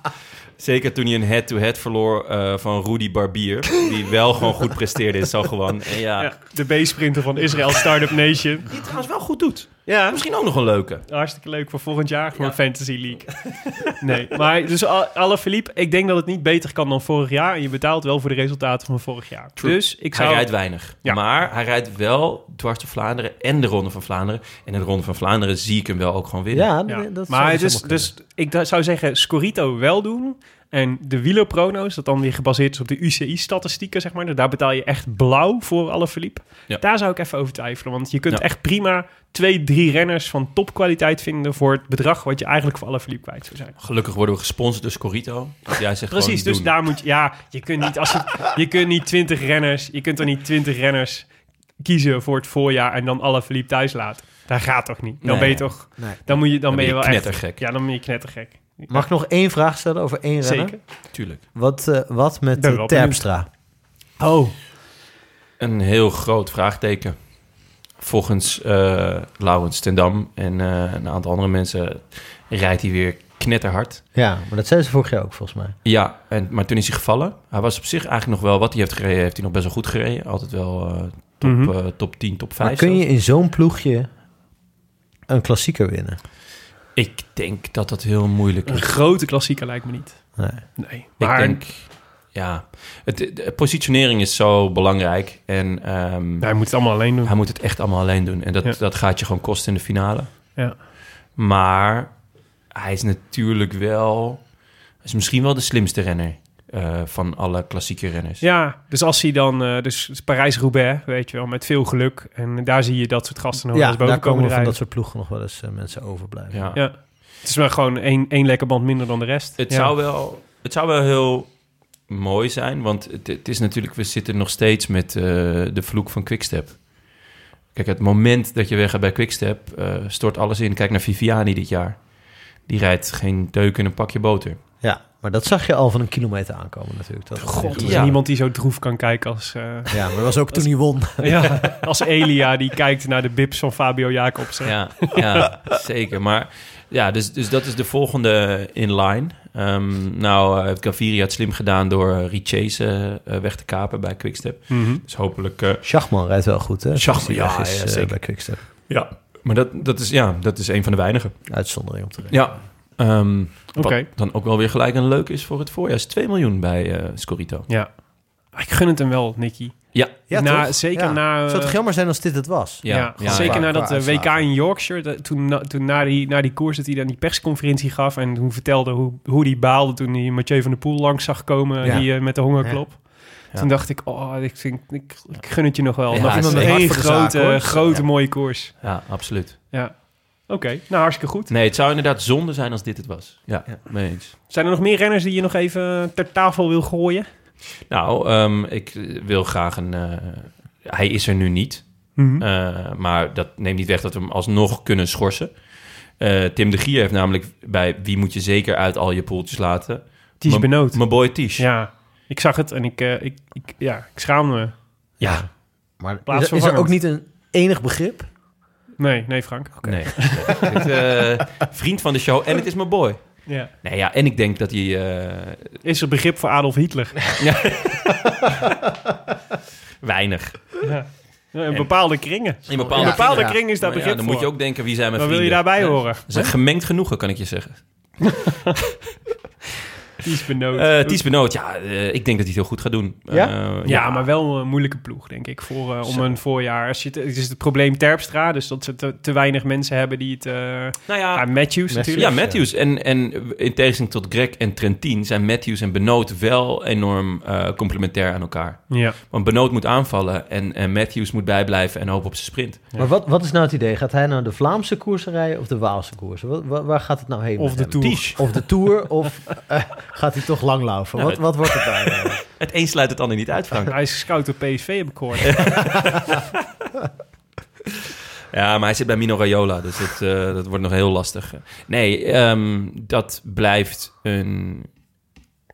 D: Zeker toen hij een head-to-head verloor eh, van Rudy Barbier. Die wel gewoon goed presteerde in Salgowan. En ja,
A: Ja, de B-sprinter van Israël Startup Nation.
D: die het trouwens wel goed doet.
A: Ja,
D: Misschien ook nog een leuke.
A: hartstikke leuk voor volgend jaar voor Fantasy League. Nee, maar dus Al- Alaphilippe, ik denk dat het niet beter kan dan vorig jaar. En je betaalt wel voor de resultaten van vorig jaar.
D: True.
A: Dus ik zou...
D: Hij rijdt weinig.
A: Ja.
D: Maar hij rijdt wel dwars door Vlaanderen en de Ronde van Vlaanderen. En in de Ronde van Vlaanderen zie ik hem wel ook gewoon winnen.
B: Ja,
A: Ja.
B: nee, dat zou
A: maar
B: dus
A: dus, dus ik da- zou zeggen, Scorito wel doen. En de wielerprono's, dat dan weer gebaseerd is op de UCI-statistieken, zeg maar. Daar betaal je echt blauw voor alle verliep.
D: Ja.
A: Daar zou ik even over twijfelen. Want je kunt
D: Ja.
A: echt prima twee, drie renners van topkwaliteit vinden... voor het bedrag wat je eigenlijk voor alle verliep kwijt zou zijn.
D: Gelukkig worden we gesponsord door Scorito. Want jij zegt
A: Precies,
D: gewoon
A: dus
D: doen.
A: daar moet je... Ja, je kunt niet, als je, je kunt niet twintig renners... Je kunt er niet twintig renners kiezen voor het voorjaar... en dan alle verliep thuis laten. Dat gaat toch niet? Dan
D: Nee.
A: ben je toch...
B: Nee.
A: Dan, moet je, dan,
D: Dan
A: ben je, wel echt...
D: knettergek.
A: Ja, dan ben je knettergek.
B: Mag ik nog één vraag stellen over één renner?
A: Zeker.
D: Tuurlijk.
B: Wat, eh, wat met
A: ben
B: eh,
A: wel benieuwd.
B: Terpstra?
A: Oh.
D: Een heel groot vraagteken. Volgens eh Laurens ten Dam en eh, een aantal andere mensen rijdt hij weer knetterhard.
B: Ja, maar dat zei ze vorig jaar ook volgens mij.
D: Ja, en, maar toen is hij gevallen. Hij was op zich eigenlijk nog wel wat hij heeft gereden. Heeft hij nog best wel goed gereden. Altijd wel eh, top,
A: Mhm.
D: eh, top 10, top 5.
B: Maar kun je in zo'n ploegje een klassieker winnen?
D: Ik denk dat dat heel moeilijk
A: Een
D: is.
A: grote klassieker lijkt me niet.
B: Nee.
A: Nee.
D: Ik
A: Maar
D: denk, ja, het, de positionering is zo belangrijk. En ehm,
A: hij moet het allemaal alleen doen.
D: hij moet het echt allemaal alleen doen. En dat,
A: Ja.
D: dat gaat je gewoon kosten in de finale.
A: Ja.
D: Maar hij is natuurlijk wel... hij is misschien wel de slimste renner eh, van alle klassieke renners.
A: Ja, dus als hij dan... eh, dus Parijs-Roubaix, weet je wel, met veel geluk. En daar zie je dat soort gasten nog wel
B: Ja,
A: eens boven
B: daar komen
A: komen
B: van dat
A: rijden.
B: soort ploegen nog wel eens eh, mensen overblijven.
D: Ja.
A: Ja. Het is maar gewoon één, één lekker band minder dan de rest.
D: Het,
A: Ja.
D: zou wel, het zou wel heel mooi zijn, want het, het is natuurlijk, we zitten nog steeds met eh, de vloek van Quickstep. Kijk, het moment dat je weggaat bij Quickstep, eh, stort alles in. Kijk naar Viviani dit jaar. Die rijdt geen deuk in een pakje boter.
B: Ja, maar dat zag je al van een kilometer aankomen natuurlijk. Dat
A: God, er is
D: Ja.
A: niemand die zo droef kan kijken als, eh,
B: Ja, maar dat was ook toen hij won.
A: ja, als Elia die kijkt naar de bips van Fabio Jacobsen.
D: Ja, ja zeker. Maar ja, dus, dus dat is de volgende in line. Ehm, nou, eh, heeft Gaviri het slim gedaan door eh, Riches eh, eh, weg te kapen bij Quickstep.
A: Mhm.
D: Dus hopelijk eh,
B: Schachman rijdt wel goed, hè?
D: Schachman,
B: Die weg
D: ja, ja,
B: eh,
D: zeker.
B: bij Quickstep.
D: Ja, maar dat, dat, is, ja, dat is een van de weinigen.
B: Uitzondering om te rekenen.
D: Ja. Ehm, wat
A: Oké.
D: dan ook wel weer gelijk een leuk is voor het voorjaar. Is 2 miljoen bij eh Scorito.
A: Ja. Ik gun het hem wel, Nicky.
D: Ja.
A: Na-
B: toch?
A: zeker
B: Ja.
A: na, eh,
B: Zou het jammer zijn als dit het was?
D: Ja,
A: Ja,
D: ja,
A: zeker
B: ja.
A: na dat
B: Qua
A: eh, WK
B: uitslagen.
A: in Yorkshire. dat- toen na, toen na, die, na die koers dat hij dan die persconferentie gaf... en toen vertelde hoe, hoe hij baalde toen hij Mathieu van der Poel langs zag komen...
B: Ja.
A: die eh, met de hongerklop.
D: Ja.
A: Toen dacht ik, oh, ik, vind, ik, ik gun het je nog wel.
D: Ja,
A: nog
D: iemand
A: iemand
D: met
B: hart
A: één
B: voor de zaak,
A: grote,
B: hoor.
A: grote
B: Ja.
A: mooie koers.
D: Ja, absoluut.
A: Ja. Oké, nou hartstikke goed.
D: Nee, het zou inderdaad zonde zijn als dit het was. Ja, mee eens.
A: Zijn er nog meer renners die je nog even ter tafel wil gooien?
D: Nou, ehm, ik eh, wil graag een... eh, hij is er nu niet.
A: Mhm.
D: Eh, maar dat neemt niet weg dat we hem alsnog kunnen schorsen. Eh, Tim de Gier heeft namelijk bij Wie moet je zeker uit al je poeltjes laten?
A: die is
D: mijn-
A: benood.
D: Mijn boy Tish.
A: Ja, ik zag het en ik, eh, ik, ik, ja, ik schaamde me.
D: Ja.
B: Maar is er- is, er
A: Plaatsvervangend.
B: ook niet een enig begrip?
A: Nee, nee Frank.
D: Nee. Het, eh, vriend van de show en het is mijn boy.
A: Ja.
D: Nee, ja, en ik denk dat hij... eh,
A: Is er begrip voor Adolf Hitler?
D: weinig.
A: Ja. Ja, in
D: En-
A: bepaalde kringen.
D: In
A: In
D: bepaalde,
A: bepaalde
D: kringen.
A: kringen is daar
D: Maar ja,
A: begrip
D: Dan
A: voor.
D: moet je ook denken, wie zijn mijn
A: Dan wil je
D: vrienden?
A: daarbij
D: Ja.
A: horen.
D: Dat is een gemengd genoegen, kan ik je zeggen.
A: Ties benoot.
D: Eh Ties Benoot, ja, eh, ik denk dat hij het heel goed gaat doen.
B: Ja?
D: Eh,
A: Ja, maar wel een moeilijke ploeg, denk ik, voor, eh, om
D: Zo.
A: een voorjaar. Als je het, het is het probleem Terpstra, dus dat ze te, te weinig mensen hebben die het... eh
D: Nou ja,
A: ja, Matthews natuurlijk.
D: Ja, Matthews. En, en in tegenstelling tot Greg en Trentin zijn Matthews en Benoot wel enorm eh, complementair aan elkaar.
A: Ja.
D: Want Benoot moet aanvallen en, en Matthews moet bijblijven en hopen op zijn sprint.
A: Ja.
E: Maar wat, wat is nou het idee? Gaat hij nou de Vlaamse koersen rijden of de Waalse koersen? Wat, wa- waar gaat het nou heen?
A: Of
E: met
A: de
E: hem?
A: Tour.
D: Ties.
E: Of de Tour, of eh, gaat hij toch langlaufen?
D: Nou,
E: wat, wat wordt het daar? eh?
D: Het een sluit het ander niet uit, Frank.
A: Hij is gescout door PSV, heb ik gehoord.
D: Ja, maar hij zit bij Mino Raiola, dus dat, eh, dat wordt nog heel lastig. Nee, ehm, dat blijft een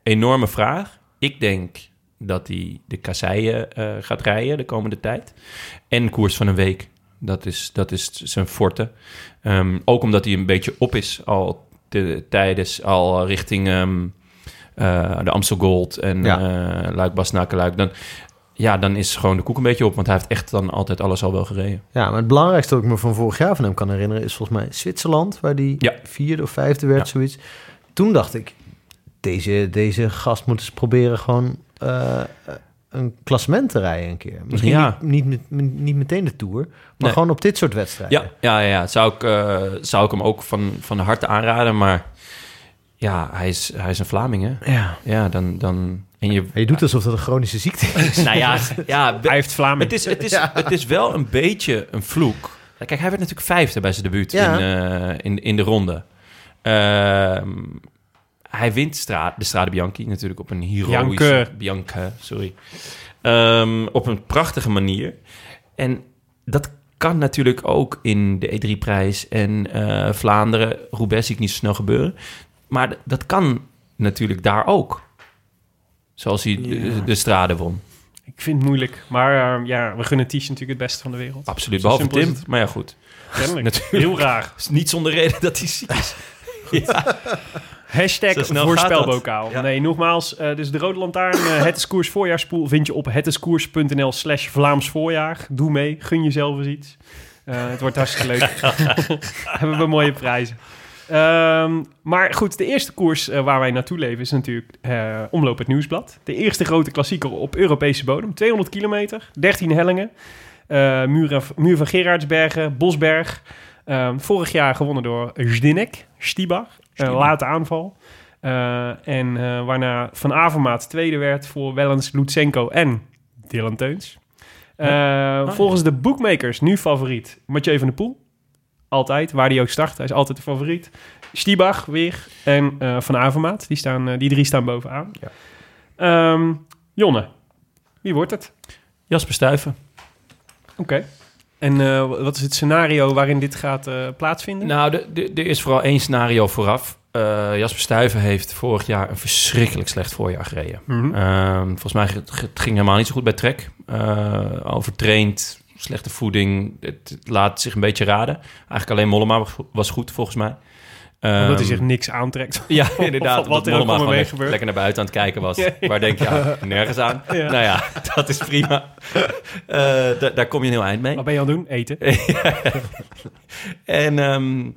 D: enorme vraag. Ik denk dat hij de kasseien eh, gaat rijden de komende tijd. En koers van een week. Dat is, dat is zijn forte. Ehm, ook omdat hij een beetje op is al te- tijdens, al richting ehm, eh, de Amstel Gold en
E: Ja.
D: eh, Luik Basnakeluik. Dan, ja, dan is gewoon de koek een beetje op, want hij heeft echt dan altijd alles al wel gereden.
E: Ja, maar het belangrijkste dat ik me van vorig jaar van hem kan herinneren... is volgens mij Zwitserland, waar die
D: Ja.
E: vierde of vijfde werd,
D: Ja.
E: zoiets. Toen dacht ik, deze, deze gast moet eens proberen gewoon eh, een klassement te rijden een keer. Misschien
D: Ja.
E: niet, niet, met- niet meteen de Tour, maar
D: Nee.
E: gewoon op dit soort wedstrijden.
D: Ja, ja, ja, ja. Zou, ik, eh, zou ik hem ook van, van harte aanraden. Maar ja, hij is, hij is een Vlaming, hè?
E: ja.
D: Ja, dan... dan en je,
E: Hij doet alsof dat een chronische ziekte is.
D: nou ja, ja
A: hij heeft Vlaming.
D: het, is, het, is, het is wel een beetje een vloek. Kijk, hij werd natuurlijk vijfde bij zijn debuut
E: Ja.
D: in, eh, in, in de ronde. Ehm, hij wint stra de Strade Bianchi natuurlijk op een heroïsche...
A: Bianche.
D: Bianca, sorry. Ehm, op een prachtige manier. En dat kan natuurlijk ook in de E3-prijs en eh, Vlaanderen. Roubaix zie ik niet zo snel gebeuren. Maar d- dat kan natuurlijk daar ook. Zoals hij de- de, de Strade won.
A: Ik vind het moeilijk. Maar eh, ja, we gunnen Ties natuurlijk het beste van de wereld.
D: Absoluut,
A: Zo
D: behalve
A: simpel is
D: Tim.
A: het.
D: Maar ja, goed.
A: Kennelijk.
D: Ah, Natuurlijk.
A: Heel raar.
D: is niet zonder reden dat hij ziek is. Ja. Zo
A: Hashtag
D: snel gaat
A: voorspelbokaal.
D: dat. Ja.
A: Nee, nogmaals. eh, dus de Rode Lantaarn, eh, het is koers voorjaarspoel, vind je op hetiskoers.nl slash Vlaams voorjaar. Doe mee, gun jezelf eens iets. Eh, het wordt hartstikke leuk. Hebben we mooie prijzen. Ehm, maar goed, de eerste koers eh, waar wij naartoe leven is natuurlijk eh, Omloop het Nieuwsblad. De eerste grote klassieker op Europese bodem. 200 kilometer, 13 hellingen. eh, muur, muur van Gerardsbergen, Bosberg. Ehm, vorig jaar gewonnen door Zdinek, Stibar. Een late aanval. Eh, en eh, waarna Van Avermaat tweede werd voor Wellens, Lutsenko en Dylan Teuns. Eh,
D: ja.
A: volgens de bookmakers nu favoriet Mathieu van der Poel. Altijd, waar hij ook start. Hij is altijd de favoriet. Stiebach weer en eh, Van Avermaat. Die, staan, eh, die drie staan bovenaan.
E: Ja.
A: Ehm, Jonne, wie wordt het?
D: Jasper Stuyven.
A: Oké. En eh, wat is het scenario waarin dit gaat eh, plaatsvinden?
D: Nou, de- de- er is vooral één scenario vooraf. Eh, Jasper Stuyven heeft vorig jaar een verschrikkelijk slecht voorjaar gereden.
A: Mhm.
D: Ehm, volgens mij ge- ge- het ging helemaal niet zo goed bij Trek. Eh, overtraind, slechte voeding. Het het laat zich een beetje raden. Eigenlijk alleen Mollema was- was goed, volgens mij.
A: Omdat hij
D: Ehm,
A: zich niks aantrekt.
D: Ja, inderdaad.
A: Of wat
D: Wat
A: er ook
D: Mollema
A: allemaal
D: gewoon
A: mee
D: lekker,
A: gebeurt.
D: lekker naar buiten aan het kijken was.
A: Ja.
D: Waar denk je, ja, nergens aan.
A: Ja.
D: Nou ja, dat is prima. Eh, da- daar kom je een heel eind mee.
A: Wat ben je aan het doen? Eten.
D: En ehm,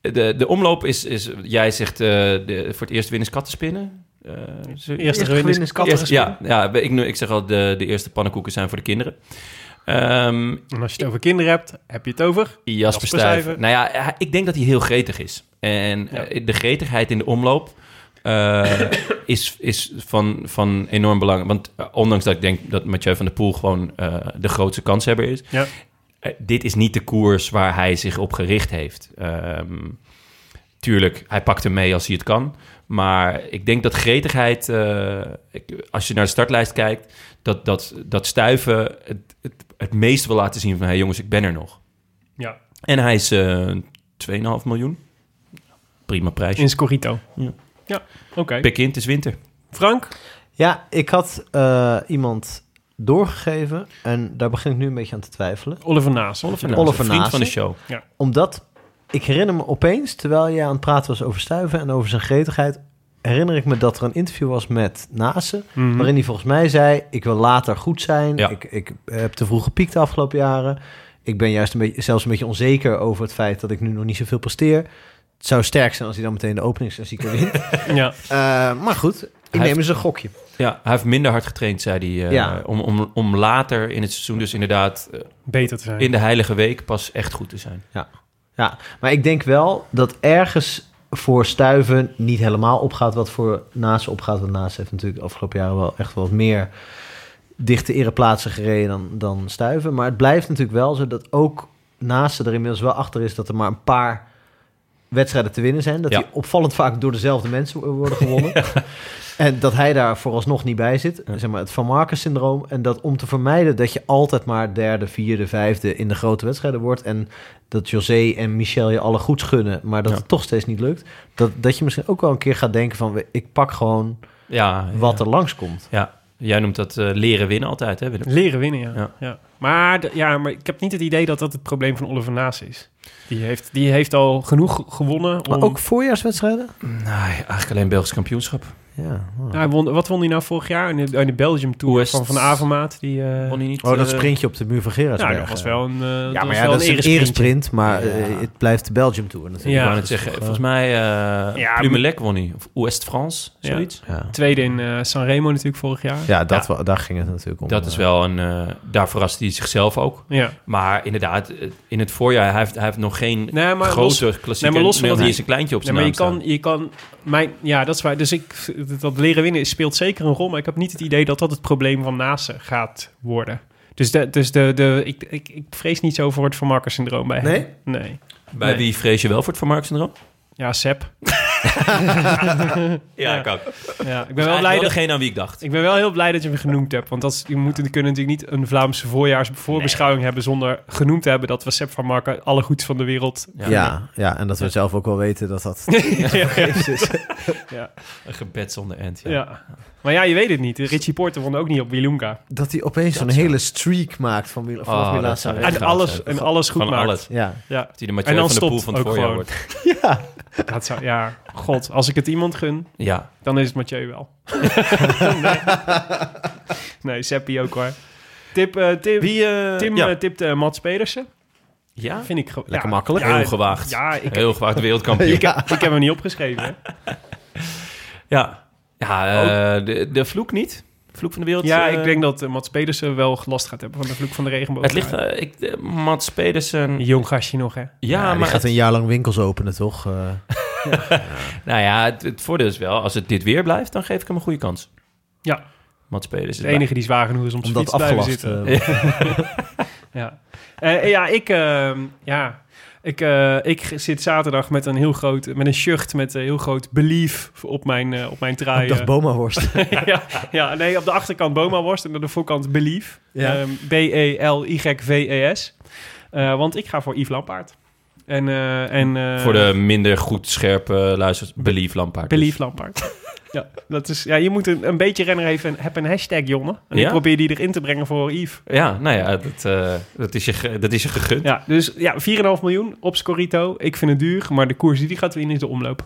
D: de, de omloop is, is jij zegt, eh, de, voor het eerst winnen is kattenspinnen. Eh, zo-
A: Eerste gewin is katten
D: Eerst- ja, ja, ik, nu- ik zeg al, de, de eerste pannenkoeken zijn voor de kinderen. Ehm,
A: En als je het over kinderen hebt, heb je het over.
D: Jasper
A: Stuyven.
D: Stuyven. Nou ja, hij- ik denk dat hij heel gretig is. En
A: Ja.
D: eh, de gretigheid in de omloop eh, is, is van, van enorm belang. Want eh, ondanks dat ik denk dat Mathieu van der Poel gewoon eh, de grootste kanshebber is...
A: Ja.
D: eh, dit is niet de koers waar hij zich op gericht heeft. Ehm, tuurlijk, hij pakt hem mee als hij het kan. Maar ik denk dat gretigheid, eh, ik- als je naar de startlijst kijkt... dat, dat, dat stuiven het, het, het meest wil laten zien van... hé hey jongens, ik ben er nog.
A: Ja.
D: En hij is eh 2,5 miljoen. Prima prijsje.
A: In Scorito.
D: Ja.
A: Ja, oké.
D: Pek in, het is winter.
A: Frank?
E: Ja, ik had eh, iemand doorgegeven en daar begin ik nu een beetje aan te twijfelen.
A: Oliver Naas.
D: Oliver
E: Naas. Oliver
D: vriend
E: Naas,
D: van de
E: hè?
D: show.
E: Omdat ik herinner me opeens, terwijl jij aan het praten was over stuiven en over zijn gretigheid,
B: herinner ik me dat er een interview was met Nase.
A: Mhm.
B: Waarin hij volgens mij zei, ik wil later goed zijn.
D: Ja.
B: Ik, ik heb te vroeg gepiekt de afgelopen jaren. Ik ben juist een beetje, zelfs een beetje onzeker over het feit dat ik nu nog niet zoveel presteer. Het zou sterk zijn als hij dan meteen de openingsklassieker wint.
A: Ja.
B: Eh, maar goed, ik
D: Hij
B: neem
D: heeft-
B: eens een gokje.
D: Ja, hij heeft minder hard getraind, zei hij. eh,
B: Ja.
D: om, om, om later in het seizoen dus inderdaad eh,
A: Beter te zijn.
D: in de heilige week pas echt goed te zijn.
B: Maar ik denk wel dat ergens voor Stuiven niet helemaal opgaat wat voor Naast opgaat. Want Naast heeft natuurlijk de afgelopen jaren wel echt wat meer dichte ereplaatsen gereden dan, dan Stuiven. Maar het blijft natuurlijk wel zo dat ook Naast er inmiddels wel achter is dat er maar een paar wedstrijden te winnen zijn. Dat
D: Ja.
B: die opvallend vaak door dezelfde mensen wo- worden gewonnen. En dat hij daar vooralsnog niet bij zit.
D: Ja.
B: Zeg maar het Van Marcus-syndroom. En dat om te vermijden dat je altijd maar derde, vierde, vijfde in de grote wedstrijden wordt. En dat José en Michel je alle goed gunnen, maar dat
D: Ja.
B: het toch steeds niet lukt. Dat, dat je misschien ook wel een keer gaat denken van... ik pak gewoon
D: Ja,
B: wat
D: ja.
B: er langskomt.
D: Jij noemt dat eh, leren winnen altijd, hè Willem?
A: Leren winnen, ja.
D: Ja.
A: ja. Maar, d- ja. maar ik heb niet het idee dat dat het probleem van Oliver Naas is. Die heeft, die heeft al genoeg gewonnen. Om,
B: Maar ook voorjaarswedstrijden?
D: Nee, eigenlijk alleen Belgisch kampioenschap.
B: Ja. oh.
A: Nou, hij won, wat won hij nou vorig jaar in de, in de Belgium Tour
D: West-
A: van Van Avermaat? Die, eh,
D: Won hij niet,
B: Oh, dat
D: eh,
B: sprintje op de muur van
A: nou,
B: Gerardsberg.
A: dat was wel een, eh, dat
B: ja, maar
A: was
B: ja,
A: wel
B: dat is een
A: eresprintje.
B: eresprint, maar eh,
D: Ja.
B: het blijft de Belgium Tour
D: Ik
B: natuurlijk.
D: wou
A: Ja,
D: net zeggen,
B: toch,
D: volgens mij eh
A: Ja,
D: Plumelec won hij. Of Ouest-France,
A: Ja.
D: zoiets.
B: Ja, ja.
A: Tweede in eh Sanremo natuurlijk vorig jaar.
B: dat, wa- daar ging het natuurlijk om.
D: Dat is wel een... eh, daar verrast hij zichzelf ook.
A: Ja.
D: Maar inderdaad, eh, in het voorjaar, hij heeft, hij heeft nog geen
A: Nee, maar los-
D: grote klassieke...
A: nee, maar los van
D: nee,
A: dat
D: hij
A: hij-
D: is een kleintje op
A: Nee,
D: zijn
A: maar je
D: naam
A: kan, je kan, mijn, ja, dat is waar. Dus ik, dat leren winnen is- speelt zeker een rol, maar ik heb niet het idee dat dat het probleem van Nase gaat worden. Dus, de, dus de, de, ik, ik, ik vrees niet zo voor het Van Marker syndroom bij hem.
B: Nee?
A: Nee.
D: staan. Bij
A: Nee.
D: wie vrees je wel voor het Van Mark syndroom?
A: Ja, Sep.
D: Ja,
A: Ja.
D: ik ook. Ik
A: Ja, ik ben
D: ben
A: wel blij dat...
D: degene aan wie ik dacht.
A: Ik ben wel heel blij dat je hem genoemd hebt. Want dat is, je moet, je kunnen natuurlijk niet een Vlaamse voorjaars voorbeschouwing hebben... zonder genoemd te hebben dat we Sepp van Marken alle goeds van de wereld...
B: Ja, ja, en dat we zelf ook wel weten dat dat...
A: ja, ja,
D: Een gebed zonder end, ja.
A: ja. Maar ja, je weet het niet. Richie Porter won ook niet op Wilunga.
B: dat hij opeens een hele streak maakt van, Mil- vanaf
D: Oh, dat
B: Milaan.
D: zou echt
A: En
D: gaaf
A: alles,
D: zijn.
A: en alles goed
D: Van
A: maakt.
D: alles.
B: Ja.
A: Ja,
D: Dat hij de Mathieu
A: En dan
D: van der Poel
A: stopt
D: van het
A: ook
D: voorjaar
A: gewoon.
D: wordt.
A: dat zou, ja, god. Als ik het iemand gun,
D: Ja,
A: dan is het Mathieu wel. nee, nee Seppi ook hoor. Tip, eh, Tim,
D: Wie, eh,
A: Tim
D: ja.
A: eh, tipte Mats Pedersen.
D: ja?
A: Vind ik gewoon...
B: Lekker
A: ja,
B: makkelijk.
A: ja,
D: heel gewaagd.
A: Ja, ik,
D: Heel gewaagd wereldkampioen.
A: ik, heb, ik heb hem niet opgeschreven. hè.
D: Ja, ja eh, de, de vloek niet. Vloek van de wereld.
A: Ja,
D: eh,
A: ik denk dat eh, Mats Pedersen wel last gaat hebben van de vloek van de regenboog.
D: Het ligt... eh, ik, eh, Mats Pedersen...
A: Een
D: Ja,
A: jong gastje nog, hè?
B: Ja, die
D: maar...
B: gaat
D: het-
B: een jaar lang winkels openen, toch? Eh,
D: nou ja, het, het voordeel is wel... Als het dit weer blijft, dan geef ik hem een goede kans.
A: Ja.
D: Mats Pedersen.
A: De enige die zwaar genoeg is om zijn
B: omdat
A: fiets te blijven
B: afgelast.
A: zitten.
B: eh,
A: Ja, Eh, ja ik, eh, ja, ik, eh, ik zit zaterdag met een heel groot, met een schucht met een heel groot belief op mijn, eh, op mijn
B: Ik
A: trui.
B: dacht
A: eh.
B: Boma-worst.
A: ja, ja, nee, op de achterkant Boma worst en aan de voorkant belief.
B: Ja.
A: Ehm, B-E-L-Y-V-E-S. E Eh, want ik ga voor Yves Lampaard. En, eh, en, eh,
D: Voor de minder goed scherpe eh, luisteraars, Belief Lampaard. dus.
A: Belief Lampaard. ja, dat is, ja, je moet een, een beetje renner even, heb een hashtag, jongen. En
D: Ja?
A: ik probeer die erin te brengen voor Yves.
D: Ja, nou ja, dat, eh, dat, is, je, ge- dat is je gegund.
A: Ja, dus ja, 4,5 miljoen op Scorito. Ik vind het duur, maar de koers die die gaat winnen is de omloop.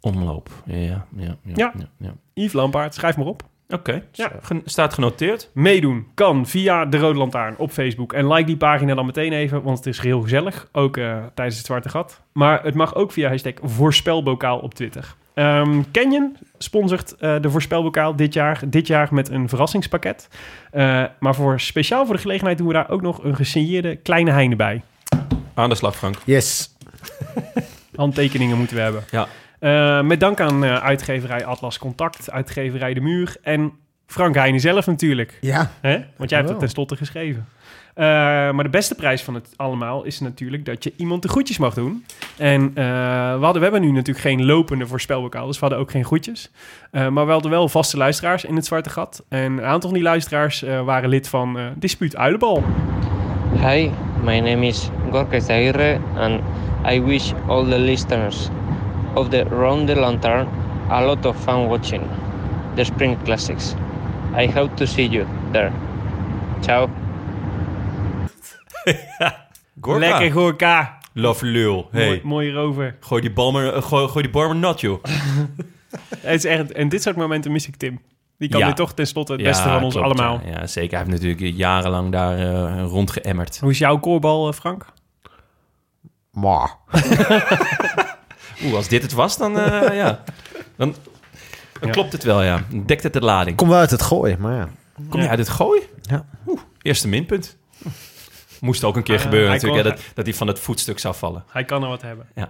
D: Omloop. Ja, ja, ja. ja,
A: Ja.
D: ja, ja.
A: Yves Lampaard, schrijf maar op.
D: Oké,
A: Ja.
D: Zo. Gen- staat genoteerd.
A: Meedoen kan via de Rode Lantaarn op Facebook. En like die pagina dan meteen even, want het is heel gezellig. Ook eh, tijdens het Zwarte Gat. Maar het mag ook via hashtag voorspelbokaal op Twitter. Ehm Canyon sponsort eh, de voorspelbokaal dit jaar, dit jaar met een verrassingspakket. Eh, maar voor, speciaal voor de gelegenheid doen we daar ook nog een gesigneerde kleine heine bij.
D: Aan de slag, Frank.
B: Yes.
A: handtekeningen moeten we hebben.
D: Ja.
A: Eh, met dank aan eh, uitgeverij Atlas Contact, uitgeverij De Muur en Frank Heijnen zelf natuurlijk.
B: Ja.
A: Hè? Want jij hebt
D: Oh.
B: Wel.
A: het tenslotte geschreven. Eh, maar de beste prijs van het allemaal is natuurlijk dat je iemand de groetjes mag doen. En eh, we, hadden, we hebben nu natuurlijk geen lopende voorspelbokaal, dus we hadden ook geen groetjes. Eh, maar we hadden wel vaste luisteraars in het Zwarte Gat. En een aantal van die luisteraars eh, waren lid van eh, Dispuut Uilenbal.
F: Hi, my name is Gorka Zaire, and I wish all the listeners of the Round the Lantern a lot of fun watching the Spring Classics. I hope to see you there. Ciao.
D: Gorka.
A: Lekker Gorka!
D: Love lul. Hey,
A: Mooi, mooie rover.
D: gooi die bal maar, eh, gooi, gooi die bal maar nat, joh.
A: Het is echt, en dit soort momenten mis ik Tim. Die kan
D: Ja.
A: dit toch tenslotte het beste
D: Ja,
A: van ons
D: klopt,
A: allemaal.
D: Ja, Ja, zeker. Hij heeft natuurlijk jarenlang daar eh rondgeëmmerd.
A: Hoe is jouw koorbal, eh, Frank?
B: Maar.
D: Oeh, als dit het was, dan, eh, ja. dan, dan
A: Ja.
D: klopt het wel, ja. Dan Dekt het de lading. Kom,
E: Kom wel uit het gooien, maar ja.
D: je uit het gooien?
E: Ja.
D: Oeh, eerste minpunt. Moest ook een keer
A: Ah,
D: gebeuren
A: hij
D: natuurlijk,
A: kon-
D: ja, dat, dat hij van het voetstuk zou vallen.
A: Hij kan er wat hebben.
D: Eh,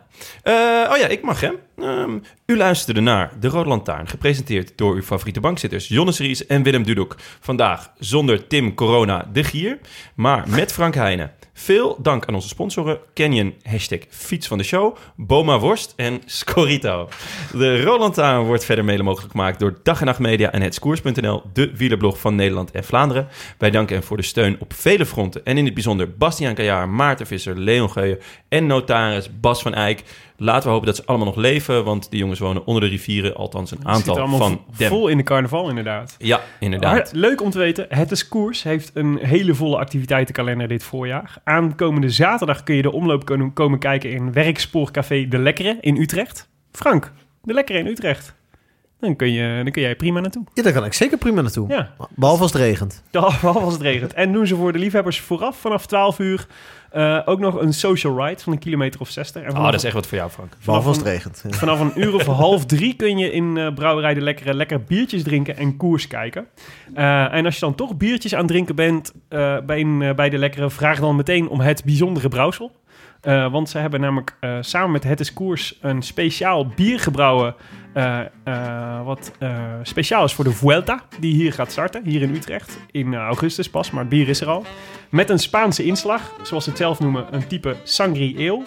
D: oh ja, ik mag hem. Ehm, u luisterde naar De Rode Lantaarn, gepresenteerd door uw favoriete bankzitters Jonas Ries en Willem Dudok. Vandaag zonder Tim Corona de Gier, maar met Frank Heijnen. Veel dank aan onze sponsoren Canyon, hashtag fiets van de show, Boma Worst en Scorito. De Rode Lantaarn wordt verder mede mogelijk gemaakt door Dag en Nacht Media en Hetskoers.nl, de wielerblog van Nederland en Vlaanderen. Wij danken hen voor de steun op vele fronten en in het bijzonder Bastiaan Kajaar, Maarten Visser, Leon Geuyen en notaris Bas van Eyck. Laten we hopen dat ze allemaal nog leven, want die jongens wonen onder de rivieren, althans een
A: Het zit
D: aantal
A: allemaal
D: van
A: vo-
D: dem.
A: vol in de carnaval, inderdaad.
D: Ja, inderdaad.
A: Maar leuk om te weten, het is koers heeft een hele volle activiteitenkalender dit voorjaar. Aankomende zaterdag kun je de omloop kunnen- komen kijken in Werkspoorcafé De Lekkere in Utrecht. Frank, De Lekkere in Utrecht. Dan kun, je, dan kun jij prima naartoe.
E: ja, daar kan ik zeker prima naartoe.
A: Ja,
E: Behalve als het regent.
A: behalve als het regent. En doen ze voor de liefhebbers vooraf vanaf 12 uur eh, ook nog een social ride van een kilometer of 60. En
D: Ah,
A: vanaf,
D: dat is echt wat voor jou, Frank.
E: Behalve als
A: een-
E: het regent. ja.
A: Vanaf een uur of half drie kun je in eh Brouwerij de Lekkere lekker biertjes drinken en koers kijken. Eh, en als je dan toch biertjes aan het drinken bent eh, bij, een, eh, bij de Lekkere, vraag dan meteen om het bijzondere brouwsel. Eh, want ze hebben namelijk eh, samen met Het is Koers een speciaal bier gebrouwen. eh, eh, wat eh, speciaal is voor de Vuelta, die hier gaat starten, hier in Utrecht. In eh, augustus pas, maar het bier is er al. Met een Spaanse inslag, zoals ze het zelf noemen, een type Sangri Ale.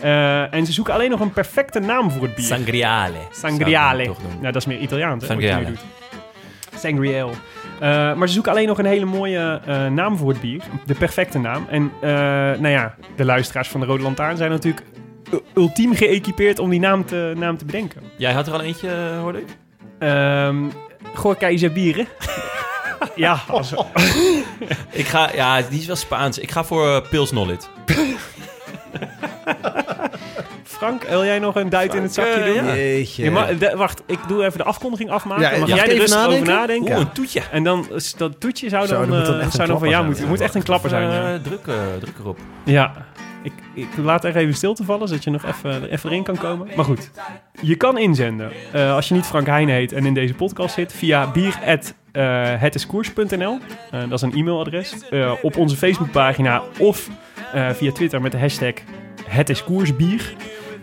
A: Eh, en ze zoeken alleen nog een perfecte naam voor het bier.
D: Sangriale.
A: Sangriale.
D: Zou ik toch
A: Nou,
D: doen.
A: dat is meer Italiaans. hè, wat je
D: Sangriale.
A: nu doet. Sangriale. Eh, maar ze zoeken alleen nog een hele mooie eh, naam voor het bier. De perfecte naam. En eh, nou ja, de luisteraars van de Rode Lantaarn zijn natuurlijk u- ultiem geëquipeerd om die naam te, naam te bedenken.
D: Jij had er al eentje, eh, hoorde ik?
A: Ehm Gorka Isabieren. ja, als,
D: Ik ga, ja, die is wel Spaans. Ik ga voor eh, Pils Nollit.
A: Frank, wil jij nog een duit in het zakje
D: eh,
A: doen?
D: ja.
E: Jeetje.
A: Je mag- de- wacht, ik doe even de afkondiging afmaken.
E: Ja,
A: mag
E: mag
A: jij
E: ik
A: er
E: even
A: rustig over
E: nadenken?
A: nadenken?
D: Oeh, een toetje.
A: En dan is dat toetje zou
E: Zo,
A: dan,
E: dat moet dan
A: eh,
E: echt
A: zou
E: een
A: dan
E: klapper
A: van jou
E: zijn,
A: moeten.
E: ja.
A: Het moet echt een klapper zijn. ja.
D: Eh, druk, eh, druk erop.
A: Ja, ik, ik laat er even stilte vallen, zodat je nog even, er even erin kan komen. Maar goed, je kan inzenden eh, als je niet Frank Heijn heet en in deze podcast zit via bier@ eh, hetiskoers.nl. Eh, dat is een e-mailadres. Eh, op onze Facebookpagina of eh, via Twitter met de hashtag hetiskoersbier.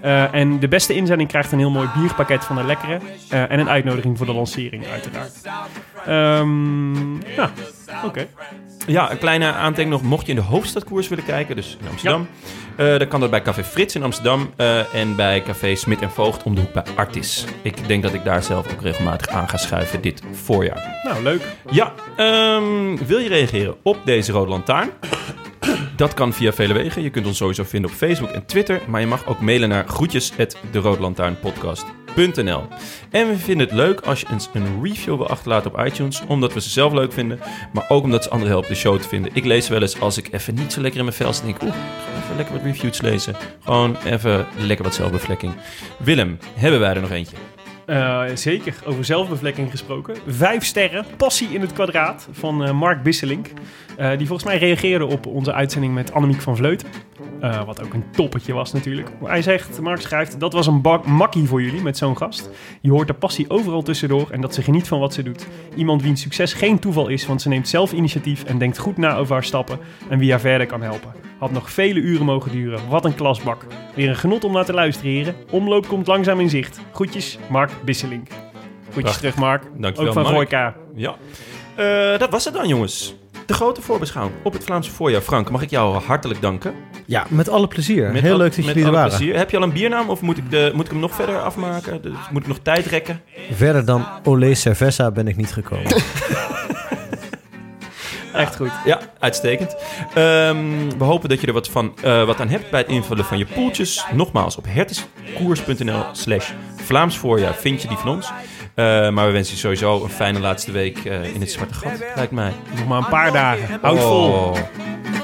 A: Eh, en de beste inzending krijgt een heel mooi bierpakket van de lekkere. eh, en een uitnodiging voor de lancering, uiteraard. Ehm ja, oké.
D: Ja, een kleine aantekening nog. Mocht je in de hoofdstadkoers willen kijken, dus in Amsterdam, eh, dan kan dat bij Café Frits in Amsterdam eh, en bij Café Smit en Voogd om de hoek bij Artis. Ik denk dat ik daar zelf ook regelmatig aan ga schuiven dit voorjaar.
A: Nou, leuk.
D: Ja, ehm, wil je reageren op deze Rode Lantaarn? Dat kan via vele wegen. Je kunt ons sowieso vinden op Facebook en Twitter. Maar je mag ook mailen naar groetjes.deroodlantaarnpodcast.nl En we vinden het leuk als je eens een review wil achterlaten op iTunes. Omdat we ze zelf leuk vinden. Maar ook omdat ze anderen helpen de show te vinden. Ik lees wel eens als ik even niet zo lekker in mijn vel zit. denk ik, oeh, ik ga even lekker wat reviews lezen. Gewoon even lekker wat zelfbevlekking. Willem, hebben wij er nog eentje?
A: Eh, zeker, over zelfbevlekking gesproken. Vijf sterren, passie in het kwadraat van eh, Mark Bisselink. Eh, die volgens mij reageerde op onze uitzending met Annemiek van Vleuten. Eh, wat ook een toppetje was natuurlijk. Maar Hij zegt, Mark schrijft, dat was een bak makkie voor jullie met zo'n gast. Je hoort de passie overal tussendoor en dat ze geniet van wat ze doet. Iemand wiens succes geen toeval is, want ze neemt zelf initiatief en denkt goed na over haar stappen en wie haar verder kan helpen. Had nog vele uren mogen duren. Wat een klasbak. Weer een genot om naar te luisteren, heren. Omloop komt langzaam in zicht. Groetjes, Mark Bisselink. Groetjes
D: Prachtig.
A: terug, Mark.
D: Dankjewel,
A: Ook van
D: Mark.
A: Royka.
D: Ja. Eh, dat was het dan, jongens. De grote voorbeschouwing op het Vlaamse voorjaar. Frank, mag ik jou hartelijk danken?
E: Ja, met alle plezier.
D: Met
E: Heel
D: al-
E: leuk dat
D: met
E: jullie er
D: alle
E: waren.
D: plezier. Heb je al een biernaam of moet ik, de, moet ik hem nog verder afmaken? Dus moet ik nog tijd rekken?
E: Verder dan Olé Cerveza ben ik niet gekomen.
A: Echt goed.
D: Ja, uitstekend. Ehm, we hopen dat je er wat, van, eh, wat aan hebt bij het invullen van je poeltjes. Nogmaals, op herteskoers.nl slash Vlaams voorjaar vind je die van ons. Eh, maar we wensen je sowieso een fijne laatste week eh, in het zwarte gat, lijkt mij.
A: Nog maar een paar dagen. Houd vol.
D: Oh,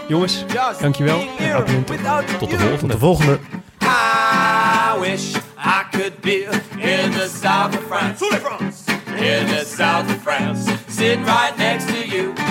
A: Jongens,
C: Just
A: dankjewel.
C: be
A: En
C: here
A: appiënten.
C: without
D: tot de
C: you.
D: volgende.
E: De volgende.
C: I wish I could be in the south of France. France. In the south of France, sitting right next to you.